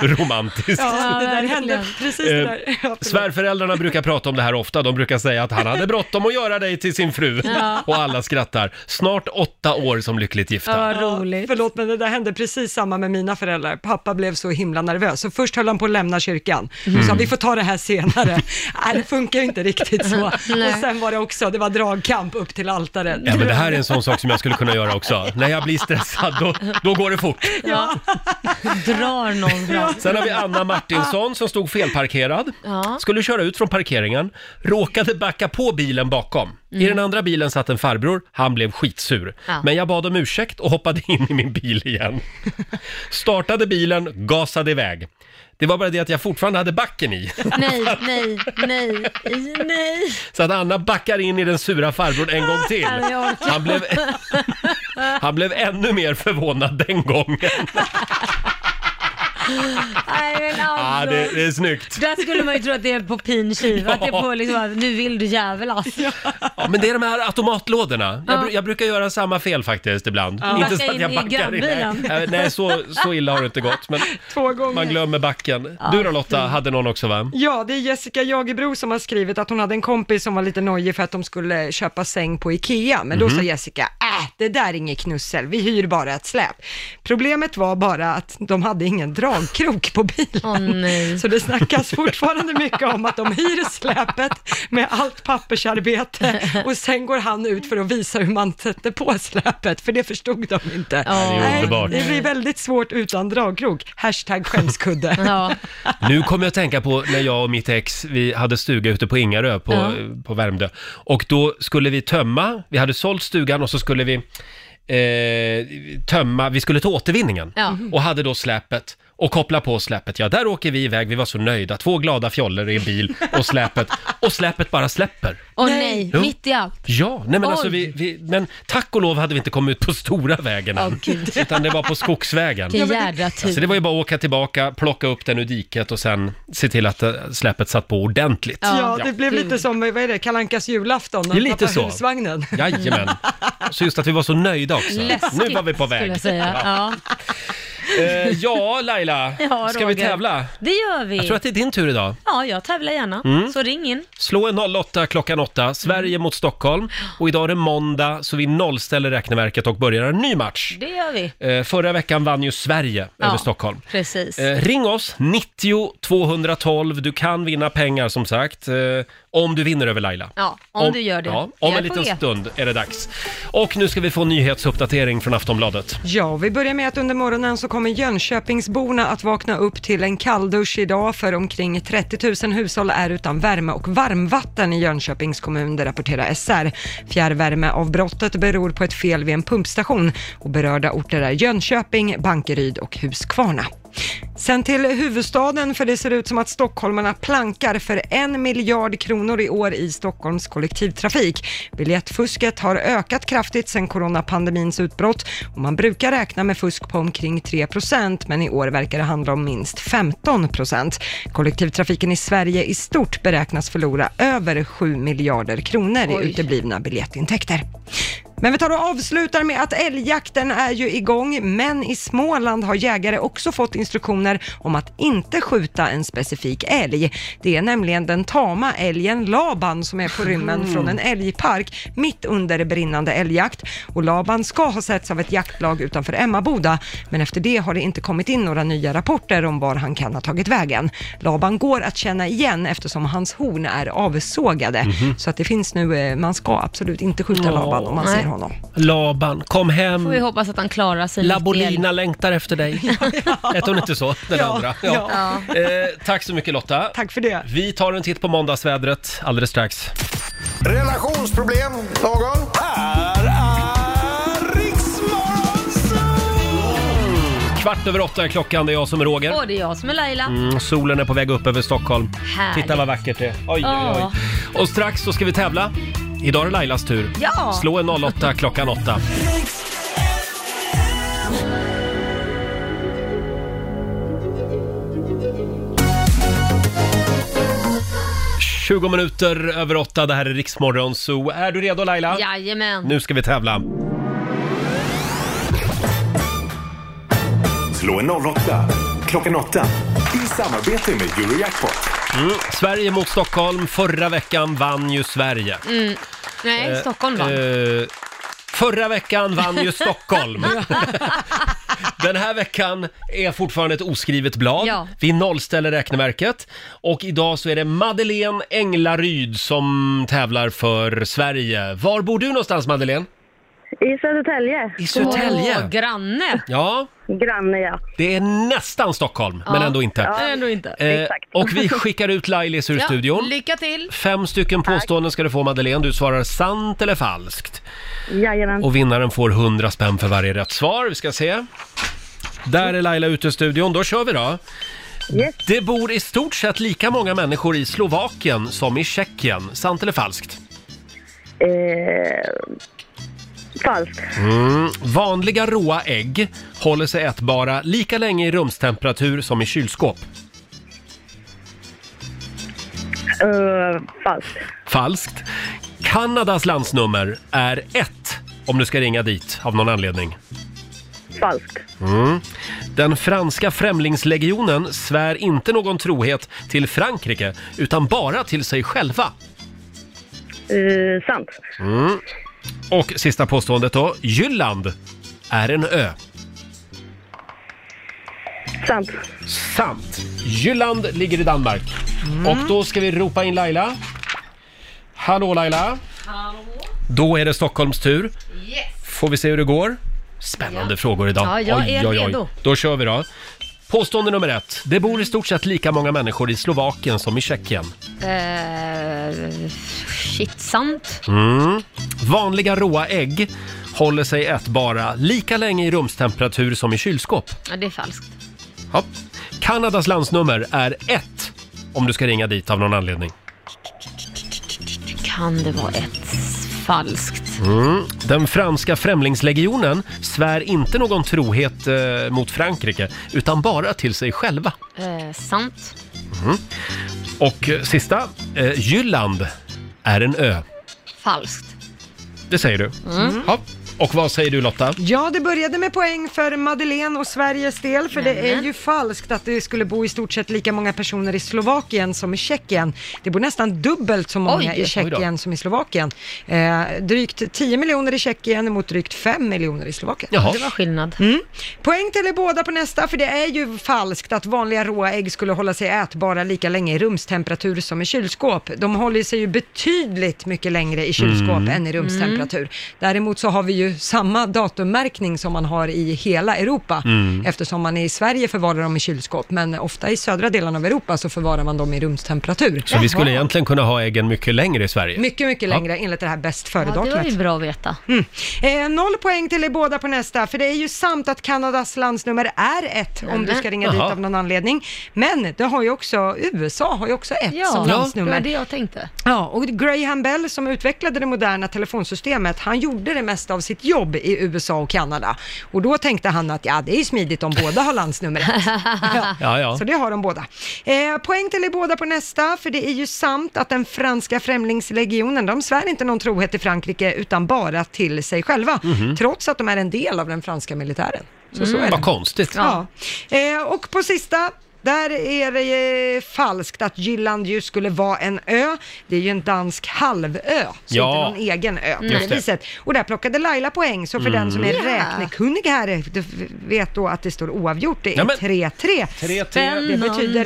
[SPEAKER 1] Romantiskt.
[SPEAKER 5] Ja, det där hände precis det
[SPEAKER 1] Eh,
[SPEAKER 5] där. Ja, förlåt.
[SPEAKER 1] svärföräldrarna brukar prata om det här ofta. De brukar säga att han hade bråttom att göra dig till sin fru.
[SPEAKER 2] Ja.
[SPEAKER 1] Och alla skrattar. Snart åtta år som lyckligt gifta.
[SPEAKER 2] Ja, roligt. Förlåt, men det där hände precis samma med mina föräldrar. Pappa blev så himla nervös, så först höll han på att lämna kyrkan.
[SPEAKER 1] Mm.
[SPEAKER 2] Så sa, vi får ta det här senare. <laughs> Nej, det funkar ju inte riktigt <laughs> så.
[SPEAKER 3] Nej.
[SPEAKER 2] Och sen var det också, det var dragkamp upp till altaret.
[SPEAKER 1] Ja, men det här är en sån sak som jag skulle kunna göra också. När jag blir stressad, då, då går det fort.
[SPEAKER 3] Ja. Drar någon fram.
[SPEAKER 1] Sen har vi Anna Martinsson som stod felparkerad.
[SPEAKER 3] Ja.
[SPEAKER 1] Skulle köra ut från parkeringen, råkade backa på bilen bakom. I den andra bilen satt en farbror, han blev skitsur.
[SPEAKER 5] Ja.
[SPEAKER 1] Men jag bad om ursäkt och hoppade in i min bil igen. Startade bilen, gasade iväg. Det var bara det att jag fortfarande hade backen i.
[SPEAKER 3] Nej, nej, nej, nej.
[SPEAKER 1] Så att Anna backar in i den sura farbrorn en gång till.
[SPEAKER 3] Nej, jag orkar.
[SPEAKER 1] Han blev, han blev ännu mer förvånad den gången.
[SPEAKER 3] Nej, men
[SPEAKER 1] Ah,
[SPEAKER 3] alltså.
[SPEAKER 1] det, det är snyggt.
[SPEAKER 3] Där skulle man ju tro att det är på pin kiv, att det är på liksom, att nu vill du jävelas.
[SPEAKER 1] Ja, men det är de här automatlådorna. Jag,
[SPEAKER 3] Ja.
[SPEAKER 1] bru- jag brukar göra samma fel faktiskt ibland.
[SPEAKER 3] Ja.
[SPEAKER 1] Inte
[SPEAKER 3] Backa
[SPEAKER 1] så att
[SPEAKER 3] in
[SPEAKER 1] jag
[SPEAKER 3] i
[SPEAKER 1] backar in.
[SPEAKER 3] grannbilen.
[SPEAKER 1] Nej, nej så, så illa har det inte gått. Men
[SPEAKER 2] Två gånger.
[SPEAKER 1] man glömmer backen.
[SPEAKER 2] Ja.
[SPEAKER 1] Du då Lotta,
[SPEAKER 3] Mm.
[SPEAKER 1] hade någon också va?
[SPEAKER 2] Ja, det är Jessica Jagerbro som har skrivit att hon hade en kompis som var lite nojig för att de skulle köpa säng på Ikea, men då
[SPEAKER 1] Mhm.
[SPEAKER 2] sa Jessica, äh, det där är inget knussel, vi hyr bara ett släp. Problemet var bara att de hade ingen dragkrok på bilen, <laughs> så det snackas fortfarande mycket om att de hyr släpet med allt pappersarbete och sen går han ut för att visa hur man sätter på släpet, för det förstod de inte.
[SPEAKER 1] det är
[SPEAKER 2] Nej,
[SPEAKER 1] underbart.
[SPEAKER 2] det blir väldigt svårt utan dragkrok. Hashtag skämskudde.
[SPEAKER 1] Nu kommer jag att tänka på när jag och mitt ex, vi hade stuga ute på Ingarö på,
[SPEAKER 2] Ja.
[SPEAKER 1] på Värmdö. Och då skulle vi tömma, vi hade sålt stugan och så skulle vi eh, tömma, vi skulle ta återvinningen. Mm-hmm.
[SPEAKER 5] Ja.
[SPEAKER 1] Och hade då släpet och koppla på släpet. Ja, där åker vi iväg, vi var så nöjda. Två glada fjollor i en bil och släpet. Och släpet bara släpper.
[SPEAKER 3] Åh nej,
[SPEAKER 1] Jo.
[SPEAKER 3] mitt i allt.
[SPEAKER 1] Ja, nej men
[SPEAKER 3] Oj.
[SPEAKER 1] alltså vi, vi, men tack och lov hade vi inte kommit ut på stora vägen än,
[SPEAKER 3] Åh, Gud.
[SPEAKER 1] utan det var på skogsvägen.
[SPEAKER 3] Vilken jädra tur.
[SPEAKER 1] Alltså det var ju bara att åka tillbaka, plocka upp den ur diket och sen se till att eh, släpet satt på ordentligt.
[SPEAKER 2] Ja, det blev lite som, vad är det, Kalankas julafton, när
[SPEAKER 1] Det är
[SPEAKER 2] han
[SPEAKER 1] lite
[SPEAKER 2] tappar
[SPEAKER 1] så.
[SPEAKER 2] husvagnen.
[SPEAKER 1] <laughs> Jajamän. Så just att vi var så nöjda också.
[SPEAKER 2] Läskigt,
[SPEAKER 1] nu var vi på väg.
[SPEAKER 3] skulle jag säga. Ja.
[SPEAKER 1] Ja, eh, ja Laila,
[SPEAKER 3] <laughs> Ja,
[SPEAKER 1] ska vi
[SPEAKER 3] Roger.
[SPEAKER 1] tävla?
[SPEAKER 3] Det gör vi.
[SPEAKER 1] Jag tror att det är din tur idag.
[SPEAKER 3] Ja, jag tävlar gärna.
[SPEAKER 1] Mm.
[SPEAKER 3] Så ring in.
[SPEAKER 1] Slå en 08 klockan 8, Sverige mot Stockholm. Och idag är det måndag, så vi nollställer räkneverket och börjar en ny match.
[SPEAKER 3] Det gör vi.
[SPEAKER 1] Eh, förra veckan vann ju Sverige
[SPEAKER 3] Ja.
[SPEAKER 1] över Stockholm.
[SPEAKER 3] Precis.
[SPEAKER 1] Eh, ring oss, 90 212. Du kan vinna pengar som sagt, eh, om du vinner över Laila.
[SPEAKER 3] Ja, om du gör det.
[SPEAKER 1] Ja,
[SPEAKER 3] Jag
[SPEAKER 1] om en
[SPEAKER 3] är på
[SPEAKER 1] liten
[SPEAKER 3] det.
[SPEAKER 1] stund är det dags. Och nu ska vi få en nyhetsuppdatering från Aftonbladet.
[SPEAKER 2] <laughs> Ja, vi börjar med att under morgonen så kommer Jönköpingsborna att vakna upp till en kalldusch idag för omkring 30 000 hushåll är utan värme och varmvatten i Jönköpings kommun, det rapporterar SR. Fjärrvärmeavbrottet beror på ett fel vid en pumpstation och berörda orter är Jönköping, Bankeryd och Huskvarna. Sen till huvudstaden, för det ser ut som att stockholmarna plankar för en miljard kronor i år i Stockholms kollektivtrafik. Biljettfusket har ökat kraftigt sedan coronapandemins utbrott och man brukar räkna med fusk på omkring 3 men i år verkar det handla om minst 15 Kollektivtrafiken i Sverige i stort beräknas förlora över 7 miljarder kronor
[SPEAKER 12] Oj.
[SPEAKER 2] i uteblivna biljettintäkter. Men vi tar och avslutar med att älgjakten är ju igång, men i Småland har jägare också fått instruktioner om att inte skjuta en specifik älg. Det är nämligen den tama älgen Laban som är på rymmen
[SPEAKER 12] Mm.
[SPEAKER 2] från en älgpark mitt under brinnande älgjakt. Och Laban ska ha setts av ett jaktlag utanför Emmaboda, men efter det har det inte kommit in några nya rapporter om var han kan ha tagit vägen. Laban går att känna igen eftersom hans horn är avsågade, så att det finns nu, eh, man ska absolut inte skjuta
[SPEAKER 1] Ja.
[SPEAKER 2] Laban om man
[SPEAKER 1] Nej.
[SPEAKER 2] ser honom.
[SPEAKER 1] Laban, kom
[SPEAKER 3] Får vi
[SPEAKER 1] hem.
[SPEAKER 3] hoppas att han klarar sig. mitt i
[SPEAKER 1] Labolina längtar efter
[SPEAKER 3] <laughs>
[SPEAKER 1] dig. Hette hon inte så, den
[SPEAKER 3] Ja,
[SPEAKER 1] andra?
[SPEAKER 3] ja.
[SPEAKER 1] Eh, tack så mycket Lotta.
[SPEAKER 2] Tack för det.
[SPEAKER 1] Vi tar en titt på måndagsvädret alldeles strax.
[SPEAKER 11] Relationsproblem någon? Här är
[SPEAKER 1] Kvart över åtta är klockan, det är jag som är Roger.
[SPEAKER 3] Åh, det är jag som är Laila.
[SPEAKER 1] Mm, solen är på väg upp över Stockholm.
[SPEAKER 3] Härligt.
[SPEAKER 1] Titta vad vackert det är. Oj, oj,
[SPEAKER 3] Ja.
[SPEAKER 1] oj. Och strax så ska vi tävla. Idag är det Lailas tur.
[SPEAKER 3] Ja.
[SPEAKER 1] Slå en
[SPEAKER 3] <laughs>
[SPEAKER 1] 08 klockan 8. Tjugo minuter över åtta, det här är Riksmorgon Zoo. Är du redo Laila?
[SPEAKER 3] Jajamän.
[SPEAKER 1] Nu ska vi tävla. Mm.
[SPEAKER 11] Slå en 08 klockan 8 i samarbete med Eurojackpot.
[SPEAKER 1] Mm. Sverige mot Stockholm. Förra veckan vann ju Sverige.
[SPEAKER 3] Mm. Nej,
[SPEAKER 1] Eh,
[SPEAKER 3] Stockholm vann.
[SPEAKER 1] eh, förra veckan vann ju
[SPEAKER 3] <laughs>
[SPEAKER 1] Stockholm. Den här veckan är fortfarande ett oskrivet blad.
[SPEAKER 3] Ja.
[SPEAKER 1] Vi nollställer räkneverket. Och idag så är det Madeleine Englaryd som tävlar för Sverige. Var bor du någonstans Madeleine?
[SPEAKER 14] I Södertälje.
[SPEAKER 1] I Södertälje?
[SPEAKER 3] Åh, granne.
[SPEAKER 1] Ja,
[SPEAKER 14] Granne, ja.
[SPEAKER 1] det är nästan Stockholm, men
[SPEAKER 3] Ja.
[SPEAKER 1] ändå inte.
[SPEAKER 3] Ja, ändå inte.
[SPEAKER 1] Eh, och vi skickar ut Lailis ur
[SPEAKER 3] Ja,
[SPEAKER 1] Eh, studion.
[SPEAKER 3] Lycka till.
[SPEAKER 1] Fem stycken påståenden ska du få Madeleine. Du svarar sant eller falskt.
[SPEAKER 14] Jajamän.
[SPEAKER 1] Och vinnaren får 100 spänn för varje rätt svar. Vi ska se. Där är Laila ute i studion. Då kör vi då. Det bor i stort sett lika många människor i Slovakien som i Tjeckien. Sant eller falskt?
[SPEAKER 14] Eh, falskt.
[SPEAKER 1] Mm. Vanliga råa ägg håller sig ätbara lika länge i rumstemperatur som i kylskåp.
[SPEAKER 14] Eh, falskt.
[SPEAKER 1] Falskt. Kanadas landsnummer är 1 om du ska ringa dit av någon anledning.
[SPEAKER 14] Falskt.
[SPEAKER 1] Mm. Den franska främlingslegionen svär inte någon trohet till Frankrike utan bara till sig själva.
[SPEAKER 14] Eh, sant.
[SPEAKER 1] Mm. Och sista påståendet då. Jylland är en ö.
[SPEAKER 14] Sant.
[SPEAKER 1] Sant. Jylland ligger i Danmark.
[SPEAKER 3] Mm.
[SPEAKER 1] Och då ska vi ropa in Laila. Hallå Laila. Då är det Stockholms tur. Får vi se hur det går? Spännande frågor idag.
[SPEAKER 3] Ja, jag är redo.
[SPEAKER 1] Då kör vi då. Påstående nummer ett. Det bor i stort sett lika många människor i Slovakien som i Tjeckien.
[SPEAKER 3] Eh, shit, sant.
[SPEAKER 1] Mm. Vanliga råa ägg håller sig ätbara lika länge i rumstemperatur som i kylskåp.
[SPEAKER 3] Ja, det är falskt.
[SPEAKER 1] Ja. Kanadas landsnummer är 1 om du ska ringa dit av någon anledning.
[SPEAKER 3] Kan det vara ett falskt?
[SPEAKER 1] Mm. Den franska främlingslegionen svär inte någon trohet eh, mot Frankrike utan bara till sig själva.
[SPEAKER 3] Eh, sant.
[SPEAKER 1] Mm. Och eh, sista, eh, Jylland är en ö.
[SPEAKER 3] Falskt.
[SPEAKER 1] Det säger du.
[SPEAKER 2] Mm.
[SPEAKER 1] Ja. Och vad säger du Lotta?
[SPEAKER 2] Ja, det började med poäng för Madeleine och Sveriges del, för det är ju falskt att det skulle bo i stort sett lika många personer i Slovakien som i Tjeckien. Det bor nästan dubbelt så många
[SPEAKER 3] Oj,
[SPEAKER 2] i
[SPEAKER 3] oj
[SPEAKER 2] Tjeckien som i Slovakien. Eh, drygt 10 miljoner i Tjeckien mot drygt 5 miljoner i Slovakien.
[SPEAKER 3] Jaha. Det var skillnad.
[SPEAKER 2] Mm. Poäng till er båda på nästa, för det är ju falskt att vanliga råa ägg skulle hålla sig ätbara lika länge i rumstemperatur som i kylskåp. De håller sig ju betydligt mycket längre i kylskåp
[SPEAKER 12] Mm.
[SPEAKER 2] än i rumstemperatur. Däremot så har vi ju ju samma datummärkning som man har i hela Europa.
[SPEAKER 12] Mm.
[SPEAKER 2] Eftersom man i Sverige förvarar dem i kylskåp, men ofta i södra delen av Europa så förvarar man dem i rumstemperatur.
[SPEAKER 1] Så vi skulle egentligen kunna ha äggen mycket längre i Sverige.
[SPEAKER 2] Mycket, mycket längre enligt det här bäst före-datumet.
[SPEAKER 1] Ja, det var ju
[SPEAKER 3] bra att veta.
[SPEAKER 2] Mm. Eh, noll poäng till er båda på nästa, för det är ju sant att Kanadas landsnummer är ett, om du ska ringa dit
[SPEAKER 3] Jaha.
[SPEAKER 2] av någon anledning. Men det har ju också, USA har ju också ett
[SPEAKER 3] Ja,
[SPEAKER 2] som
[SPEAKER 3] det var
[SPEAKER 2] landsnummer.
[SPEAKER 3] det jag tänkte.
[SPEAKER 2] Ja, och Graham Bell som utvecklade det moderna telefonsystemet, han gjorde det mesta av sitt jobb i USA och Kanada. Och då tänkte han att ja, det är ju smidigt om båda har landsnumret. ja.
[SPEAKER 1] Ja, ja.
[SPEAKER 2] Så det har de båda. Eh, poäng till er båda på nästa, för det är ju sant att den franska främlingslegionen, de svär inte någon trohet till Frankrike utan bara till sig själva,
[SPEAKER 1] Mhm.
[SPEAKER 2] trots att de är en del av den franska militären. Så, så
[SPEAKER 1] Mm.
[SPEAKER 2] är det.
[SPEAKER 1] Vad konstigt.
[SPEAKER 2] Ja. Eh, och på sista, där är det eh, falskt att Jylland ju skulle vara en ö. Det är ju en dansk halvö, så
[SPEAKER 12] Ja.
[SPEAKER 2] inte någon egen ö på
[SPEAKER 12] Just
[SPEAKER 2] det
[SPEAKER 12] det.
[SPEAKER 2] viset. Och där plockade Laila poäng, så för
[SPEAKER 1] Mm.
[SPEAKER 2] den som är
[SPEAKER 1] Ja.
[SPEAKER 2] räknekunnig här du vet då att det står oavgjort. Det är
[SPEAKER 1] Ja, men-
[SPEAKER 2] 3-3.
[SPEAKER 1] 3-3.
[SPEAKER 2] Det betyder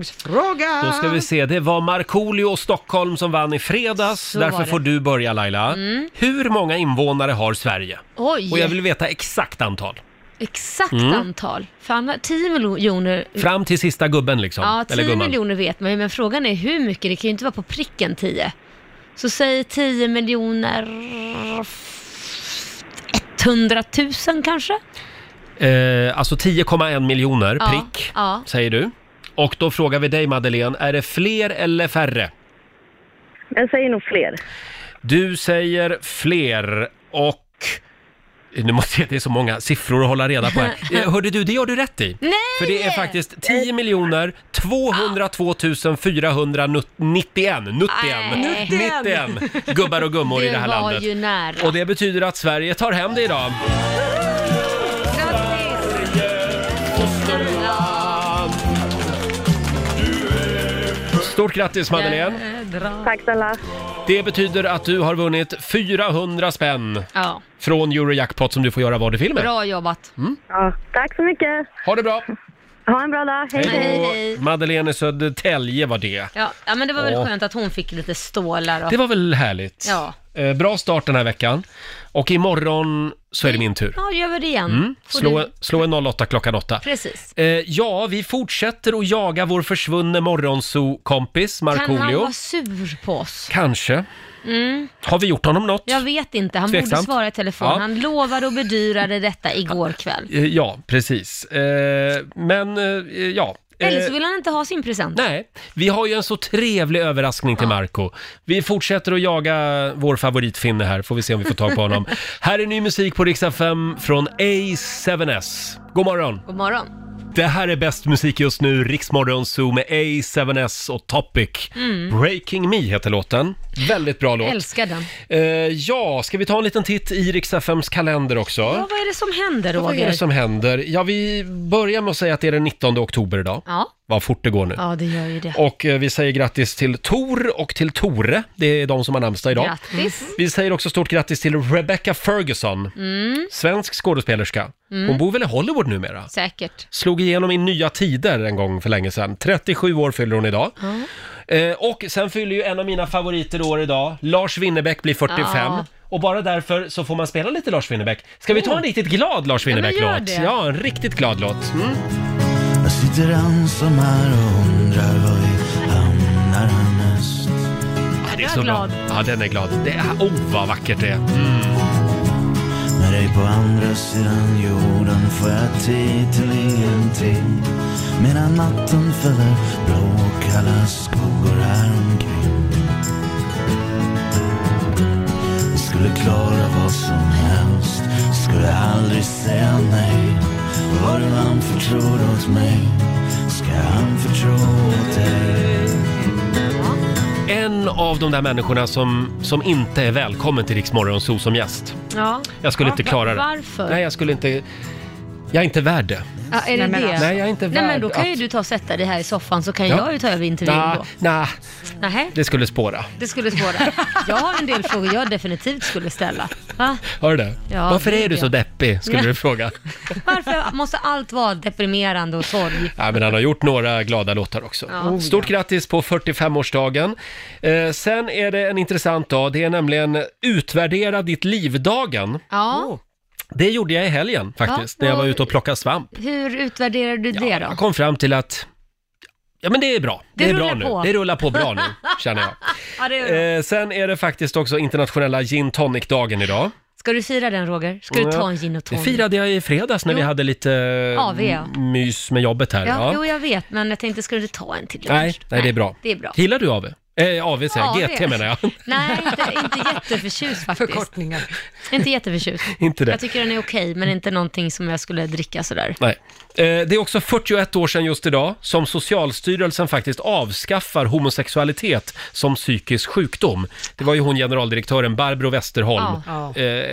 [SPEAKER 2] utslagsfråga.
[SPEAKER 1] Då ska vi se, det var Markoolio och Stockholm som vann i fredags.
[SPEAKER 3] Så var
[SPEAKER 1] Därför
[SPEAKER 3] det.
[SPEAKER 1] får du börja Laila.
[SPEAKER 3] Mm.
[SPEAKER 1] Hur många invånare har Sverige?
[SPEAKER 3] Oj.
[SPEAKER 1] Och jag vill veta exakt antal.
[SPEAKER 3] Exakt
[SPEAKER 1] Mm.
[SPEAKER 3] antal. Fan, 10 miljoner.
[SPEAKER 1] Fram till sista gubben liksom.
[SPEAKER 3] ja, 10
[SPEAKER 1] Eller gumman.
[SPEAKER 3] miljoner vet man ju, men frågan är hur mycket. Det kan ju inte vara på pricken 10. Så säg 10 miljoner... 100 000 kanske?
[SPEAKER 1] Eh, alltså 10,1 miljoner
[SPEAKER 3] Ja,
[SPEAKER 1] prick,
[SPEAKER 3] ja.
[SPEAKER 1] säger du. Och då frågar vi dig Madeleine, är det fler eller färre?
[SPEAKER 14] Jag säger nog fler.
[SPEAKER 1] Du säger fler och... Nu måste jag, det är så många siffror att hålla reda på här. Eh, Hörde du, det gör du rätt i.
[SPEAKER 3] Nej!
[SPEAKER 1] För det är faktiskt 10 miljoner 202 491
[SPEAKER 3] Nej.
[SPEAKER 1] 91 gubbar och gummor i det här
[SPEAKER 3] var
[SPEAKER 1] landet.
[SPEAKER 3] ju nära.
[SPEAKER 1] Och det betyder att Sverige tar hem det idag. Stort grattis Madeleine!
[SPEAKER 14] Tack snälla.
[SPEAKER 1] Det betyder att du har vunnit 400 spänn
[SPEAKER 3] Ja.
[SPEAKER 1] från Eurojackpot som du får göra vad du vill med.
[SPEAKER 3] Bra jobbat.
[SPEAKER 1] Mm.
[SPEAKER 14] Ja, tack så mycket.
[SPEAKER 1] Ha det bra.
[SPEAKER 14] Ha en bra dag. Hej,
[SPEAKER 3] Hej,
[SPEAKER 14] hej.
[SPEAKER 3] hej.
[SPEAKER 1] Madeleine i Södertälje var det.
[SPEAKER 3] Ja, ja, men det var väl
[SPEAKER 1] Ja.
[SPEAKER 3] skönt att hon fick lite stålar och...
[SPEAKER 1] Det var väl härligt.
[SPEAKER 3] Ja.
[SPEAKER 1] Eh, Bra start den här veckan. Och imorgon så är det min tur.
[SPEAKER 3] Ja, gör vi det igen.
[SPEAKER 1] Mm.
[SPEAKER 3] Får
[SPEAKER 1] Slå,
[SPEAKER 3] du-
[SPEAKER 1] slå en 08 klockan 8.
[SPEAKER 3] Precis.
[SPEAKER 1] Eh, ja, vi fortsätter att jaga vår försvunne morgonzoo-kompis
[SPEAKER 3] Kan han
[SPEAKER 1] Markoolio.
[SPEAKER 3] vara sur på oss?
[SPEAKER 1] Kanske.
[SPEAKER 3] Mm.
[SPEAKER 1] Har vi gjort honom något?
[SPEAKER 3] Jag vet inte, han borde
[SPEAKER 1] Tveksamt.
[SPEAKER 3] svara i telefon.
[SPEAKER 1] Ja.
[SPEAKER 3] Han lovade och bedyrade detta igår kväll.
[SPEAKER 1] Eh, Ja, precis. Eh, men, eh, ja. Eh,
[SPEAKER 3] Eller så vill han inte ha sin present.
[SPEAKER 1] Nej, vi har ju en så trevlig överraskning till Marco. Vi fortsätter att jaga vår favoritfinne här, får vi se om vi får tag på
[SPEAKER 3] <laughs>
[SPEAKER 1] honom. här är ny musik på Riksa 5 från A7S. God morgon!
[SPEAKER 3] God morgon.
[SPEAKER 1] Det här är bäst musik just nu, Riksmorgon Zoo med A7S och Topic.
[SPEAKER 3] Mm.
[SPEAKER 1] Breaking Me heter låten. Väldigt bra låt.
[SPEAKER 3] Älskar den.
[SPEAKER 1] Eh, ja, ska vi ta en liten titt i Riks-FMs kalender också?
[SPEAKER 3] Ja, vad är det som händer,
[SPEAKER 1] Ja,
[SPEAKER 3] Roger?
[SPEAKER 1] Vad är det som händer? Ja, vi börjar med att säga att det är den 19 oktober idag.
[SPEAKER 3] Ja.
[SPEAKER 1] Vad fort det går nu.
[SPEAKER 3] ja, det gör ju det.
[SPEAKER 1] Och eh, vi säger grattis till Tor och till Tore. Det är de som har namnsdag idag.
[SPEAKER 3] Grattis.
[SPEAKER 1] Vi säger också stort grattis till Rebecca Ferguson,
[SPEAKER 3] Mm,
[SPEAKER 1] svensk skådespelerska.
[SPEAKER 3] Mm.
[SPEAKER 1] Hon bor väl i Hollywood numera?
[SPEAKER 3] säkert.
[SPEAKER 1] Slog igenom i Nya Tider en gång för länge sedan. 37 år fyller hon idag.
[SPEAKER 3] Ja.
[SPEAKER 1] Eh, och sen fyller ju en av mina favoriter år idag, Lars Winnerbäck blir 45.
[SPEAKER 3] Ja.
[SPEAKER 1] Och bara därför så får man spela lite Lars Winnerbäck. Ska vi ta en
[SPEAKER 3] Mm.
[SPEAKER 1] riktigt glad Lars
[SPEAKER 3] Ja, men
[SPEAKER 1] Winnerbäck-låt?
[SPEAKER 3] gör
[SPEAKER 1] Ja,
[SPEAKER 3] det.
[SPEAKER 1] en riktigt glad låt. Mm.
[SPEAKER 5] Jag sitter ensam här och undrar var vi hamnar härnäst.
[SPEAKER 1] Ja, det är
[SPEAKER 5] Jag är
[SPEAKER 1] så bra.
[SPEAKER 5] glad.
[SPEAKER 1] Ja, den är glad. Det är, oh, vad vackert det är. Mm.
[SPEAKER 5] Med dig på andra sidan jorden får jag tid till ingenting. Medan natten fäller blå och kalla skuggor häromkring. Jag skulle klara vad som helst, skulle aldrig säga nej. Vad du anförtror åt mig, ska jag anförtro åt dig.
[SPEAKER 1] En av de där människorna som, som inte är välkommen till Riksmorgon Zoo som gäst.
[SPEAKER 3] Ja.
[SPEAKER 1] Jag skulle
[SPEAKER 3] Ja,
[SPEAKER 1] inte klara det.
[SPEAKER 3] va- Varför?
[SPEAKER 1] Nej, jag skulle inte... Jag är inte värd det.
[SPEAKER 3] Ja, är det
[SPEAKER 1] Nej, men
[SPEAKER 3] det?
[SPEAKER 1] alltså. Nej, jag är inte
[SPEAKER 3] Nej, men
[SPEAKER 1] värd
[SPEAKER 3] då kan ju
[SPEAKER 1] att- Ah,
[SPEAKER 3] du ta och sätta dig här i soffan så kan
[SPEAKER 1] Ja.
[SPEAKER 3] jag ju ta över intervjun
[SPEAKER 1] Nja,
[SPEAKER 3] då.
[SPEAKER 1] nja,
[SPEAKER 3] Nähä,
[SPEAKER 1] det skulle spåra.
[SPEAKER 3] det skulle svåra. Jag har en del frågor jag definitivt skulle ställa. Va?
[SPEAKER 1] Har du det?
[SPEAKER 3] Ja,
[SPEAKER 1] Varför
[SPEAKER 3] det
[SPEAKER 1] är du
[SPEAKER 3] vet
[SPEAKER 1] så
[SPEAKER 3] jag.
[SPEAKER 1] deppig, skulle
[SPEAKER 3] Ja.
[SPEAKER 1] du fråga.
[SPEAKER 3] Varför måste allt vara deprimerande och sorg?
[SPEAKER 1] Ja, men han har gjort några glada låtar också.
[SPEAKER 3] Ja. Oh,
[SPEAKER 1] Stort grattis på 45-årsdagen. Eh, sen är det en intressant dag. Det är nämligen utvärdera ditt liv-dagen.
[SPEAKER 3] Ja.
[SPEAKER 1] Det gjorde jag i helgen faktiskt,
[SPEAKER 3] Ja,
[SPEAKER 1] när jag var
[SPEAKER 3] och-
[SPEAKER 1] ute och plockade svamp.
[SPEAKER 3] Hur utvärderar du det då?
[SPEAKER 1] Jag kom fram till att, ja men det är bra.
[SPEAKER 3] Det
[SPEAKER 1] är bra
[SPEAKER 3] rullar
[SPEAKER 1] nu.
[SPEAKER 3] på.
[SPEAKER 1] Det rullar på
[SPEAKER 3] <laughs>
[SPEAKER 1] bra nu, känner jag.
[SPEAKER 3] Ja, det är bra.
[SPEAKER 1] Eh, sen är det faktiskt också internationella gin tonic-dagen idag.
[SPEAKER 3] Ska du fira den Roger? Ska du ta en gin och
[SPEAKER 1] Det
[SPEAKER 3] tonic?
[SPEAKER 1] firade jag i fredags när
[SPEAKER 3] Jo.
[SPEAKER 1] vi hade lite
[SPEAKER 3] AV, ja.
[SPEAKER 1] mys med jobbet här.
[SPEAKER 3] Ja,
[SPEAKER 1] Ja.
[SPEAKER 3] Jo, jag vet, men jag tänkte, ska du ta en till?
[SPEAKER 1] Nej, nej, det är bra.
[SPEAKER 3] Det är bra.
[SPEAKER 1] Gillar du AV? Eh, AV säger jag,
[SPEAKER 3] AV.
[SPEAKER 1] GT menar jag. <laughs>
[SPEAKER 3] Nej, inte, inte jätteförtjust faktiskt. Förkortningar. Inte jätteförtjust.
[SPEAKER 1] Inte <laughs> det.
[SPEAKER 3] Jag tycker den är okej, men inte någonting som jag skulle dricka sådär.
[SPEAKER 1] Nej. Eh, Det är också 41 år sedan just idag som Socialstyrelsen faktiskt avskaffar homosexualitet som psykisk sjukdom. Det var ju hon generaldirektören Barbro Westerholm,
[SPEAKER 5] Ja.
[SPEAKER 1] Eh,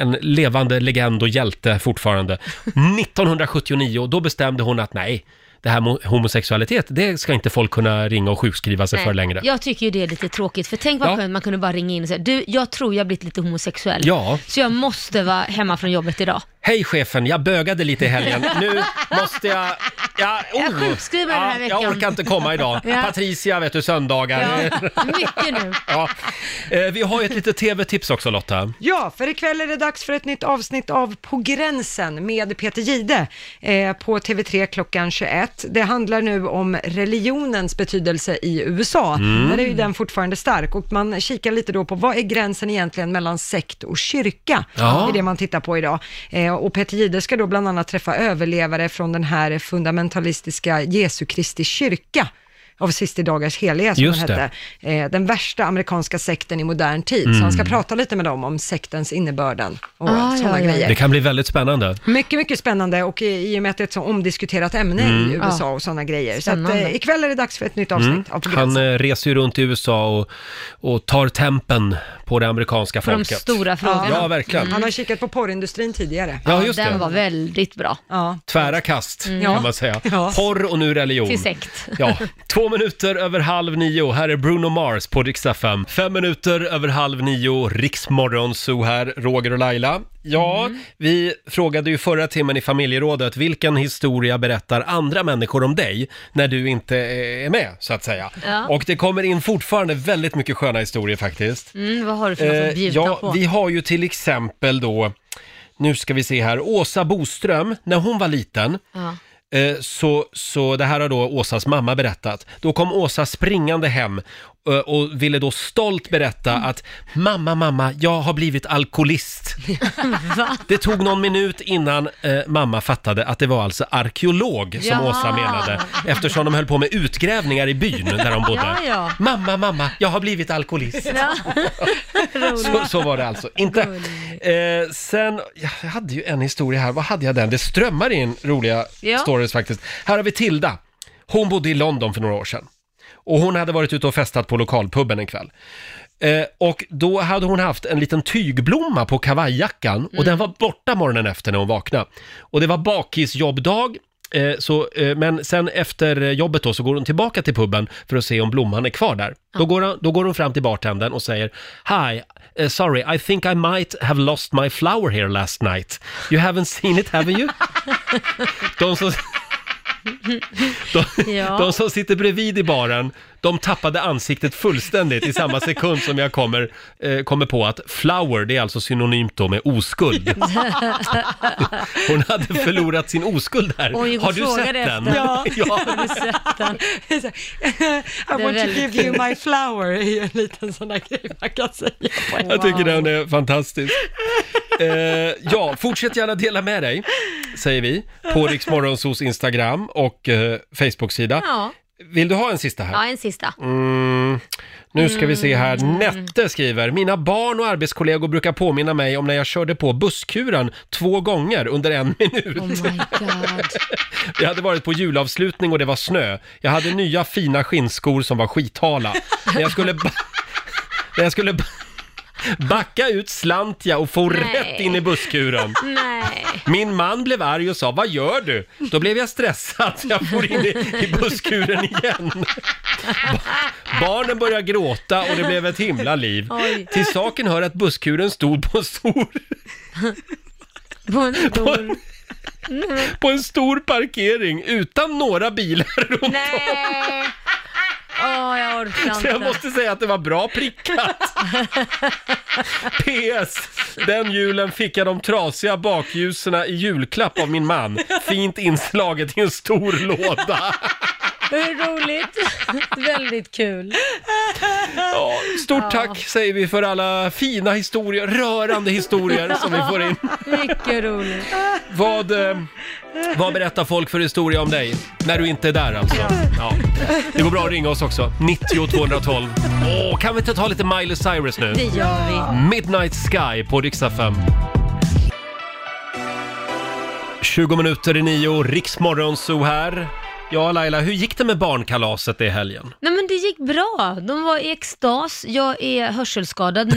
[SPEAKER 1] en levande legend och hjälte fortfarande. <laughs> 1979, då bestämde hon att nej, det här med homosexualitet, det ska inte folk kunna ringa och sjukskriva sig
[SPEAKER 3] Nej,
[SPEAKER 1] för längre.
[SPEAKER 3] Jag tycker ju det är lite tråkigt, för tänk vad
[SPEAKER 1] Ja.
[SPEAKER 3] skönt man kunde bara ringa in och säga, du, jag tror jag blivit lite homosexuell.
[SPEAKER 1] Ja.
[SPEAKER 3] Så jag måste vara hemma från
[SPEAKER 1] <laughs>
[SPEAKER 3] jobbet idag.
[SPEAKER 1] Hej chefen, jag bögade lite i helgen. Nu måste jag... Ja, oh.
[SPEAKER 3] Jag sjukskriver mig den här veckan.
[SPEAKER 1] Jag orkar inte komma idag.
[SPEAKER 3] Ja.
[SPEAKER 1] Patricia, vet du, söndagar.
[SPEAKER 3] Ja, mycket nu.
[SPEAKER 1] Ja. Eh, Vi har ju ett litet tv-tips också Lotta.
[SPEAKER 2] Ja, för ikväll är det dags för ett nytt avsnitt av På gränsen med Peter Gide eh, på TV3 klockan 21. Det handlar nu om religionens betydelse i USA.
[SPEAKER 12] Mm.
[SPEAKER 2] Där är ju den fortfarande stark och man kikar lite då på vad är gränsen egentligen mellan sekt och kyrka?
[SPEAKER 12] Ja.
[SPEAKER 2] Det är det man tittar på idag. Eh, och Peter Gide ska då bland annat träffa överlevare från den här fundamentalistiska Jesu Kristi kyrka av sista dagars heliga som
[SPEAKER 12] Just
[SPEAKER 2] den
[SPEAKER 12] det.
[SPEAKER 2] hette eh, den värsta amerikanska sekten i modern tid. Så
[SPEAKER 1] Mm.
[SPEAKER 2] han ska prata lite med dem om sektens innebörden och
[SPEAKER 1] Ah,
[SPEAKER 2] sådana grejer.
[SPEAKER 1] Det kan bli väldigt spännande.
[SPEAKER 2] Mycket, mycket spännande och i i och med att det är ett så omdiskuterat ämne
[SPEAKER 1] Mm.
[SPEAKER 2] i USA
[SPEAKER 1] Ja.
[SPEAKER 2] och sådana grejer. Så att,
[SPEAKER 1] Spännande.
[SPEAKER 2] eh, ikväll är det dags för ett nytt avsnitt
[SPEAKER 1] Mm.
[SPEAKER 2] av På
[SPEAKER 1] Han
[SPEAKER 2] gränsen.
[SPEAKER 1] eh, reser ju runt i USA och, och tar tempen på det amerikanska folket. Ja, verkligen.
[SPEAKER 3] Mm.
[SPEAKER 2] Han har kikat på porrindustrin tidigare.
[SPEAKER 1] Ja, Ja, just den det. var
[SPEAKER 3] väldigt bra.
[SPEAKER 2] Ja.
[SPEAKER 1] Tvära kast
[SPEAKER 2] Mm. Ja.
[SPEAKER 1] kan man säga. Porr och nu religion.
[SPEAKER 3] Till sekt.
[SPEAKER 1] Ja, två minuter över halv nio. Här är Bruno Mars på Rix FM. Fem minuter över halv nio, Riksmorgon Zoo här, Roger och Laila. Ja, vi frågade ju förra timmen i familjerådet, vilken historia berättar andra människor om dig när du inte eh, är med, så att säga?
[SPEAKER 3] Ja.
[SPEAKER 1] Och det kommer in fortfarande väldigt mycket sköna historier faktiskt.
[SPEAKER 3] Mm, vad har du för något
[SPEAKER 1] Eh,
[SPEAKER 3] att bjuda
[SPEAKER 1] ja,
[SPEAKER 3] på?
[SPEAKER 1] vi har ju till exempel då, nu ska vi se här, Åsa Boström, när hon var liten,
[SPEAKER 3] Ja.
[SPEAKER 1] Eh, Så, så det här har då Åsas mamma berättat. Då kom Åsa springande hem eh, och ville då stolt berätta att mamma, mamma, jag har blivit alkoholist. Det tog någon minut innan eh, mamma fattade att det var alltså arkeolog som
[SPEAKER 5] Ja.
[SPEAKER 1] Åsa menade eftersom de höll på med utgrävningar i byn där de bodde.
[SPEAKER 5] Ja, ja.
[SPEAKER 1] Mamma, mamma, jag har blivit alkoholist.
[SPEAKER 5] Ja.
[SPEAKER 1] Så, så var det alltså inte. Eh, sen, jag hade ju en historia här, vad hade jag den? Det strömmar in roliga
[SPEAKER 5] Ja.
[SPEAKER 1] stories faktiskt. Här har vi Tilda. Hon bodde i London för några år sedan. Och hon hade varit ute och festat på lokalpubben en kväll. Eh, och då hade hon haft en liten tygblomma på kavajjackan och den var borta morgonen efter när hon vaknade. Och det var bakisjobbdag, eh, så, eh, men sen efter eh, jobbet då så går hon tillbaka till puben för att se om blomman är kvar där. Då, går hon, då går hon fram till bartendern och säger “Hi, eh, sorry, I think I might have lost my flower here last night. You haven't seen it, have you?” De som... De,
[SPEAKER 5] Ja.
[SPEAKER 1] de som sitter bredvid i baren, de tappade ansiktet fullständigt i samma sekund som jag kommer, eh, kommer på att flower, det är alltså synonymt då med
[SPEAKER 5] <laughs>
[SPEAKER 1] oskuld. Hon hade förlorat sin oskuld här.
[SPEAKER 5] Oj, gå
[SPEAKER 1] Har du
[SPEAKER 5] fråga
[SPEAKER 1] sett
[SPEAKER 5] det
[SPEAKER 1] den?
[SPEAKER 5] efter.
[SPEAKER 2] Ja.
[SPEAKER 1] <laughs> ja.
[SPEAKER 2] Har du sett den? I
[SPEAKER 5] är
[SPEAKER 2] want to
[SPEAKER 5] väldigt
[SPEAKER 2] give you
[SPEAKER 5] kul.
[SPEAKER 2] my flower är en liten sån där grej man kan säga.
[SPEAKER 1] Jag tycker den är fantastisk. Eh, ja, fortsätt gärna dela med dig, säger vi, på Riksmorgonsos Instagram och eh, Facebook-sida.
[SPEAKER 3] Ja.
[SPEAKER 1] Vill du ha en sista här?
[SPEAKER 3] ja, en sista.
[SPEAKER 1] Mm, nu ska vi se här. Nette skriver, mina barn och arbetskollegor brukar påminna mig om när jag körde på busskuren två gånger under en <laughs> minut.
[SPEAKER 3] Oh my god.
[SPEAKER 1] Jag hade varit på julavslutning och det var snö. Jag hade nya <laughs> fina skinnskor som var skithala. När jag skulle... ba- När jag skulle... ba- Backa ut slant jag och for
[SPEAKER 3] Nej.
[SPEAKER 1] rätt in i busskuren.
[SPEAKER 3] Nej.
[SPEAKER 1] Min man blev arg och sa, vad gör du? Då blev jag stressad, jag for in i, i busskuren igen. Ba- Barnen började gråta och det blev ett himla liv.
[SPEAKER 3] Oj.
[SPEAKER 1] Till saken hör att busskuren stod på en stor,
[SPEAKER 3] På en
[SPEAKER 1] på
[SPEAKER 3] stor...
[SPEAKER 1] en, på en stor parkering utan några bilar runt
[SPEAKER 3] Nej! Åh, jag orkar
[SPEAKER 1] <laughs>
[SPEAKER 3] inte.
[SPEAKER 1] Så jag måste säga att det var bra prickat. PS. Den julen fick jag de trasiga bakljusen i julklapp av min man. Fint inslaget i en stor låda.
[SPEAKER 3] Hur roligt? Väldigt kul.
[SPEAKER 1] Ja, Stort tack säger vi för alla fina historier, rörande historier som vi får in.
[SPEAKER 3] Mycket roligt.
[SPEAKER 1] Vad, eh, vad berättar folk för historia om dig? När du inte är där alltså. Ja. Det går bra att ringa oss också. 90 212. Åh, kan vi inte ta lite Miley Cyrus nu?
[SPEAKER 3] Det gör vi.
[SPEAKER 1] Midnight Sky på riksdag 5. 20 minuter i nio, Riksmorgonzoo här. Ja, Laila, hur gick det med barnkalaset i helgen?
[SPEAKER 3] Nej men det gick bra. De var i extas. Jag är hörselskadad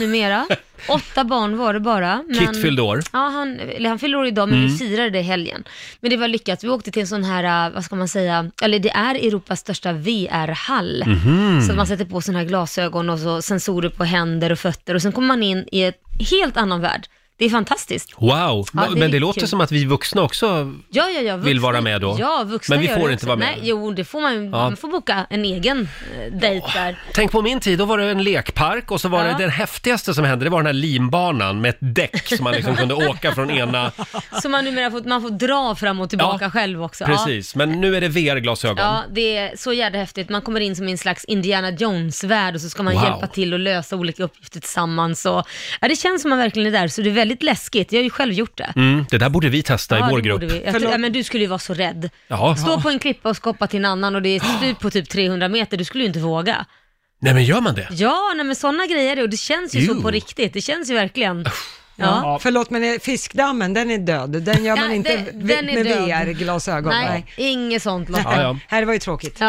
[SPEAKER 1] <laughs>
[SPEAKER 3] numera. Åtta barn var det bara. Men...
[SPEAKER 1] Kit fyllde år.
[SPEAKER 3] Ja, han, eller han fyllde år idag men vi
[SPEAKER 1] Mm.
[SPEAKER 3] firade det i helgen. Men det var lyckat. Vi åkte till en sån här, eh, vad ska man säga, eller det är Europas största VR-hall.
[SPEAKER 12] Mhm.
[SPEAKER 3] Så att man sätter på såna här glasögon och så sensorer på händer och fötter och sen kommer man in i en helt annan värld. Det är fantastiskt.
[SPEAKER 1] Wow,
[SPEAKER 3] Ja, det är
[SPEAKER 1] men det
[SPEAKER 3] riktigt
[SPEAKER 1] låter
[SPEAKER 3] kul.
[SPEAKER 1] som att vi vuxna också...
[SPEAKER 3] Ja, ja, ja.
[SPEAKER 1] Vill vara med då?
[SPEAKER 3] Ja, vuxna
[SPEAKER 1] Men vi
[SPEAKER 3] gör
[SPEAKER 1] får
[SPEAKER 3] det
[SPEAKER 1] inte
[SPEAKER 3] också.
[SPEAKER 1] vara med.
[SPEAKER 3] Nej, jo, det får man ju. Man får boka en egen eh, dejt där.
[SPEAKER 1] Tänk på min tid, då var det en lekpark och så var
[SPEAKER 3] Ja.
[SPEAKER 1] det den häftigaste som hände, det var den här linbanan med ett däck som man liksom kunde åka från
[SPEAKER 3] <laughs>
[SPEAKER 1] ena...
[SPEAKER 3] Så man numera får, man får dra fram och tillbaka själv också.
[SPEAKER 1] Precis, men nu är det
[SPEAKER 3] Ja.
[SPEAKER 1] VR-glasögon.
[SPEAKER 3] ja, det är så jävla häftigt. Man kommer in som i en slags Indiana Jones-värld och så ska man
[SPEAKER 1] Wow.
[SPEAKER 3] hjälpa till och lösa olika uppgifter tillsammans. Och, ja, det känns som man verkligen är där, så det är väldigt läskigt. Jag har ju själv gjort det.
[SPEAKER 1] Mm, det där borde vi testa
[SPEAKER 3] Ja,
[SPEAKER 1] i vår
[SPEAKER 3] det
[SPEAKER 1] grupp.
[SPEAKER 3] borde vi. Jag tror- ja, men du skulle ju vara så rädd.
[SPEAKER 1] Ja.
[SPEAKER 3] Stå
[SPEAKER 1] Ja.
[SPEAKER 3] på en klippa och ska hoppa till en annan
[SPEAKER 1] <gasps>
[SPEAKER 3] och det är ett stup på typ 300 meter, du skulle ju inte våga.
[SPEAKER 1] Nej men gör man det?
[SPEAKER 3] Ja, nej, men sådana grejer är det, och det känns ju så
[SPEAKER 2] Ew.
[SPEAKER 3] på riktigt. Det känns ju verkligen.
[SPEAKER 2] Ja. Förlåt, men fiskdammen, den är död. Den gör man
[SPEAKER 3] Nej,
[SPEAKER 2] inte
[SPEAKER 3] den-
[SPEAKER 2] vi-
[SPEAKER 3] den är
[SPEAKER 2] med
[SPEAKER 3] död.
[SPEAKER 2] VR-glasögon.
[SPEAKER 3] Nej, inget sånt Lotta.
[SPEAKER 1] Ja, ja.
[SPEAKER 2] Nej, det var ju tråkigt.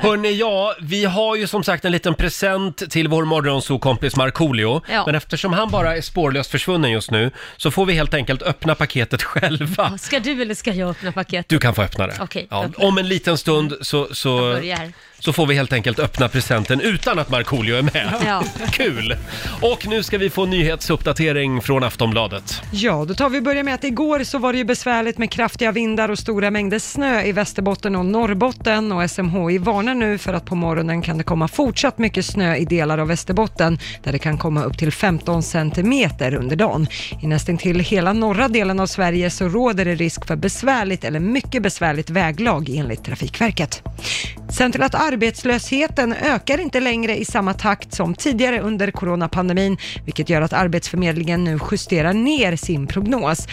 [SPEAKER 1] Hörni, ja, vi har ju som sagt en liten present till vår morgonsokompis Markoolio.
[SPEAKER 3] Ja.
[SPEAKER 1] Men eftersom han bara är spårlöst försvunnen just nu så får vi helt enkelt öppna paketet själva.
[SPEAKER 3] <laughs> Ska du eller ska jag öppna paketet?
[SPEAKER 1] Du kan få öppna det.
[SPEAKER 3] Okej,
[SPEAKER 1] ja,
[SPEAKER 3] öppna. Mm.
[SPEAKER 1] om en liten stund så, så,
[SPEAKER 3] Jag börjar.
[SPEAKER 1] så får vi helt enkelt öppna presenten utan att Markoolio är med.
[SPEAKER 3] Ja.
[SPEAKER 1] Kul! Och nu ska vi få nyhetsuppdatering från Aftonbladet.
[SPEAKER 2] Ja, då tar vi och börjar med att igår så var det ju besvärligt med kraftiga vindar och stora mängder snö i Västerbotten och Norrbotten och SMHI varnar nu för att på morgonen kan det komma fortsatt mycket snö i delar av Västerbotten där det kan komma upp till 15 centimeter under dagen. I nästan till hela norra delen av Sverige så råder det risk för besvärligt eller mycket besvärligt väglag enligt Trafikverket. Sen till att arbetslösheten ökar inte längre i samma takt som tidigare under coronapandemin, vilket gör att Arbetsförmedlingen nu justerar ner sin prognos.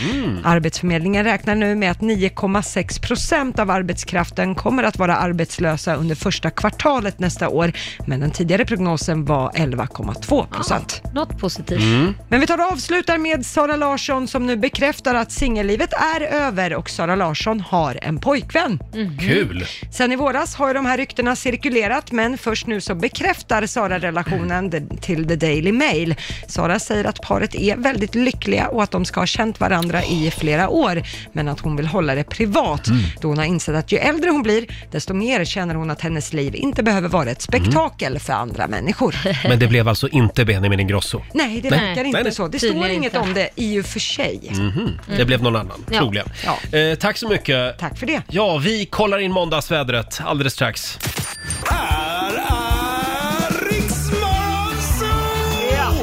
[SPEAKER 2] Arbetsförmedlingen räknar nu med att 9,6 procent av arbetskraften kommer att vara arbetslösa under första kvartalet nästa år, men den tidigare prognosen var 11,2 procent.
[SPEAKER 3] Något positivt.
[SPEAKER 1] Mm.
[SPEAKER 2] Men vi tar och avslutar med Sara Larsson som nu bekräftar att singellivet är över och Sara Larsson har en pojkvän.
[SPEAKER 3] Mm.
[SPEAKER 1] Kul!
[SPEAKER 2] Sen i våras har ju de här ryktena cirkulerat, men först nu så bekräftar Sara
[SPEAKER 1] Mm.
[SPEAKER 2] relationen de- till The Daily Mail. Sara säger att paret är väldigt lyckliga och att de ska ha känt varandra i flera år, men att hon vill hålla det privat.
[SPEAKER 1] Mm.
[SPEAKER 2] Då hon har insett att ju äldre hon blir, desto mer känner hon att hennes liv inte behöver vara ett
[SPEAKER 1] Mm.
[SPEAKER 2] spektakel för
[SPEAKER 1] <laughs>
[SPEAKER 2] andra människor.
[SPEAKER 1] Men det blev alltså inte Benjamin Ingrosso?
[SPEAKER 2] Nej, det
[SPEAKER 1] Nej.
[SPEAKER 2] verkar
[SPEAKER 1] Nej,
[SPEAKER 2] inte
[SPEAKER 1] nej.
[SPEAKER 2] så. Det
[SPEAKER 3] Tydligen
[SPEAKER 2] står inget
[SPEAKER 3] inte.
[SPEAKER 2] om det i och för sig.
[SPEAKER 1] Mhm. Det
[SPEAKER 2] Mm.
[SPEAKER 1] blev någon annan,
[SPEAKER 2] Ja.
[SPEAKER 1] troligen. Eh, tack så mycket.
[SPEAKER 2] Tack för det.
[SPEAKER 1] Ja, vi kollar in måndagsvädret alldeles strax.
[SPEAKER 5] Ja.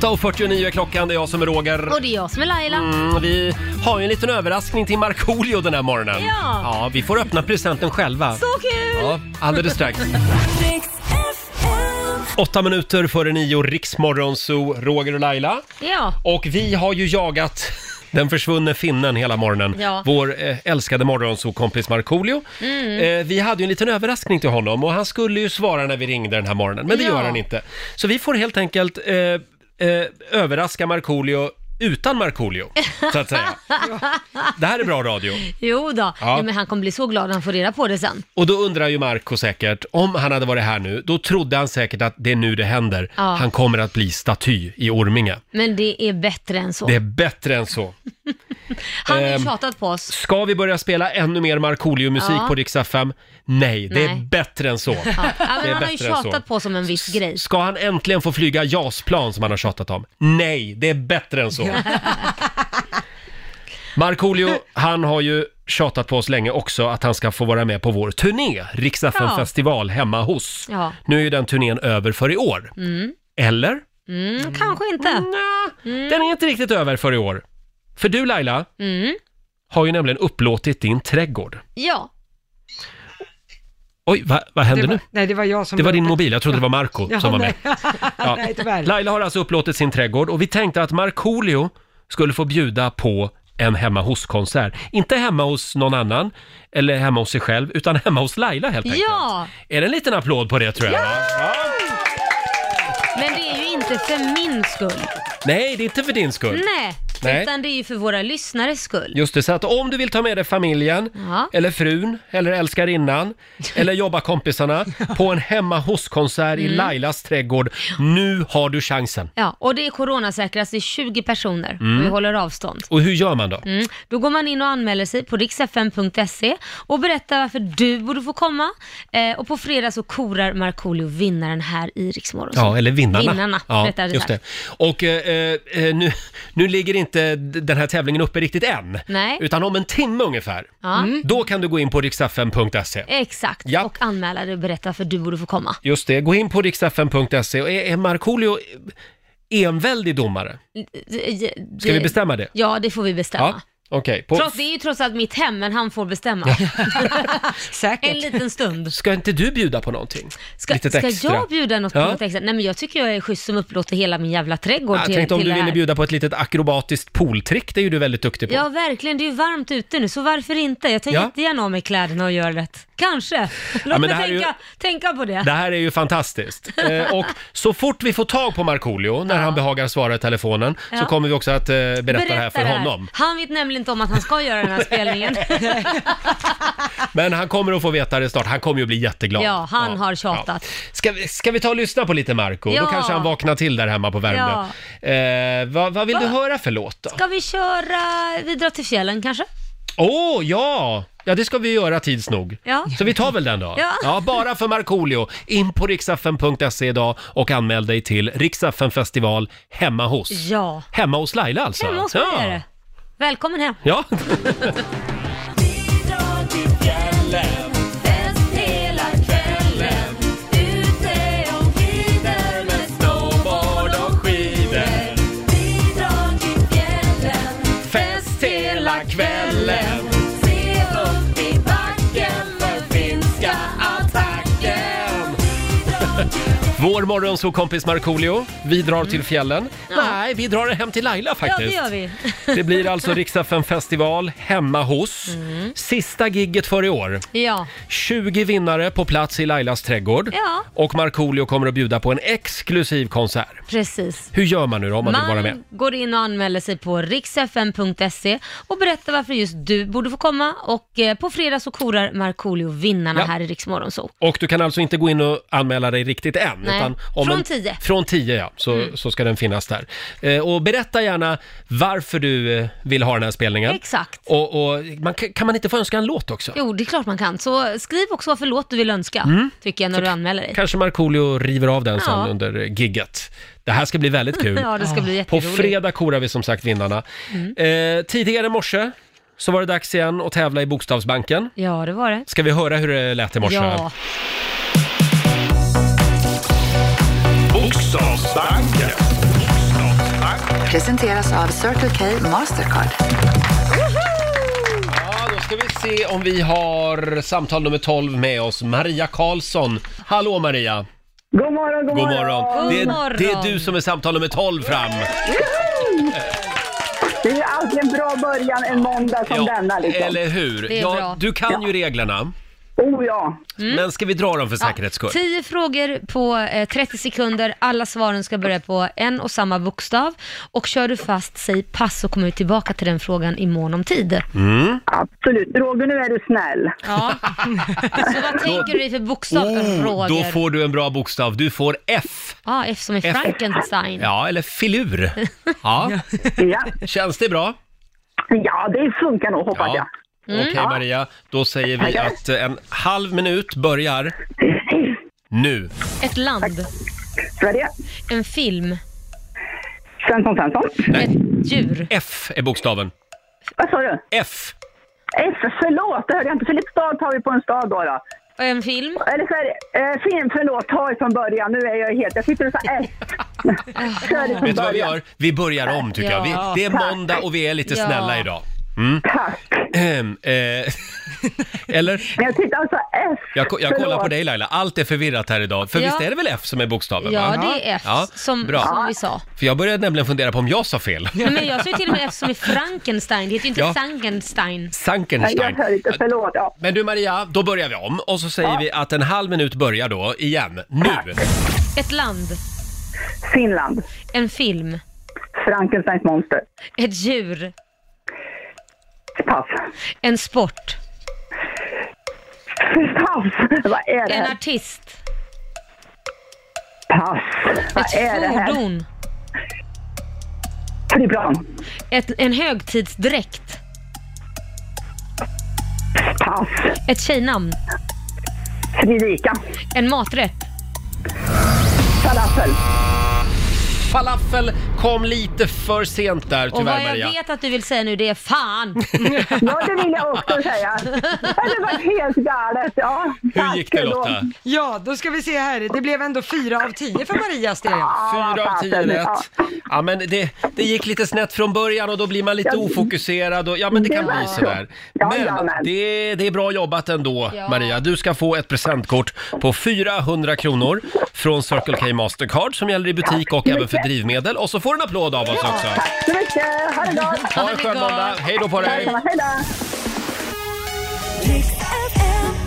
[SPEAKER 1] 8.49 är klockan, det är jag som är Roger.
[SPEAKER 3] Och det är jag som är Laila.
[SPEAKER 1] Mm, vi har ju en liten överraskning till Markoolio den här morgonen.
[SPEAKER 3] Ja.
[SPEAKER 1] ja, vi får öppna presenten själva.
[SPEAKER 3] Så kul!
[SPEAKER 1] Ja, alldeles strax. Åtta minuter före nio, Riksmorgon, så Roger och Laila.
[SPEAKER 3] Ja.
[SPEAKER 1] Och vi har ju jagat den försvunne finnen hela morgonen.
[SPEAKER 3] Ja.
[SPEAKER 1] Vår eh, älskade morgonsokompis Markoolio.
[SPEAKER 3] Mm.
[SPEAKER 1] Eh, vi hade ju en liten överraskning till honom och han skulle ju svara när vi ringde den här morgonen, men det
[SPEAKER 3] Ja.
[SPEAKER 1] gör han inte. Så vi får helt enkelt eh, eh, överraska Markoolio utan Markoolio, så att
[SPEAKER 3] <laughs>
[SPEAKER 1] säga. Det här är bra radio.
[SPEAKER 3] Jo då.
[SPEAKER 1] Ja.
[SPEAKER 3] Nej, men han kommer bli så glad när han får reda på det sen.
[SPEAKER 1] Och då undrar ju Marco säkert, om han hade varit här nu, då trodde han säkert att det är nu det händer.
[SPEAKER 3] Ja.
[SPEAKER 1] Han kommer att bli staty i Orminge.
[SPEAKER 3] Men det är bättre än så.
[SPEAKER 1] Det är bättre än så.
[SPEAKER 3] Han har ju
[SPEAKER 1] Ehm,
[SPEAKER 3] tjatat på oss.
[SPEAKER 1] Ska vi börja spela ännu mer Markoolio-musik
[SPEAKER 3] Ja.
[SPEAKER 1] på Rix FM? Nej, det är
[SPEAKER 3] Nej.
[SPEAKER 1] bättre än så.
[SPEAKER 3] Ja. Ja,
[SPEAKER 1] <laughs> Det är
[SPEAKER 3] men han har ju
[SPEAKER 1] bättre än så.
[SPEAKER 3] tjatat på oss om en viss grej.
[SPEAKER 1] Ska han äntligen få flyga JAS-plan som han har tjatat om? Nej, det är bättre än så. <laughs> Markoolio, han har ju tjatat på oss länge också att han ska få vara med på vår turné, Rix FM
[SPEAKER 3] Ja.
[SPEAKER 1] festival hemma hos.
[SPEAKER 3] Ja.
[SPEAKER 1] Nu är ju den turnén över för i år.
[SPEAKER 3] Mm.
[SPEAKER 1] Eller?
[SPEAKER 3] Mm, Kanske inte.
[SPEAKER 2] Mm.
[SPEAKER 1] Den är inte riktigt över för i år. För du Laila,
[SPEAKER 3] Mm.
[SPEAKER 1] har ju nämligen upplåtit din trädgård.
[SPEAKER 3] Ja.
[SPEAKER 1] Oj, va, vad
[SPEAKER 2] det
[SPEAKER 1] hände
[SPEAKER 2] var,
[SPEAKER 1] nu?
[SPEAKER 2] Nej, det var jag som...
[SPEAKER 1] Det var din mobil, jag trodde det var Marco
[SPEAKER 2] Ja,
[SPEAKER 1] som var med.
[SPEAKER 2] nej. <laughs>
[SPEAKER 1] Ja.
[SPEAKER 2] nej, tyvärr.
[SPEAKER 1] Laila har alltså upplåtit sin trädgård och vi tänkte att Markoolio skulle få bjuda på en hemma hos-konsert. Inte hemma hos någon annan eller hemma hos sig själv, utan hemma hos Laila helt enkelt.
[SPEAKER 3] Ja,
[SPEAKER 1] Är det en liten applåd på det tror jag? va?
[SPEAKER 3] men det är ju inte för min skull.
[SPEAKER 1] Nej, det är inte för din skull.
[SPEAKER 3] Nej,
[SPEAKER 1] Nej.
[SPEAKER 3] utan det är ju för våra lyssnares skull.
[SPEAKER 1] Just det, så att om du vill ta med dig familjen,
[SPEAKER 3] Ja.
[SPEAKER 1] eller frun, eller
[SPEAKER 3] <laughs>
[SPEAKER 1] älskarinnan, eller jobbakompisarna på en hemma hos-konsert i
[SPEAKER 3] Mm.
[SPEAKER 1] Lailas trädgård, nu har du chansen.
[SPEAKER 3] Ja, och det är coronasäkrast, det är 20 personer
[SPEAKER 1] Mm.
[SPEAKER 3] och vi håller avstånd.
[SPEAKER 1] Och hur gör man då?
[SPEAKER 3] Mm. Då går man in och anmäler sig på riksfm.se och berättar varför du borde få komma. Eh, och på fredag så korar Markoolio vinnaren här i Riksmorgon.
[SPEAKER 1] Ja, eller vinnarna.
[SPEAKER 3] Vinnarna,
[SPEAKER 1] ja,
[SPEAKER 3] rättare
[SPEAKER 1] just det.
[SPEAKER 3] sagt.
[SPEAKER 1] Och eh, eh, nu, nu ligger inte d- den här tävlingen uppe riktigt än.
[SPEAKER 3] Nej.
[SPEAKER 1] Utan om en timme ungefär,
[SPEAKER 3] Ja. Mm.
[SPEAKER 1] då kan du gå in på riksfm.se.
[SPEAKER 3] Exakt,
[SPEAKER 1] Ja.
[SPEAKER 3] och anmäla dig och berätta varför du borde få komma.
[SPEAKER 1] Just det, gå in på riksfm.se. Och är, är Markoolio eh, enväldig domare? Ska vi bestämma det?
[SPEAKER 3] Eh, Ja, det får vi bestämma.
[SPEAKER 1] Ja, okej. På-
[SPEAKER 3] Trots, det är ju trots allt mitt hem, men han får bestämma. Säkert. En liten stund.
[SPEAKER 1] Ska inte du bjuda på någonting?
[SPEAKER 3] Ska,
[SPEAKER 1] Litet
[SPEAKER 3] ska
[SPEAKER 1] extra.
[SPEAKER 3] jag bjuda något på
[SPEAKER 1] Ja.
[SPEAKER 3] något extra? Nej men jag tycker jag är schysst som upplåter hela min jävla trädgård
[SPEAKER 1] Jag
[SPEAKER 3] till,
[SPEAKER 1] tänkte om
[SPEAKER 3] till
[SPEAKER 1] du
[SPEAKER 3] det
[SPEAKER 1] ville
[SPEAKER 3] här.
[SPEAKER 1] bjuda på ett litet akrobatiskt pooltrick, det är ju du väldigt duktig på.
[SPEAKER 3] Ja verkligen, det är ju varmt ute nu så varför inte? Jag tar
[SPEAKER 1] Ja.
[SPEAKER 3] jättegärna av mig kläderna och gör det. Kanske. Låt
[SPEAKER 1] men
[SPEAKER 3] mig
[SPEAKER 1] det här är ju-
[SPEAKER 3] tänka, tänka på det.
[SPEAKER 1] Det här är ju
[SPEAKER 3] <laughs>
[SPEAKER 1] fantastiskt. Eh, och så fort vi får tag på Markoolio, när han behagar svara i telefonen, så
[SPEAKER 3] Ja.
[SPEAKER 1] kommer vi också att eh, berätta, det här för
[SPEAKER 3] det
[SPEAKER 1] honom.
[SPEAKER 3] Han vet nämligen inte om att han ska göra den
[SPEAKER 1] <laughs>
[SPEAKER 3] här spelningen.
[SPEAKER 1] Men han kommer att få veta det snart. Han kommer ju bli jätteglad.
[SPEAKER 3] ja, han har tjatat.
[SPEAKER 1] Ska, vi- ska vi ta och lyssna på lite Marco? Då
[SPEAKER 3] Ja.
[SPEAKER 1] kanske han vaknar till där hemma på Värmdö. Eh, vad, vad vill du
[SPEAKER 3] Va?
[SPEAKER 1] höra för låt då?
[SPEAKER 3] Ska vi köra, vi drar till fjällen kanske?
[SPEAKER 1] Åh, ja! Ja, det ska vi göra tids nog.
[SPEAKER 3] Ja.
[SPEAKER 1] Så vi tar väl den då?
[SPEAKER 3] Ja.
[SPEAKER 1] bara för Markoolio. In på riksfn.se idag och anmäl dig till Riksfn festival hemma hos.
[SPEAKER 3] Ja.
[SPEAKER 1] Hemma hos Laila alltså?
[SPEAKER 3] Hemma hos mig är
[SPEAKER 1] ja.
[SPEAKER 3] det. Välkommen hem.
[SPEAKER 1] ja. <laughs>
[SPEAKER 5] Fest hela kvällen Se upp i backen för finska attacken
[SPEAKER 1] Vår morgonsåkompis Markoolio, vi drar till fjällen. Nej, vi drar hem till Laila faktiskt.
[SPEAKER 3] Mm. Ja, det gör
[SPEAKER 1] <laughs>
[SPEAKER 3] vi.
[SPEAKER 1] Det blir alltså Riksfn festival hemma hos.
[SPEAKER 3] Mm.
[SPEAKER 1] Sista gigget för i år.
[SPEAKER 3] <laughs> Ja.
[SPEAKER 1] 20 vinnare på plats i Lailas trädgård.
[SPEAKER 3] Ja.
[SPEAKER 1] Och Markoolio kommer att bjuda på en exklusiv konsert.
[SPEAKER 3] Precis.
[SPEAKER 1] Hur gör man nu då om man,
[SPEAKER 3] Man
[SPEAKER 1] vill vara med?
[SPEAKER 3] går in och anmäler sig på riksfm.se och berättar varför just du borde få komma och eh, på fredag så korar Markoolio vinnarna
[SPEAKER 1] Ja.
[SPEAKER 3] här i Rix Morgon Zoo.
[SPEAKER 1] Och du kan alltså inte gå in och anmäla dig riktigt än.
[SPEAKER 3] Nej,
[SPEAKER 1] Utan
[SPEAKER 3] från Mm.
[SPEAKER 1] en,
[SPEAKER 3] 10.
[SPEAKER 1] Från 10 ja, så, så ska den finnas där. Eh, och berätta gärna varför du eh, vill ha den här spelningen.
[SPEAKER 3] Exakt.
[SPEAKER 1] Och, och man, kan kan man inte få önska en låt också?
[SPEAKER 3] Jo, det är klart man kan. Så skriv också vad för låt du vill önska,
[SPEAKER 1] Mm.
[SPEAKER 3] tycker jag, när du anmäler dig.
[SPEAKER 1] Kanske Markoolio river av den sen
[SPEAKER 3] Ja.
[SPEAKER 1] under eh, gigget. Det här ska bli väldigt kul.
[SPEAKER 3] <laughs> Ja, det ska bli
[SPEAKER 1] Ah. På
[SPEAKER 3] jätteroligt. Mm.
[SPEAKER 1] fredag korar vi som sagt vinnarna. Eh, tidigare i morse så var det dags igen att tävla i Bokstavsbanken.
[SPEAKER 3] Ja, det var det.
[SPEAKER 1] Ska vi höra hur det lät i morse?
[SPEAKER 3] Ja.
[SPEAKER 11] Bokstavsbanken.
[SPEAKER 8] Presenteras av Circle K Mastercard.
[SPEAKER 1] Ja, då ska vi se om vi har samtal nummer 12 med oss. Maria Karlsson. Hallå Maria!
[SPEAKER 9] God morgon, god,
[SPEAKER 1] God morgon!
[SPEAKER 9] morgon.
[SPEAKER 1] Det är, det är du som är samtal nummer 12 fram.
[SPEAKER 9] Det är alltid en bra början en måndag som denna. Liksom.
[SPEAKER 1] Eller hur?
[SPEAKER 9] Det är
[SPEAKER 1] ja,
[SPEAKER 9] bra.
[SPEAKER 1] du kan ju reglerna.
[SPEAKER 9] Oh ja.
[SPEAKER 1] Men ska vi dra dem för säkerhets skull?
[SPEAKER 3] 10 frågor på eh, 30 sekunder. Alla svaren ska börja på en och samma bokstav. Och kör du fast, säg pass så kommer vi tillbaka till den frågan i mån om tid.
[SPEAKER 1] Mm.
[SPEAKER 9] Absolut. Roger, nu är du snäll.
[SPEAKER 3] Ja. Så vad tänker du dig för bokstav, Roger?
[SPEAKER 1] Oh, Då får du en bra bokstav. Du får F.
[SPEAKER 3] Ja, F som i
[SPEAKER 1] F.
[SPEAKER 3] Frankenstein.
[SPEAKER 1] Ja, eller filur.
[SPEAKER 9] <laughs>
[SPEAKER 1] Ja. Känns det bra?
[SPEAKER 9] Ja, det funkar nog hoppas
[SPEAKER 1] Ja.
[SPEAKER 9] jag. Mm.
[SPEAKER 1] Okej
[SPEAKER 9] Ja.
[SPEAKER 1] Maria, då säger vi att eh, en halv minut börjar nu.
[SPEAKER 3] Ett land.
[SPEAKER 9] Sverige.
[SPEAKER 3] En film.
[SPEAKER 9] Svensson, Svensson.
[SPEAKER 1] Nej.
[SPEAKER 3] Djur.
[SPEAKER 1] F är bokstaven.
[SPEAKER 9] Vad sa du?
[SPEAKER 1] F.
[SPEAKER 9] F, förlåt, det hörde jag inte. Filipstad tar vi på en stad då. då.
[SPEAKER 3] En film?
[SPEAKER 9] Eller så är det, eh, film, förlåt, ta ifrån början. Nu är jag helt... Jag sitter och sa F. Kör ifrån
[SPEAKER 1] Vet du vad vi
[SPEAKER 9] början.
[SPEAKER 1] gör? Vi börjar om tycker jag.
[SPEAKER 9] Ja.
[SPEAKER 1] Vi, det är måndag och vi är lite
[SPEAKER 9] Ja.
[SPEAKER 1] snälla idag. Mm. Ehm, eh, <laughs> Eller?
[SPEAKER 9] Men jag tyckte alltså F.
[SPEAKER 1] Jag, ko- jag kollar
[SPEAKER 9] Förlåt.
[SPEAKER 1] på dig Laila, allt är förvirrat här idag. För
[SPEAKER 3] Ja.
[SPEAKER 1] visst är det väl F som är bokstaven?
[SPEAKER 3] Ja,
[SPEAKER 1] va?
[SPEAKER 3] det är F som,
[SPEAKER 1] bra.
[SPEAKER 3] som vi sa.
[SPEAKER 1] För jag började nämligen fundera på om jag sa fel.
[SPEAKER 3] Nej, men jag sa ju till och med F som i Frankenstein. Det heter ju inte
[SPEAKER 1] Ja.
[SPEAKER 3] Frankenstein.
[SPEAKER 1] Sankenstein.
[SPEAKER 9] inte, förlåt. Ja.
[SPEAKER 1] Men du Maria, då börjar vi om och så säger vi att en halv minut börjar då, igen, nu.
[SPEAKER 3] Ett land.
[SPEAKER 9] Finland.
[SPEAKER 3] En film.
[SPEAKER 9] Frankensteins monster.
[SPEAKER 3] Ett djur.
[SPEAKER 9] Pass.
[SPEAKER 3] En sport.
[SPEAKER 9] Pass! Vad är det
[SPEAKER 3] En
[SPEAKER 9] här?
[SPEAKER 3] artist.
[SPEAKER 9] Pass. Vad
[SPEAKER 3] Ett
[SPEAKER 9] är det här?
[SPEAKER 3] fordon.
[SPEAKER 9] Flygplan.
[SPEAKER 3] Ett, en högtidsdräkt.
[SPEAKER 9] Pass.
[SPEAKER 3] Ett tjejnamn.
[SPEAKER 9] Fredrika.
[SPEAKER 3] En maträtt.
[SPEAKER 9] Falafel.
[SPEAKER 1] Falafel kom lite för sent där
[SPEAKER 3] Och vad
[SPEAKER 1] tyvärr
[SPEAKER 3] jag
[SPEAKER 1] Maria.
[SPEAKER 3] vet att du vill säga nu det är fan.
[SPEAKER 9] Ja, det vill jag också säga. Det var helt galet. Ja.
[SPEAKER 1] Hur gick det Lotta?
[SPEAKER 2] Ja, då ska vi se här. Det blev ändå fyra av tio för Marias del.
[SPEAKER 1] Fyra av tio rätt. Ja men det, det gick lite snett från början och då blir man lite
[SPEAKER 2] Ja.
[SPEAKER 1] ofokuserad och ja men det kan
[SPEAKER 2] Det var
[SPEAKER 1] bli
[SPEAKER 2] så.
[SPEAKER 1] sådär.
[SPEAKER 2] Ja, ja,
[SPEAKER 1] Men
[SPEAKER 2] men.
[SPEAKER 1] det, det är bra jobbat ändå
[SPEAKER 2] Ja.
[SPEAKER 1] Maria. Du ska få ett presentkort på 400 kronor från Circle K Mastercard som gäller i butik och även för drivmedel. Och så får du en applåd av oss också.
[SPEAKER 9] Tack så mycket. Ha det gott.
[SPEAKER 1] Ha en skön måndag. Hej då på dig.
[SPEAKER 9] Detsamma. Hej då.